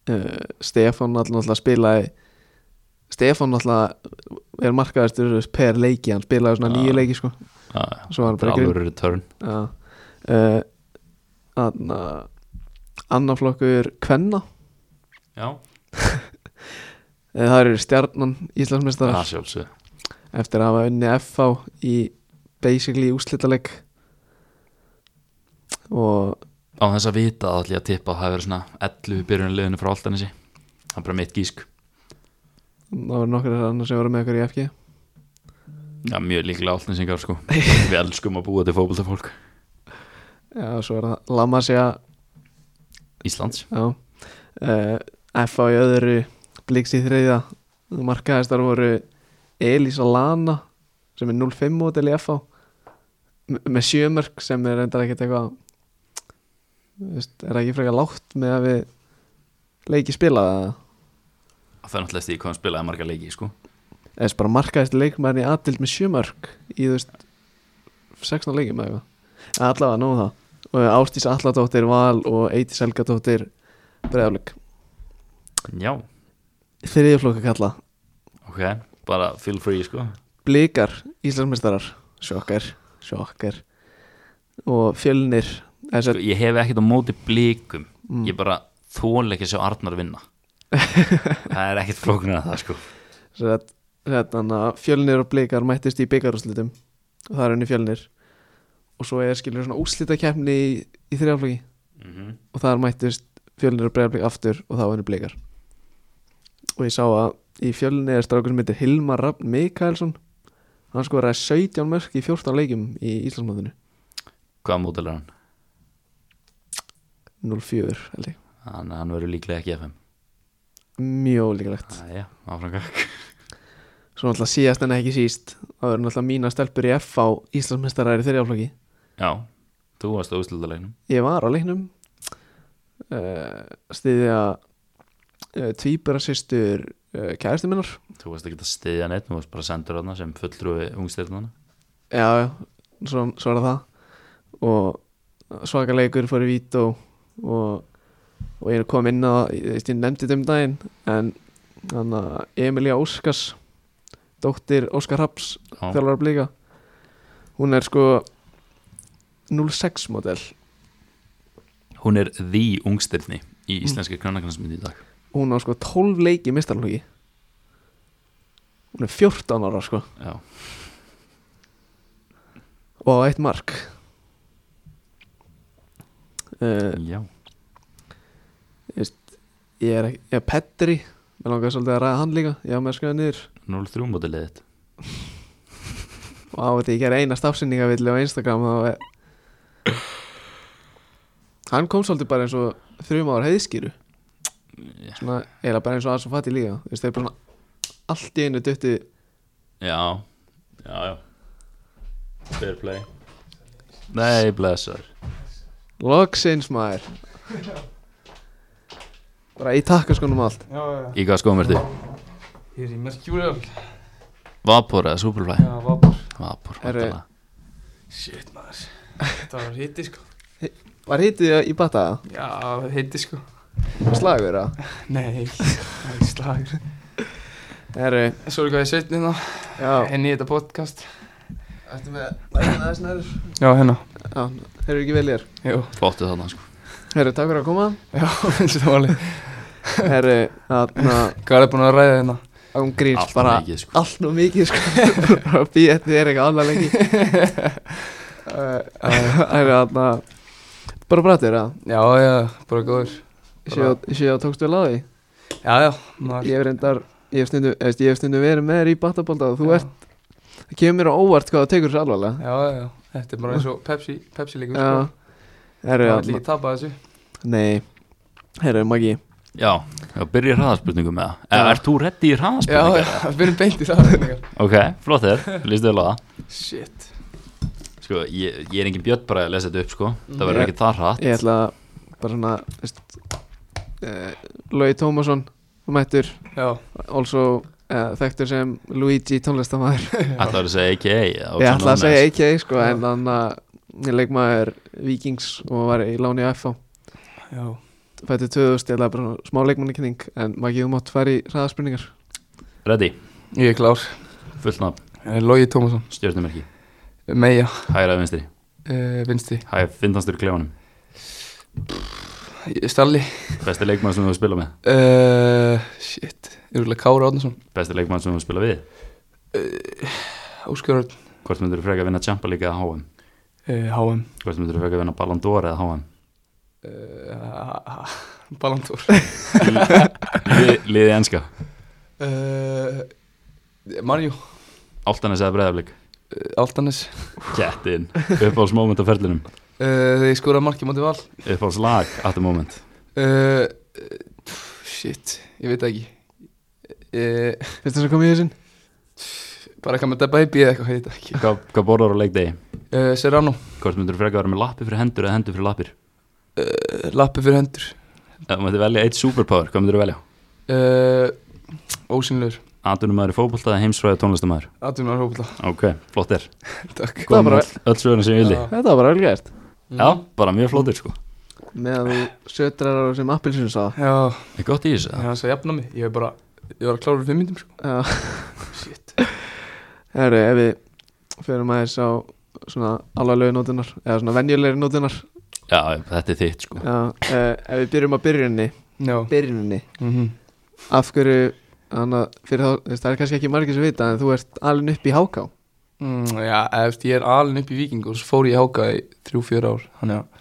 S1: uh, Stefán alltaf spilaði Stefán alltaf er markaðistur per leiki, hann spilaði svona
S2: Já.
S1: nýju leiki sko.
S2: Já, já.
S1: svo var hann
S2: Þetta er
S1: bara grinn
S2: alveg return
S1: uh, anna, annar flokkur Kvenna,
S2: Já,
S1: Eh, það eru stjarnan Íslandsmeistarar
S2: það sjálfsög
S1: eftir að hafa unni FH í basically úslitaleg og
S2: Á þess að vita að allir að tippa að það hefur verið svona 11 byrjunarliðinu frá Altanesi Það er bara mitt gísk
S1: það voru nokkur annar sem voru með okkur í FG
S2: Já, mjög líklega Altanesingar sko Við elskum að búa til fótboltafólk
S1: já, svo er það Lamasja
S2: Íslands
S1: Já uh, F.A. í öðru Blíks í þriðja Markaðistar voru Elisa Lana sem er 0-5 mótil í F.A. M- með sjömörk sem er reyndar ekkert eitthvað þú veist, er það ekki frekar lágt með að við leiki spilaða eða
S2: Það er náttúrulega stíð hvað hann spilaði marga leiki sko
S1: þess bara markaðist leikmærin í aðdild með sjömörk í þú veist 16 leikum eða eitthvað allavega nóg um það og Ástís Alladóttir Val og Eitís Helgadóttir Breiðaflik
S2: Já,
S1: þriðjaflokka kalla
S2: ok, bara feel free sko
S1: Blikar, Íslandsmeistarar Sjokkar, sjokkar Og fjölnir eh,
S2: Sko,
S1: SR,
S2: Ég hef ekkert á móti blikum
S1: mm,
S2: Ég bara þól ekki að sjá Arnar vinna
S1: mm.
S2: Það er ekkert flóknir að það sko
S1: sér að, sér að, þannig að Fjölnir og blikar mættist í byggarúslitum Og það er henni fjölnir Og svo er skilur svona úslitakeppni í, í þrjáflöki
S2: mm
S1: Og þar mættist fjölnir og bregðarblik aftur Og þá henni blikar Og ég sá að í fjölnir er strákur sem heitir Hilmar Rafn Mikaelsson Hann skoraði 17 mörk í 14 leikjum í Íslandsmóðinu
S2: Hvaða mótil er hann?
S1: 0-4 held ég.
S2: Hann, hann verður líklega ekki í FM
S1: Mjög ólíkulegt
S2: Æja, áfram gakk
S1: Svo náttúrulega síðast en ekki síst Það eru náttúrulega mína stelpur í FH Íslandsmeistarar í þriðjaflokki
S2: Já, þú varst á úslutalegnum
S1: Ég var á leiknum uh, Stiðja uh, Tvíburasystur uh, Kæristu minnar
S2: Þú varst ekki að stiðja neitt, þú varst bara sendur hana sem fulltrúi ungstirnana
S1: Já, já, svo, svo er það Og svaka leikur fór í vít og, og, og ég kom inn á Ég, ég nefndi þetta um daginn En þannig að Emilia Óskars Dóttir Óskar Haps
S2: Já,
S1: þjálfara blíka Hún er sko 06 model
S2: Hún er því ungstirni í íslenski kvennaknarsmyndi í dag
S1: Hún á sko 12 leiki mistarlóki Hún er 14 ára sko
S2: Já,
S1: Og á eitt mark uh,
S2: já,
S1: Ég er ekki, ég er Petri Mér langar svolítið að ræða hann líka Ég á með skoða niður
S2: 03 mótilið þitt
S1: Og á þetta ég ger eina stafsynningavillu á Instagram Þá er Hann kom svolítið bara eins og Þrjum ára heiðskýru
S2: Já.
S1: Svona, ég er bara eins og aðeins og fatti líka Þú veist, þeir bara svona allt í einu dutti
S2: Já, já, já Fair play Nei, blessar
S1: Loksins maður Bara í takkaskónum allt
S3: Já, já, já.
S2: Í hvað skoðum ertu?
S3: Ég er í Mercurial.
S2: Vapor eða Superfly?
S3: Já, vapur.
S2: Vapor,
S1: Herru.
S2: vantala
S3: Shit, maður. Þetta var hitti, sko.
S1: Var hitið í bataða?
S3: Já, hitti, sko.
S1: Slagur á
S3: Nei, það er slagur.
S1: Herru,
S3: Sorry hvað ég sveit hérna.
S1: já
S3: Henni í þetta podcast.
S1: Ertu með lægina þess nær?
S3: Já, hérna.
S1: Já, þeir eru ekki vel ég
S3: Jú.
S2: Flottu þarna sko
S1: Herru, takk fyrir að koma
S3: Já, finnst þetta valið.
S1: Herru, þarna
S3: Hvað er búin að ræða hérna?
S1: án gríns
S2: Allt
S1: bara
S2: mikið, sko.
S1: Allt nú mikið sko Bara Býð eftir þér eitthvað alveg lengi Herru, þarna Bara brættir að
S3: Já, já, bara góður.
S1: Sjá, sjá tókstu vel á því
S3: Já, já, maður.
S1: Ég hef reyndar Ég hef stundum, eða, ég hef stundum verið með þér í batabólda og þú
S3: Já.
S1: ert, það kemur mér á óvart hvað það tekur þessu alvarlega.
S3: Já, já, já. Þetta er bara eins og Pepsi, Pepsi líka,
S1: Já,
S3: sko.
S1: herru,
S3: Það er
S1: þarna-
S3: líka tapað þessu.
S1: nei, herru, Maggi,
S2: Já, já byrja hraðaspurningum með það
S1: Já.
S2: Er þú reddi í
S3: Já,
S2: hraðaspurningum?
S3: já, við erum beint í það.
S2: Ok, flott þér, lístu vel á það
S3: Shit.
S2: Sko, ég, ég er engin bjött bara að lesa þetta upp sko Það
S1: Mhm.
S2: verður ekki það hratt
S1: Ég ætla að bara svona veist, uh, Lói Tómasson mættur,
S3: Já,
S1: also uh, þekktur sem Luigi tónlistamæður
S2: Ætlar að segja AKA eða
S1: Ég
S2: also
S1: ætla að
S2: known as.
S1: segja AKA sko, en hann að leikmaður Vikings og var í Láni FH
S3: já.
S1: fættu 2000, ég ætla bara svona smá leikmannakynning en maður getur mátt fara í hraðaspurningar
S2: Ready,
S3: Ég er klár.
S2: fullt nafn,
S3: Lógi Tómasson.
S2: stjórnumerki
S3: Meja.
S2: Hægra eða vinstri,
S3: Uh, vinsti.
S2: hæg finnanstur í klefanum
S3: Stalli
S2: Besti leikmann sem þú spila með,
S3: uh, Shit, yfirlega Kára Árnason
S2: besti leikmann sem þú spila við
S3: Óskar Örn,
S2: Hvort myndur þú freka að vinna Champa líka eða HM?
S3: uh, HM
S2: Hvort myndur þú freka að vinna Ballon d'Or eða HM?
S3: uh, Ballandór
S2: Lið- Liðið enska,
S3: uh, Marjú uh,
S2: Áltanes eða Breiðaflik
S3: Altanes
S2: Kettin, uppáhalds moment á ferlinum
S3: uh, Þegar ég skoraði marki móti val
S2: Uppáhalds lag at the moment
S3: uh, pff, Shit, ég veit það ekki uh,
S1: Finnst þess að koma í þessin?
S3: Bara eitthvað með Dabba Baby eða eitthvað, ég veit það ekki
S2: Hvað, hvað borðar á leikdegi?
S3: uh, Serrano,
S2: Hvort myndur þú freka að vera með lappi fyrir hendur eða hendur fyrir lappir?
S3: uh, Lappi fyrir hendur
S2: Ef þú myndir velja eitt superpower, hvað myndur þú velja?
S3: uh, Ósynlegur
S2: Atunumæður í fótbolta eða heimsfræði tónlistamæður?
S3: Atvinnum að hópa
S2: Ok, flott er
S3: Takk
S1: var bara-
S2: Öll svöðurinn sem ég vildi
S3: Já.
S1: Þetta var bara vel gert
S2: Já, bara mjög flottir sko
S1: meðan þú sötrar á sem appilsinu sá
S3: Já,
S2: Er gott í þessu?
S3: Já, það jafna mig, ég var bara, ég var að klára fyrir myndum sko.
S1: Já
S3: Shit.
S1: Herru, ef við förum aðeins á svona alvarlegu nótunar eða svona venjulegri nótunar
S2: Já, þetta er þitt sko
S1: Já, eh, ef við byrjum á byrjunni
S3: Já.
S1: byrjunni,
S3: Mm -hmm.
S1: af hverju hana, fyrir þá, þú veist, það er kannski ekki margir sem vita en þú ert alveg upp í háká
S3: mm, já, eftir ég er alin upp í Víking og svo fór ég í háka í þrjú, fjör ár, þannig að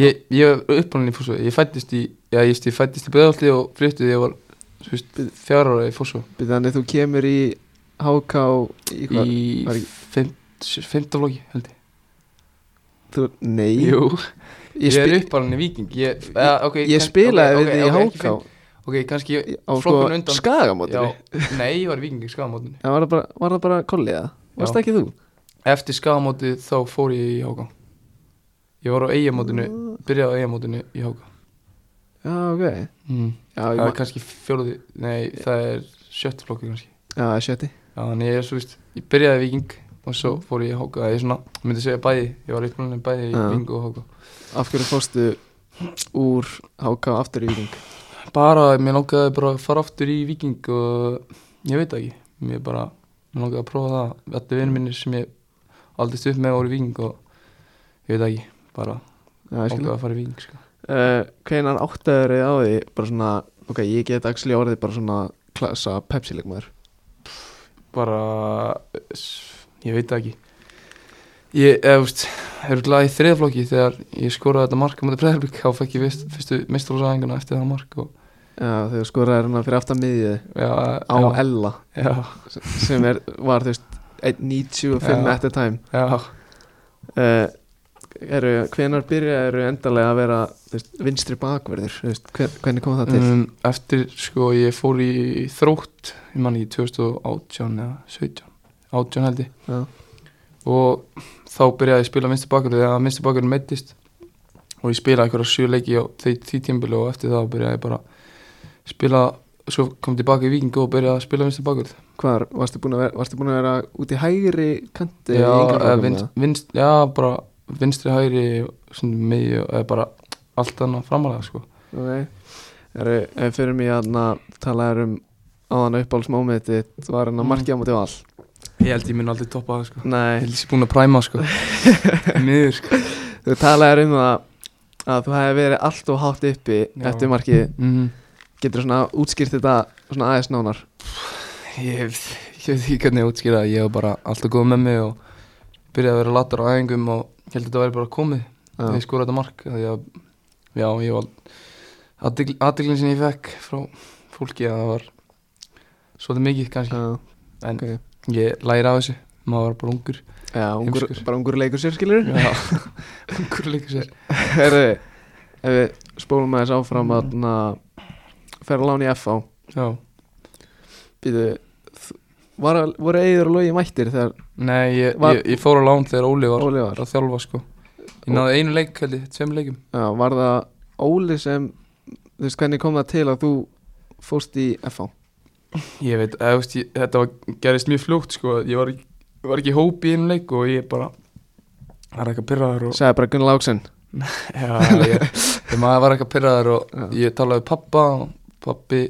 S3: ég, ég var uppalinn í fórsvo, ég fættist í, já, ég, veist, ég fættist í Breiðholti og flytti þegar ég var, þú veist, fjár ára í fórsvo.
S1: Bíddu, þannig þú kemur í háká í hvað?
S3: Í
S1: var ekki-
S3: femta vlogi, held ég.
S1: Þú, nei,
S3: Jú,
S1: ég,
S3: ég er
S1: spi,
S3: uppalinn í Víking, ég, eða, ok.
S1: ég
S3: kann-
S1: spilaði
S3: ok,
S1: við
S3: ok,
S1: þig
S3: ok, ekki
S1: í háká
S3: fimm- Ok, kannski ég,
S1: á sko
S3: flokkun undan. já,
S1: skagamótinu
S3: nei, ég var í Víking í skamótinu.
S1: en var það bara, var það bara kollið það? Varst
S3: Já.
S1: ekki þú?
S3: Eftir skagamótið þá fór ég í háka Ég var á eigamótinu Byrjaði á eigamótinu í háka
S1: Já, ok
S3: mm.
S1: Já, ég
S3: Það er
S1: ma-
S3: kannski fjóruði Nei, það er sjötti flokki kannski
S1: já, sjötti
S3: Já, þannig ég er svo vist Ég byrjaði í viking
S1: Mm.
S3: og svo fór ég í háka Það er svona, ég myndi segja bæði Ég var upplunin bæði í
S1: Já.
S3: viking og háka
S1: Af hverju fórstu úr háká aftur í viking?
S3: Bara, mér langaði bara að fara aftur í viking Og ég veit það ekki Mér bara, mér langaði að prófa það Allir vinur minni sem ég aldist upp með voru viking og ég veit það ekki, bara
S1: Já, ég skil
S3: ákveða að fara í viking sko.
S1: uh, Hvenar áttaður er á því bara svona, ok, ég get axli orðið bara svona klassa Pepsi-leikmaður
S3: bara s- ég veit það ekki ég, eða, þú veist, er glæði í þriðflokki þegar ég skoraði þetta mark á mútið breyðarblik, þá fekk ég vist, fyrstu mistrósæðinguna eftir það mark og,
S1: Já, þegar skoraður hann fyrir aftan miðið
S3: já,
S1: á
S3: já,
S1: Ella
S3: já,
S1: sem er, var þú veist 1.95
S3: Já.
S1: at a time
S3: já,
S1: uh, eru, hvenar byrjaðu endalega að vera þú veist, vinstri bakverður þú veist, hver, hvernig kom það til
S3: um, eftir sko ég fór í þrótt ég man ekki 2018 eða 17 18 held ég
S1: Já.
S3: og þá byrjaði ég að spila minnstu bakur þegar minnstu bakur meittist og ég spilaði einhverja sjö leiki á því, því tímbili og eftir það byrjaði ég bara að spila svo kom tilbaka í vikingu og byrjaði að spila minnstu bakur
S1: Hvar, varstu búin að vera, varstu búin að vera út í hægri kanti
S3: já,
S1: í yngri
S3: eða
S1: flokkum,
S3: vinst,
S1: eða?
S3: vinst, já, bara vinstri hægri miðju, eða bara allt annað framalega sko
S1: Ok, eru, ef fyrir mig að tala um áðan uppáhaldsmómið þitt var hann að
S3: Mm.
S1: markja á móti val
S3: ég held ég mun aldrei toppa það sko ég
S1: Nei,
S3: held ég sé búin að præma sko miður sko
S1: þú talaðir um það að þú hefði verið allt og hátt uppi
S3: Já.
S1: eftir markið,
S3: mm.
S1: getur svona útskýrt þetta svona aðeins nánar
S3: ég, veit- ég veit ekki hvernig ég útskýra það. ég var bara alltaf góð með mig og byrjaði að vera latur á æfingum og ég held að þetta væri bara komið
S1: Já.
S3: þegar ég skóra þetta mark því að, já, ég var aðdeglinn sem ég fekk frá fólki að það var svolítið mikið kannski
S1: Já,
S3: en
S1: ok.
S3: ég læra af þessu maður var bara ungur
S1: Já, ungur,
S3: Heimskur.
S1: bara ungur leikur sér skilur
S3: Já. ungur líka sér
S1: Herru, ef við spólum aðeins áfram að fer að lána í FH
S3: já.
S1: Býtu, var, voru eigður og logi mættir þegar
S3: nei, ég,
S1: Var-
S3: ég, ég fór á lán þegar Óli var
S1: Óli var?
S3: að þjálfa sko ég náði einu leik, held ég, tveim leikum
S1: Já, var það Óli sem þú veist hvernig kom það til að þú fórst í FH
S3: Ég veit, eða, þú veist, ég, þetta var, gerist mjög fljótt sko. ég var, ekki- var ekki í hópi í einu leik og ég bara var eitthvað pyrraður og
S1: Sæði bara Gunnar Láksson
S3: já, ég, ég maður var eitthvað pyrraður og
S1: Já.
S3: ég talaði við pappa og pappi,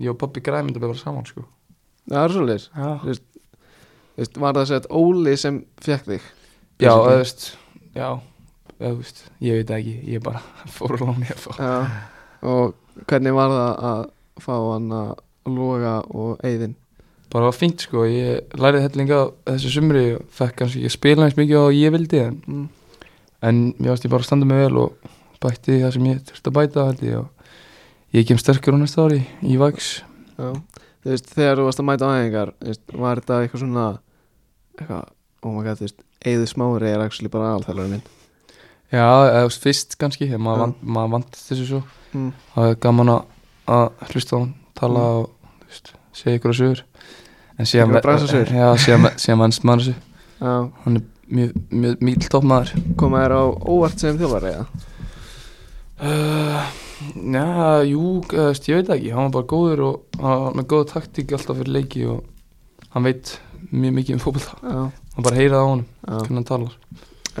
S3: ég og pappi græði myndi að vera saman sko.
S1: Það er svolítið
S3: já,
S1: veist, Var það að segja Óli sem fekk þig
S3: já,
S1: Basically.
S3: eða, þú veist, já eða, þú veist, ég veit það ekki, ég bara fór að lána ég að fá
S1: Já Og hvernig var það að fá hann að loga og eigðin
S3: bara var fínt sko, ég lærið hellinga þessu sumri og fekk kannski ekki að spila eins mikið og ég vildi en
S1: mm.
S3: en mér varst ég bara að standa mig vel og bætti það sem ég þurfti að bæta held ég og ég kem sterkur á næsta ári í Vax
S1: Já Þú veist, þegar þú varst að mæta aðeingar veist, Var þetta eitthvað svona eitthvað, oh my god, þú veist Eigður smári er actually bara alþjálfur minn
S3: já, eða þú veist, fyrst kannski þegar maður
S1: Já.
S3: mm. vant, maður vantist þessu svo
S1: mm.
S3: það er gaman að- að hlusta á hann tala og þú veist, segja ykkur að sögur en síðan
S1: Einhverjar brasasögur?
S3: já, síðan, síðan vannst maður þessu
S1: Já,
S3: hann er mjög, mjög, mjög topp maður
S1: koma þér á óvart sem þjálfari eða?
S3: Uh, já, jú, eh, veist, ég veit það ekki, hann var bara góður og hann var með góða taktík alltaf fyrir leiki og hann veit mjög mikið um fótbolta,
S1: Já,
S3: hann bara heyrið á honum
S1: já
S3: hvernig hann talar.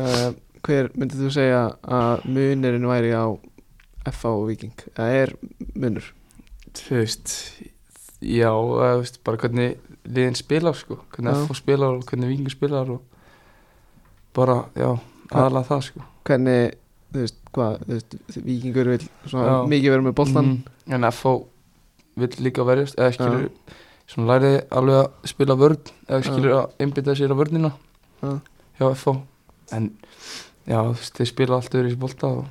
S1: uh, hver myndið þú segja að munirinn væri á FH og Viking það er munur
S3: Þú veist, já, eh, þú veist, bara hvernig liðin spilar sko, hvernig
S1: Já.
S3: FH spilar og hvernig Víkingur spilar og bara, já, aðalega það sko.
S1: hvernig, þú veist, hvað þú veist, Vikingur vil svona
S3: Já.
S1: mikið vera með boltan
S3: Mm, en FH vill líka verjast, eða skilur, svona læriði alveg að spila vörn,
S1: Já.
S3: eða skilur að einbytta sér að vörnina
S1: Já.
S3: hjá FH. En já, þú veist, þeir spila allt öðru í bolta og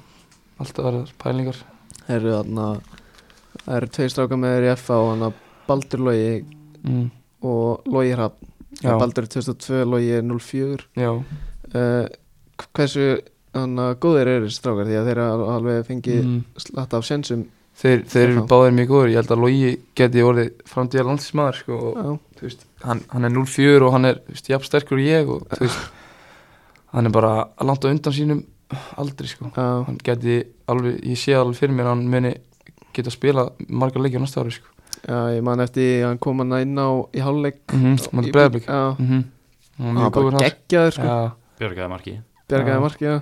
S3: alltaf verður pælingar.
S1: eru þarna það eru tveir stráka með þér í FH og hann að Baldur Logi
S3: Mm.
S1: og Logi Hrafn
S3: Já,
S1: Baldur er 2002, Logi er 04
S3: já,
S1: uh, hversu hann að góðir eru þessi strákar því að þeir eru alveg fengið
S3: mm.
S1: slatt af sjensum
S3: þeir, þeir eru
S1: FH.
S3: báðir mjög góður. Ég held að Logi geti orðið framtíða landsmaður, sko, og
S1: Já.
S3: þú veist, hann, hann er 0-4 og hann er, þú veist, jafn sterkur og ég og, þú veist, hann er bara langt á undan sínum aldrei, sko.
S1: Já.
S3: hann geti alveg, ég sé alveg fyrir mér að hann muni geta spila margar leikja næsta ári sko.
S1: Já, ég man eftir því að hann kom hann inn á í hálfleik
S3: mm -hmm.
S1: Mhm. Í-
S3: Mátti bregðarblik
S1: Já,
S3: mm -hmm. og
S1: hann var
S3: mjög
S1: bara
S3: góður hans
S1: geggjaður sko,
S3: Já,
S2: Björgaði marki
S1: bjargaði
S3: Já.
S1: markið já.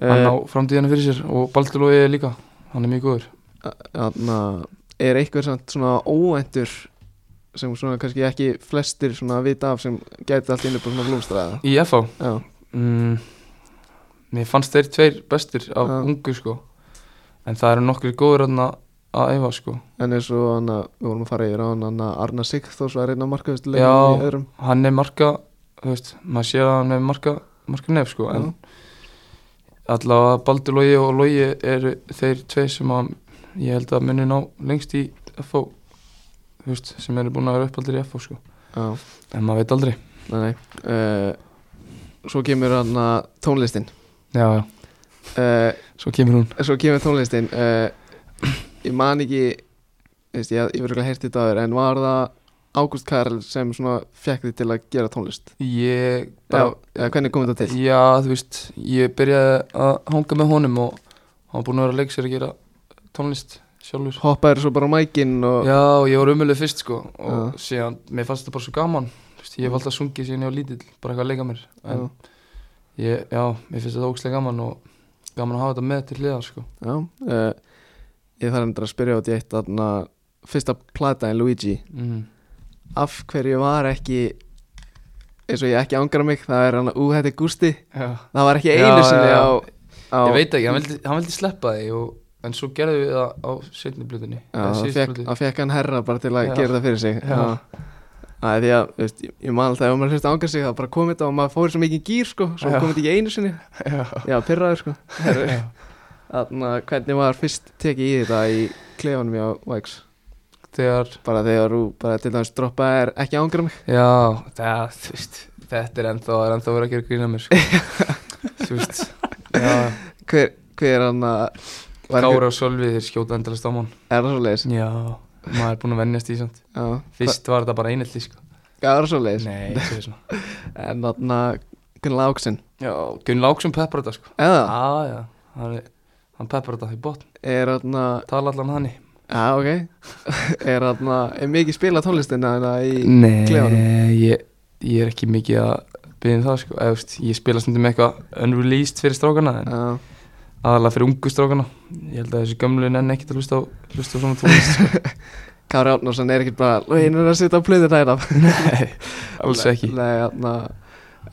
S3: hann
S1: Eh,
S3: á framtíðina fyrir sér og Baldur Lói líka, hann er mjög góður
S1: þarna er einhver samt svona óvæntur sem svona kannski ekki flestir svona vita af sem gæti allt innlega svona blómstraða
S3: Í FH
S1: Já,
S3: mm, Mér fannst þeir tveir bestir af
S1: Já.
S3: ungu sko En það eru nokkri góður þarna að æfa sko
S1: en eins og hann að við vorum að fara yfir á hann hann að Arna Sigþós var einn af markaðustilegum
S3: Já.
S1: í öðrum
S3: Hann er marka, þú veist, maður sé að hann er marka, marka nef sko En allavega Baldur Lógi og Lógi eru þeir tveir sem að ég held að muni ná lengst í FH Þú veist, sem eru búin að vera uppaldir í FH sko
S1: Já,
S3: En maður veit aldrei
S1: nei, nei uh, Svo kemur hann að tónlistin
S3: Já, já,
S1: uh,
S3: svo kemur hún
S1: Svo kemur tónlistin uh, Ég man ekki veist, Ég, ég verður ekki heyrt þetta aður En var það Ágúst Karl sem svona fekk þið til að gera tónlist
S3: Ég
S1: Já,
S3: bara,
S1: eða hvernig kom þetta til?
S3: Já, þú veist, ég byrjaði að hanga með honum og hann var búinn að vera að leik sér að gera tónlist sjálfur.
S1: Hoppaður svo bara á mækin og
S3: Já, og ég var umöluð fyrst sko og síðan, mér fannst þetta bara svo gaman, þú veist, ég hef alltaf sungið síðan ég var lítill, bara eitthvað að leika mér. En
S1: Já.
S3: ég, já, mér finnst þetta ógstlega gaman og gaman að hafa þetta með til hliðar sko.
S1: Já, uh, ég þarf endur að spyrja út í eitt þarna fyrsta plata en Luigi
S3: Mm.
S1: af hverju var ekki eins og ég ekki ángra mig það er hann að ú, þetta er Gusti
S3: Já.
S1: það var ekki
S3: Já,
S1: einu
S3: já,
S1: sinni
S3: já.
S1: á, á
S3: Ég veit ekki, hann vildi, hann vildi sleppa því og, en svo gerðum við það á setni blutinni.
S1: já, það fekk, það fekk hann herra bara til að
S3: Já.
S1: gera það fyrir sig
S3: Já.
S1: Það er því að, þú veist, ég, ég man alltaf ef maður hlusta ángra sig það bara komið þetta og maður fór í svo mikið gýr sko, svo
S3: Já.
S1: komið þetta ekki einu sinni já, pyrraður sko
S3: Já.
S1: Þarna, hvernig var fyrst tekið í þetta í klefanum hjá Wax
S3: Þegar
S1: bara þegar þú bara til dæmis droppaði er ekki ángra mig
S3: Já, það, þú veist, þetta er ennþá, það er ennþá verið að gera grína mér, sko. þú veist, já,
S1: hver, hver er hann að var einhver-
S3: Kára og Sölvi þeir skjóta endalast á mann.
S1: er það svo leiðis
S3: Já, maður er búinn að vennjast í samt.
S1: já, Hva-
S3: Fyrst var þetta bara einelti, sko.
S1: Já, er það svo leiðis
S3: Nei, svo er svona.
S1: en þarna Gunnar Láksinn
S3: Já, Gunn Láksson peppar þetta, sko. Já,
S1: eða
S3: ah, já, hann, er- hann peppar þetta í botn,
S1: er þarna
S3: tala allan hann í.
S1: já ok er þarna er mikið spila tónlistina þarna í
S3: Nei,
S1: klefanum?
S3: ég, ég er ekki mikið að byrja um það, sko. Eða, þú veist, ég spila stundum eitthvað unreleased fyrir strákana, en
S1: já
S3: aðalega fyrir ungu strákana. Ég held að þessu gömlu nenni ekkert að hlusta á, hlusta á svona tónlist, sko.
S1: Kári Átnarsson er ekkert bara lögin er að setja á plöðir hæra
S3: Nei, alls ekki
S1: nei þarna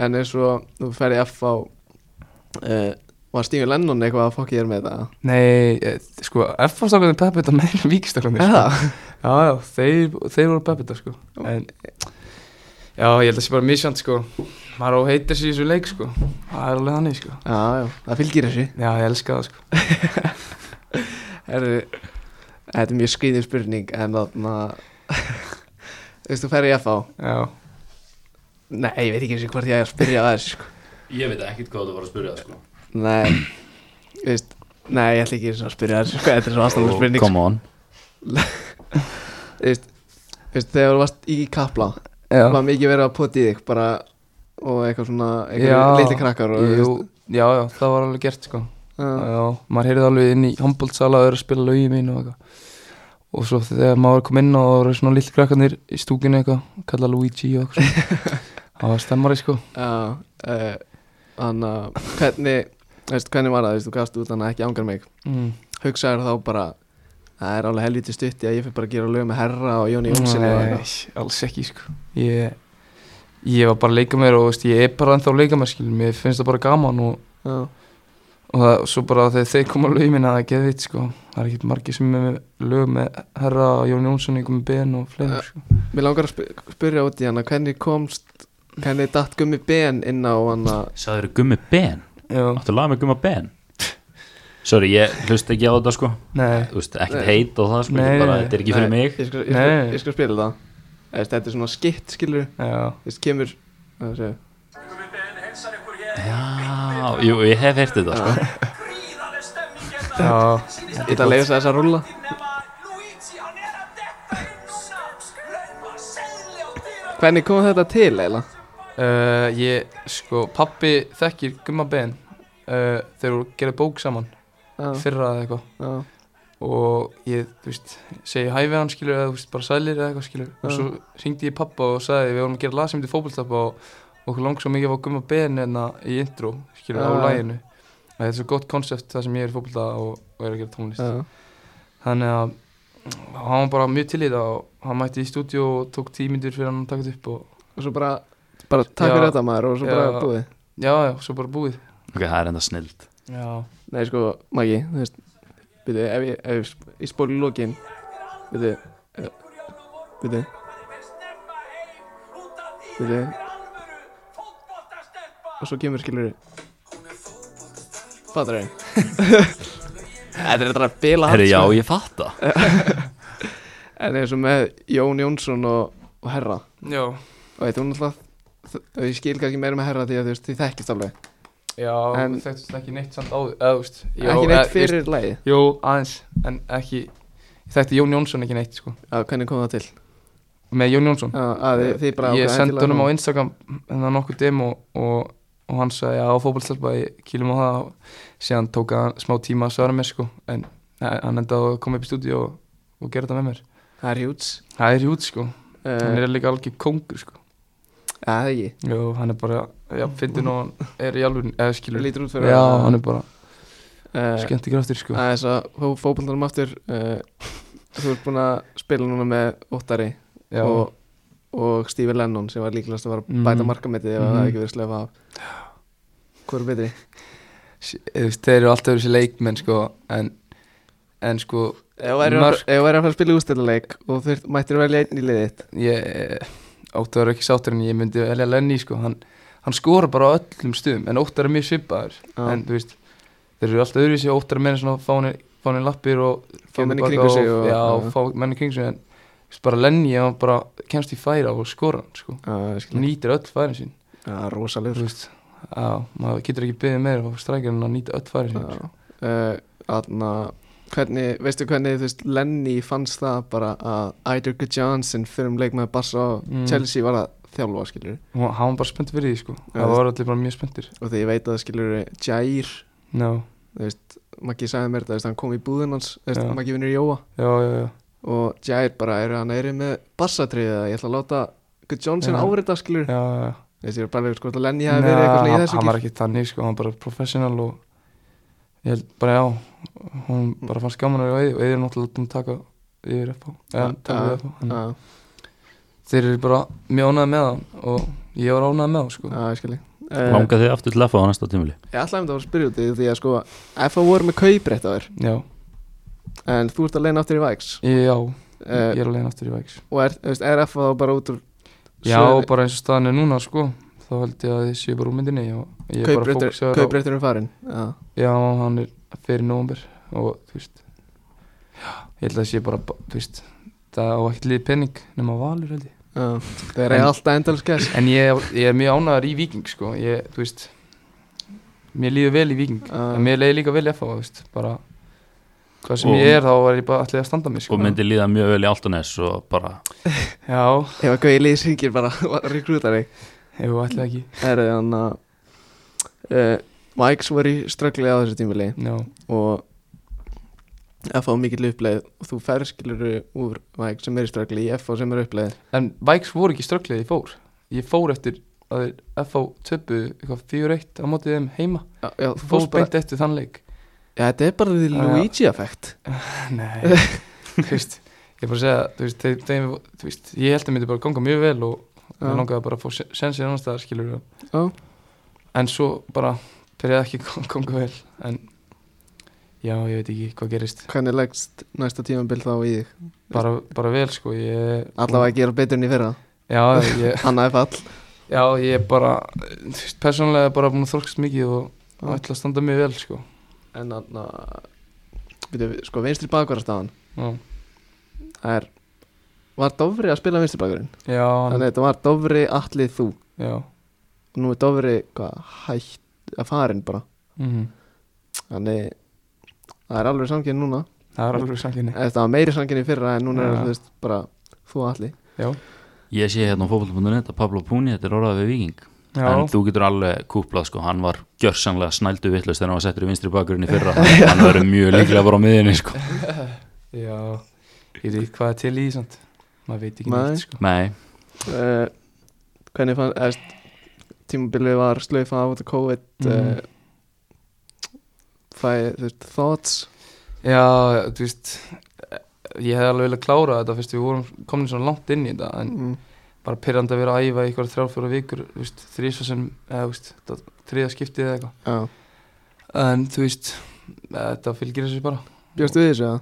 S1: en eins og þú ferði F á uh, var Stífi Lennon eitthvað að fokki þér með það
S3: Nei, eh, sko, F-stokkarnir peppa þetta meira en víkistaklarnir sko.
S1: eða
S3: Já, já, þeir, þeir voru peppa þetta sko. en, Já, ég held að það sé bara misjant sko. maður á heitir sér í þessu leik sko. það er alveg þannig sko.
S1: já já það fylgir þessu
S3: Já, ég elska það sko.
S1: Herru, þetta er mjög skrýðin spurning en þarna Veistu, þú ferði í FH?
S3: Já,
S1: Nei, ég veit ekki eins og hvort ég er að spyrja að þessu sko.
S2: Ég veit ekkert hvað þú var að spyrja það sko
S1: Nei, veist Nei, ég ætla ekki eins og að spyrja að þessu sko. Þetta er svo aðstæðan spurning sko.
S2: Come on
S1: veist, veist, Þegar þú varst í kapla
S3: já,
S1: var mikið verið að pota í þig bara og eitthvað svona,
S3: Já.
S1: eitthvað litli krakkar og,
S3: jú, já, já, það var alveg gert sko.
S1: veist,
S3: Já, maður heyrði alveg inn í handbóltsala og er að spila lögi mín og eitthvað og svo þegar maður kom inn og það voru svona lilli krakkanir í stúkinu eitthvað kalla Luigi og eitthvað svona. það var stemmari sko
S1: Já, eh, þannig að hvernig, veist, hvernig var það, veist, þú gafst út þannig að ekki ángar mig
S3: mm.
S1: hugsaður þá bara það er alveg helviti stutti að ég fyrir bara að gera lög með Herra og Jóni Jónssoni og
S3: Nei,
S1: eitthvað
S3: alls ekki sko Ég, ég var bara að leika mér og veist, ég er bara ennþá að leika mér skilur Mér finnst það bara gaman og,
S1: Já,
S3: og það, svo bara þegar þeir koma lög minna það er geðvitt sko Það er ekkert margir sem er með lög með herra og Jón Jónsson ykkur með ben og fleiri sko
S1: Mér Eh, langar að sp- spyrja út í hana hvernig komst hvernig datt gummi ben inn á hana
S2: Sæður gummi Ben
S3: Já,
S2: Áttu lag með gumma Ben Sorry, ég hlust ekki á þetta sko
S3: nei,
S2: Þú veist, ekkert heit og það sko
S3: Nei,
S2: Nei, bara,
S3: nei,
S2: Þetta er ekki fyrir
S1: Nei,
S2: mig
S1: Ég skal, ég
S3: Nei.
S1: skal, ég skal spila það Eðst, Þetta er svona skitt skilur
S3: já,
S1: Þess kemur hvað sé ég?
S2: Já, jú, ég hef heyrt þetta sko
S3: já,
S1: Ég ætla að leiða þess að rúlla Hvernig kom þetta til eiginlega?
S3: uh, ég sko, pappi þekkir gumma ben uh, Þeir voru gerði bók saman
S1: Já,
S3: fyrra eða eitthvað
S1: já,
S3: og ég, þú veist, segi hæ við hann skilur eða, þú veist, bara sælir eða eitthvað skilur og
S1: Já.
S3: svo syngdi ég pappa og sagði við vorum að gera lag sem þetta fótboltappa og okkur langt svo mikið var gumma ben hérna í intro, skilur, á
S1: Já.
S3: laginu og þetta er svo gott konsept það sem ég er í fótbolta og, og er að gera tónlist
S1: já.
S3: þannig að hann var bara mjög til í það og hann mætti í stúdíu og tók tímyndir fyrir hann að taka þetta upp og
S1: og svo bara, bara takk fyrir
S3: Já.
S1: þetta maður og svo
S3: Já.
S1: bara búið
S3: já, já, svo bara búið
S2: ok, það er enda snild
S3: já,
S1: Nei sko, Maggi, þú veist Býtu, ef ég, ef ég, sp- ég spóli lokin Býtu Býtu Býtu Og svo kemur skilur Fattur þau Þetta er þetta að bila sko.
S2: herri, já, ég fatt það
S1: En eins og með Jón Jónsson og, og Herra
S3: já,
S1: Og þú náttúrulega þ- og Ég skil kannski meira með Herra því að þú veist Þið þekkist alveg
S3: já
S1: En-
S3: þekktist ekki neitt samt áður eða, þú veist, já,
S1: Ekki
S3: eða,
S1: neitt
S3: þú veist,
S1: fyrir lagið
S3: Jú, aðeins, en ekki Ég þekkti Jón Jónsson ekki neitt, sko
S1: Já, hvernig kom það til?
S3: Með Jón Jónsson
S1: Já, að þið, þið bara
S3: Ég
S1: ákvað
S3: sendi
S1: endilega
S3: honum
S1: nú.
S3: á Instagram hennar nokkuð demo og, og hann sagði já, fótballstelpa, ég kýlum á það og síðan tók hann smá tíma að svara mér, sko en eh, hann endaði að koma upp í stúdíu og, og gera þetta með mér
S1: Það er hjúts
S3: Það er hjút, sko
S1: uh,
S3: Hann er líka algjör kongur, sko
S1: Já, það er ekki
S3: Jú, hann er bara, já, fyndin og hann er í alveg, eða skilur
S1: lítur út fyrir
S3: Já, hann er bara
S1: uh,
S3: skemmt ekki ráttir, sko
S1: Það er svo fókbaldanum aftur uh, Þú ert búinn að spila núna með Óttari
S3: Já,
S1: og, og Steve Lennon sem var líklegast að vera að
S3: Mhm.
S1: bæta markametið ef það
S3: Mhm.
S1: hefði ekki verið slefa af Hvor er betri?
S3: sí- þú veist, þeir eru alltaf þessi leikmenn, sko En, en sko,
S1: Ef þú værir að-
S3: Mörk.
S1: ef þú væri að fara að spila ústiluleik og þú þurft- mættir velja einn í liðið þitt
S3: ég Óttar er ekki sáttur en ég myndi velja Lenny sko, hann, hann skora bara á öllum stuðum en Óttar er mjög svipaður
S1: Já.
S3: en þú veist, þeir eru alltaf öðruvísi Óttar er meira svona fáni, fáni lappir og
S1: Fá menn í
S3: baka
S1: kringum sig og-
S3: og, já,
S1: já.
S3: og fá menn í kringu sig en þú veist, bara Lenny, hann bara kemst í færa og skora hann sko,
S1: Já,
S3: hann
S1: skilja.
S3: nýtir öll færin sín
S1: Já,
S3: þú
S1: rosalegur
S3: veist, já, maður getur ekki byggðið meira og strækir hann að nýta öll færin sín sko.
S1: Þannig að Eh, Hvernig, veistu hvernig, þú veist, Lenny fannst það bara að Eidur Johnson fyrir um leik með Barca og
S3: Mm.
S1: Chelsea var að þjálfa, skiljur
S3: og hann var bara spennt fyrir því sko,
S1: Já,
S3: það
S1: þú
S3: var allir bara mjög spenntir
S1: og þegar ég veit að skilur Jair
S3: já,
S1: Maggi sagði mér þetta, þú veist, hann kom í búðin hans þú veist,
S3: Já.
S1: Maggi vinnur Jóa
S3: já, já, já
S1: og Jair bara, er hann eiri með bassatriðið eða ég ætla að láta Good Johnson
S3: Já.
S1: áreita skilur,
S3: já, já, já.
S1: þú veist, ég er bara legur sko að Lenny hafi verið eitthvað svona í
S3: Nei,
S1: þessu
S3: hann var
S1: gír
S3: ekki þannig sko, hann var bara professional og ég held bara já hún bara fannst gaman að vera og eða er náttúrulega búin að taka yfir upp á eða
S1: Já,
S3: taka
S1: já,
S3: við upp á hann.
S1: Já,
S3: þeir eru bara mjög ánægð með hann og ég var ánægð með hann sko
S1: já, ég skilji Eh,
S2: langa þið aftur til að fá á næsta tímuli
S1: Ég ætlaði um þetta að fara að spyrja út í því, því að sko ef það voru með kauprætt á þér
S3: já,
S1: en þú ert að leina aftur í Vax
S3: ég, já,
S1: uh,
S3: ég er alveg aftur í vægs
S1: og er, þú veist, er F þá bara út úr
S3: já, bara eins og staðan er núna sko þá held ég að þið séu bara úr myndinni og ég er bara fókusaður á
S1: kauprætturinn farin Já,
S3: já, hann er fyrir nómber og þú veist já, ég held að það sé bara, ba- þú veist það á ekkert liðið penning nema valur held ég
S1: já, það er
S3: En-
S1: alltaf endalskess
S3: En ég, ég er mjög ánægðar í Viking sko ég, þú veist Mér líður vel í Viking
S1: Já.
S3: En mér leiði líka vel í FH, þú veist Bara Hvað sem
S2: Og-
S3: ég er þá var ég bara alltaf að standa mig sko
S2: og myndi líða mjög vel í Altanes og bara,
S3: Já,
S1: Ef að Gauði Lýs hringir bara og rekrútar þig
S3: ef þú ætlaði ekki
S1: Það er þannig að uh, Mikes var í ströggli á þessu tímili
S3: Já,
S1: og F.A. mikill uppleið og þú ferskilur úr Mike sem er í ströggli í F.A. sem er uppleið
S3: en Vikes voru ekki strögglega ég fór Ég fór eftir að þeir FH töpu eitthvað 4-1 á mótið þeim heima
S1: Já, já, þú
S3: Fór
S1: fórst bara
S3: beint eftir þann leik
S1: Já, þetta er bara því
S3: Já, já.
S1: Luigi-effekt
S3: Nei, þú veist Ég er bara að segja, þú veist, þeim, þeim, þú veist Ég held að myndi bara ganga mjög vel og
S1: Já.
S3: mér langaði bara að fá sensið annars staðar skilur við
S1: Já,
S3: en svo bara byrjaði ekki að ganga vel en já, ég veit ekki hvað gerist
S1: hvernig leggst næsta tímabil þá í þig?
S3: bara, bara vel sko ég,
S1: Allavega að gera betur enn í fyrra
S3: já, ég,
S1: Hanna er fall
S3: já, ég er bara þú veist, persónulega bara búin að þorkast mikið og
S1: Já.
S3: ætla að standa mjög vel sko
S1: En þannig að Við sko, vinstri bakvarastafan
S3: já,
S1: Það er Var Dofri að spila vinstri bakvarinn?
S3: já,
S1: Þannig að þetta var Dofri, Atli, þú
S3: já.
S1: nú er Dofri hvað, hætt að farin bara
S3: mhm.
S1: þannig það er alveg samkynni núna
S3: það er alveg sanginni
S1: Eða, það var meiri samkynni í fyrra en núna er
S3: Já.
S1: þú veist bara þú allir
S3: já,
S2: ég sé hérna á fótboll.net að Pablo Púni, þetta er orðað við Viking
S3: já,
S2: en þú getur alveg kúplað sko, hann var gjörsanlega snældu vittlust þegar hann var settur í vinstri bakurinn í fyrra hann verður mjög líklega bara á miðinni sko.
S3: já ég veit ekki hvað er til í því samt maður veit ekki
S1: Nei.
S3: neitt sko
S2: nei,
S1: uh, hvernig fann eðst, tímabilið var slaufa á þetta COVID mm.
S3: Mhm.
S1: uh, fæ, þú veist, thoughts
S3: já, þú veist ég hef alveg viljað klára þetta fyrst við vorum komin svona langt inn í þetta en
S1: Mm.
S3: bara pyrrandi að vera að æfa eitthvað þrjá fjóra vikur þú veist, þrísa sem eða þú veist, þriða skiptið eða
S1: Já.
S3: eitthvað en þú veist þetta fylgir þessu bara
S1: Bjóstu við þessu?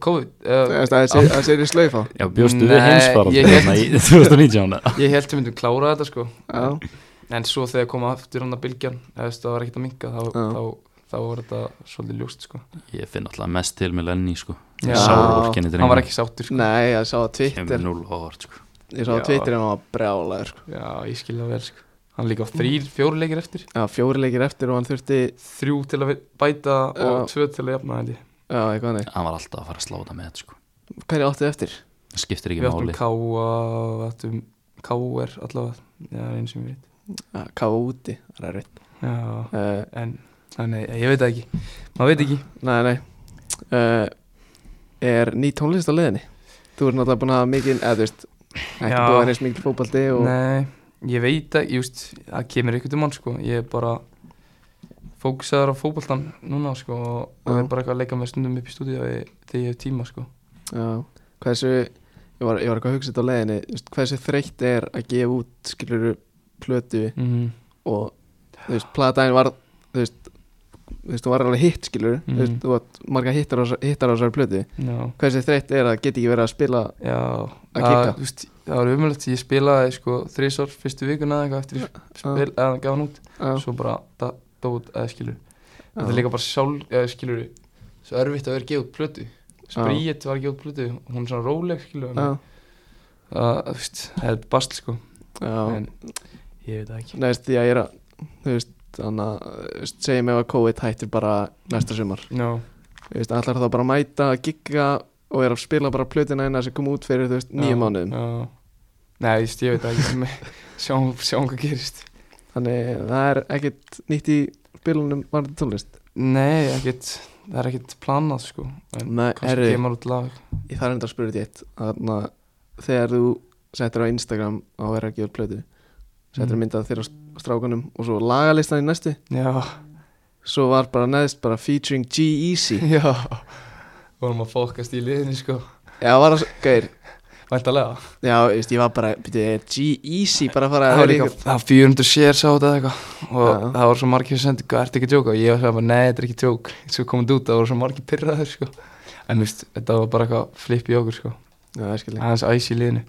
S3: COVID eða,
S1: Það er seri, seri slaufa
S2: Já, bjóstu við
S3: Nei,
S2: heimsfaraldur
S3: ég
S2: hérna í 2019 eða?
S3: ég held við myndum klára þetta sko
S1: Já,
S3: en svo þegar koma aftur hann að bylgjan eða þú veist, það var ekkert að minka þá,
S1: Já.
S3: þá, þá var þetta svolítið ljóst sko
S2: Ég finn alltaf mest til með Lenny sko
S3: Já.
S2: Sárvorkinni
S3: hann var ekki sáttur sko
S1: nei, ég sá á
S2: Kemur
S1: Twitter
S2: núl á orð sko
S1: Ég sá á
S3: Já.
S1: Twitter en hann var brjálaður sko.
S3: já ég skilja vel sko hann líka á þrýr fjóri leikir eftir
S1: Já, fjóri leikir eftir og hann þurfti
S3: þrjú til að vi- bæta
S1: Já.
S3: og tvö til að jafna held ég
S1: Já, eitthvað neitt
S2: Hann var alltaf að fara að sláta með þetta sko
S1: Hverju áttu eftir?
S2: Það skiptir
S3: við
S2: ekki
S3: áttum
S2: máli
S3: K.A. við áttum K.R. allavega já eins sem ég veit
S1: Já, Káfa úti, það er erfitt
S3: já
S1: uh,
S3: en þannig ég veit það ekki maður veit ekki
S1: Nei, nei uh, Er ný tónlist á leiðinni? Þú er náttúrulega búin að hafa mikið eða þú veist, ekki
S3: Já.
S1: búin að reynst mikið fótbaldi og
S3: nei ég veit að just það kemur ykkur til mann sko ég er bara fókusaður á fókbaltan núna sko og og
S1: Já.
S3: er bara eitthvað að leika með stundum upp í stúdíu þegar ég hef tíma sko
S1: Já, hversu Ég var, ég var eitthvað að hugsa þetta á leiðinni þú veist, Hversu þreytt er að gefa út skiluru plötu
S3: mhm
S1: og þú veist, platæn var þú veist, þú veist, hún var alveg hitt skilur
S3: Mhm.
S1: þú veist, þú var marga hittar á, hittar á þessari plötu
S3: já
S1: hversi þreytt er að geta ekki verið að spila
S3: Já,
S1: Að
S3: það-
S1: kikka.
S3: þú veist, það var umhverfilegt, ég spilaði sko þrísar fyrstu vikuna eða eitthvað eftir ég spil, eða gaf hann út,
S1: Já,
S3: svo bara það dót eða skilur,
S1: já.
S3: þetta er líka bara sjálf, eða skilur, svo erfitt að vera að gefa út plötu, spríet var að gefa út plötu, hún er svona róleg
S1: já,
S3: skilur, en það, þú veist, það er basl sko,
S1: já.
S3: en ég veit það ekki.
S1: Nei, veist, því að ég er að þú veist, þannig að þú veist, segjum ef að COVID hættir bara næsta sumar
S3: Já,
S1: Þú veist, allar þá bara að mæta, gigga og er að spila bara plötuna eina sem kom út fyrir þú veist, nýju
S3: já,
S1: mánuðum
S3: Já, nei, þú veist, ég veit það ekki, Me- sjáum, sjáum hvað gerist.
S1: þannig það er ekkert nýtt í spilunum varðið tónlist
S3: Nei, ekkert, það er ekkert planað sko, en
S1: Nei,
S3: kannski
S1: heyrðu.
S3: kemur út lag.
S1: Ég þarf enda að spyrja þetta í eitt Þannig að þegar þú settir á Instagram á að vera að gefa út plötu settir mm.
S3: Mm.
S1: myndað þér á st- á strákunum og svo lagalistan í næstu
S3: Já.
S1: svo var bara neðst bara featuring G-Eazy
S3: Já, vorum að fókast í liðinni sko,
S1: Já, var það gæðir
S3: væntalega
S1: Já, ég veist, ég var bara, byrju, er G-Eazy bara að fara
S3: Það
S1: að
S3: var
S1: vera
S3: líka,
S1: ykkur
S3: það var 400 shares á þetta eitthvað og
S1: Já.
S3: það voru svo margir sem sendi, hvað, ertu ekki að djóka? Og ég var svo bara, nei, þetta er ekki djók, svo komum út, það voru svo margir pyrraður sko En þú veist, þetta var bara eitthvað flip í okkur sko,
S1: Já, það er skilja
S3: aðeins æs í liðinni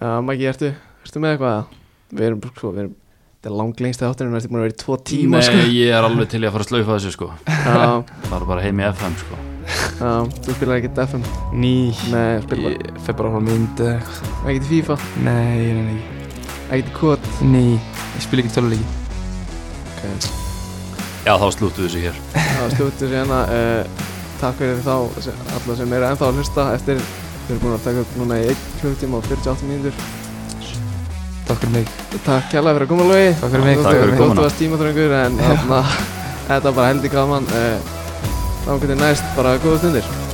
S1: Já, Maggi, ertu, ertu með eitthvað að Við erum, sko, við erum Þetta er langlengst að þáttunum, þetta er búin að vera í tvo tíma,
S2: Nei,
S1: sko
S2: ég er alveg til í að fara að slaufa þessu sko
S1: Já,
S2: Fara bara heim í FM sko
S1: já, þú spilar ekkert FM
S3: Ný,
S1: Nei, spilar
S3: ég fer bara á mynd eða eitthvað,
S1: bara ekkert í FIFA,
S3: nei, ég reyna ekki
S1: ekkert í kod
S3: Ný, ég spil ekki töluleiki
S1: Ok,
S2: Já, þá slúttu þessu hér
S1: Það stjórnir sérna uh, Takk fyrir þá sem- alla sem eru ennþá að hlusta eftir Við erum búin að taka upp núna í 1 klukkutíma og 48 mínútur
S3: Takk fyrir mig,
S1: Takk kjærlega fyrir að koma Lói
S3: takk fyrir mig
S2: Takk fyrir komuna.
S1: Þú varst tímaþröngur en þarna, þetta var bara heldig gaman uh, Þá hvernig Eh, næst bara góða stundir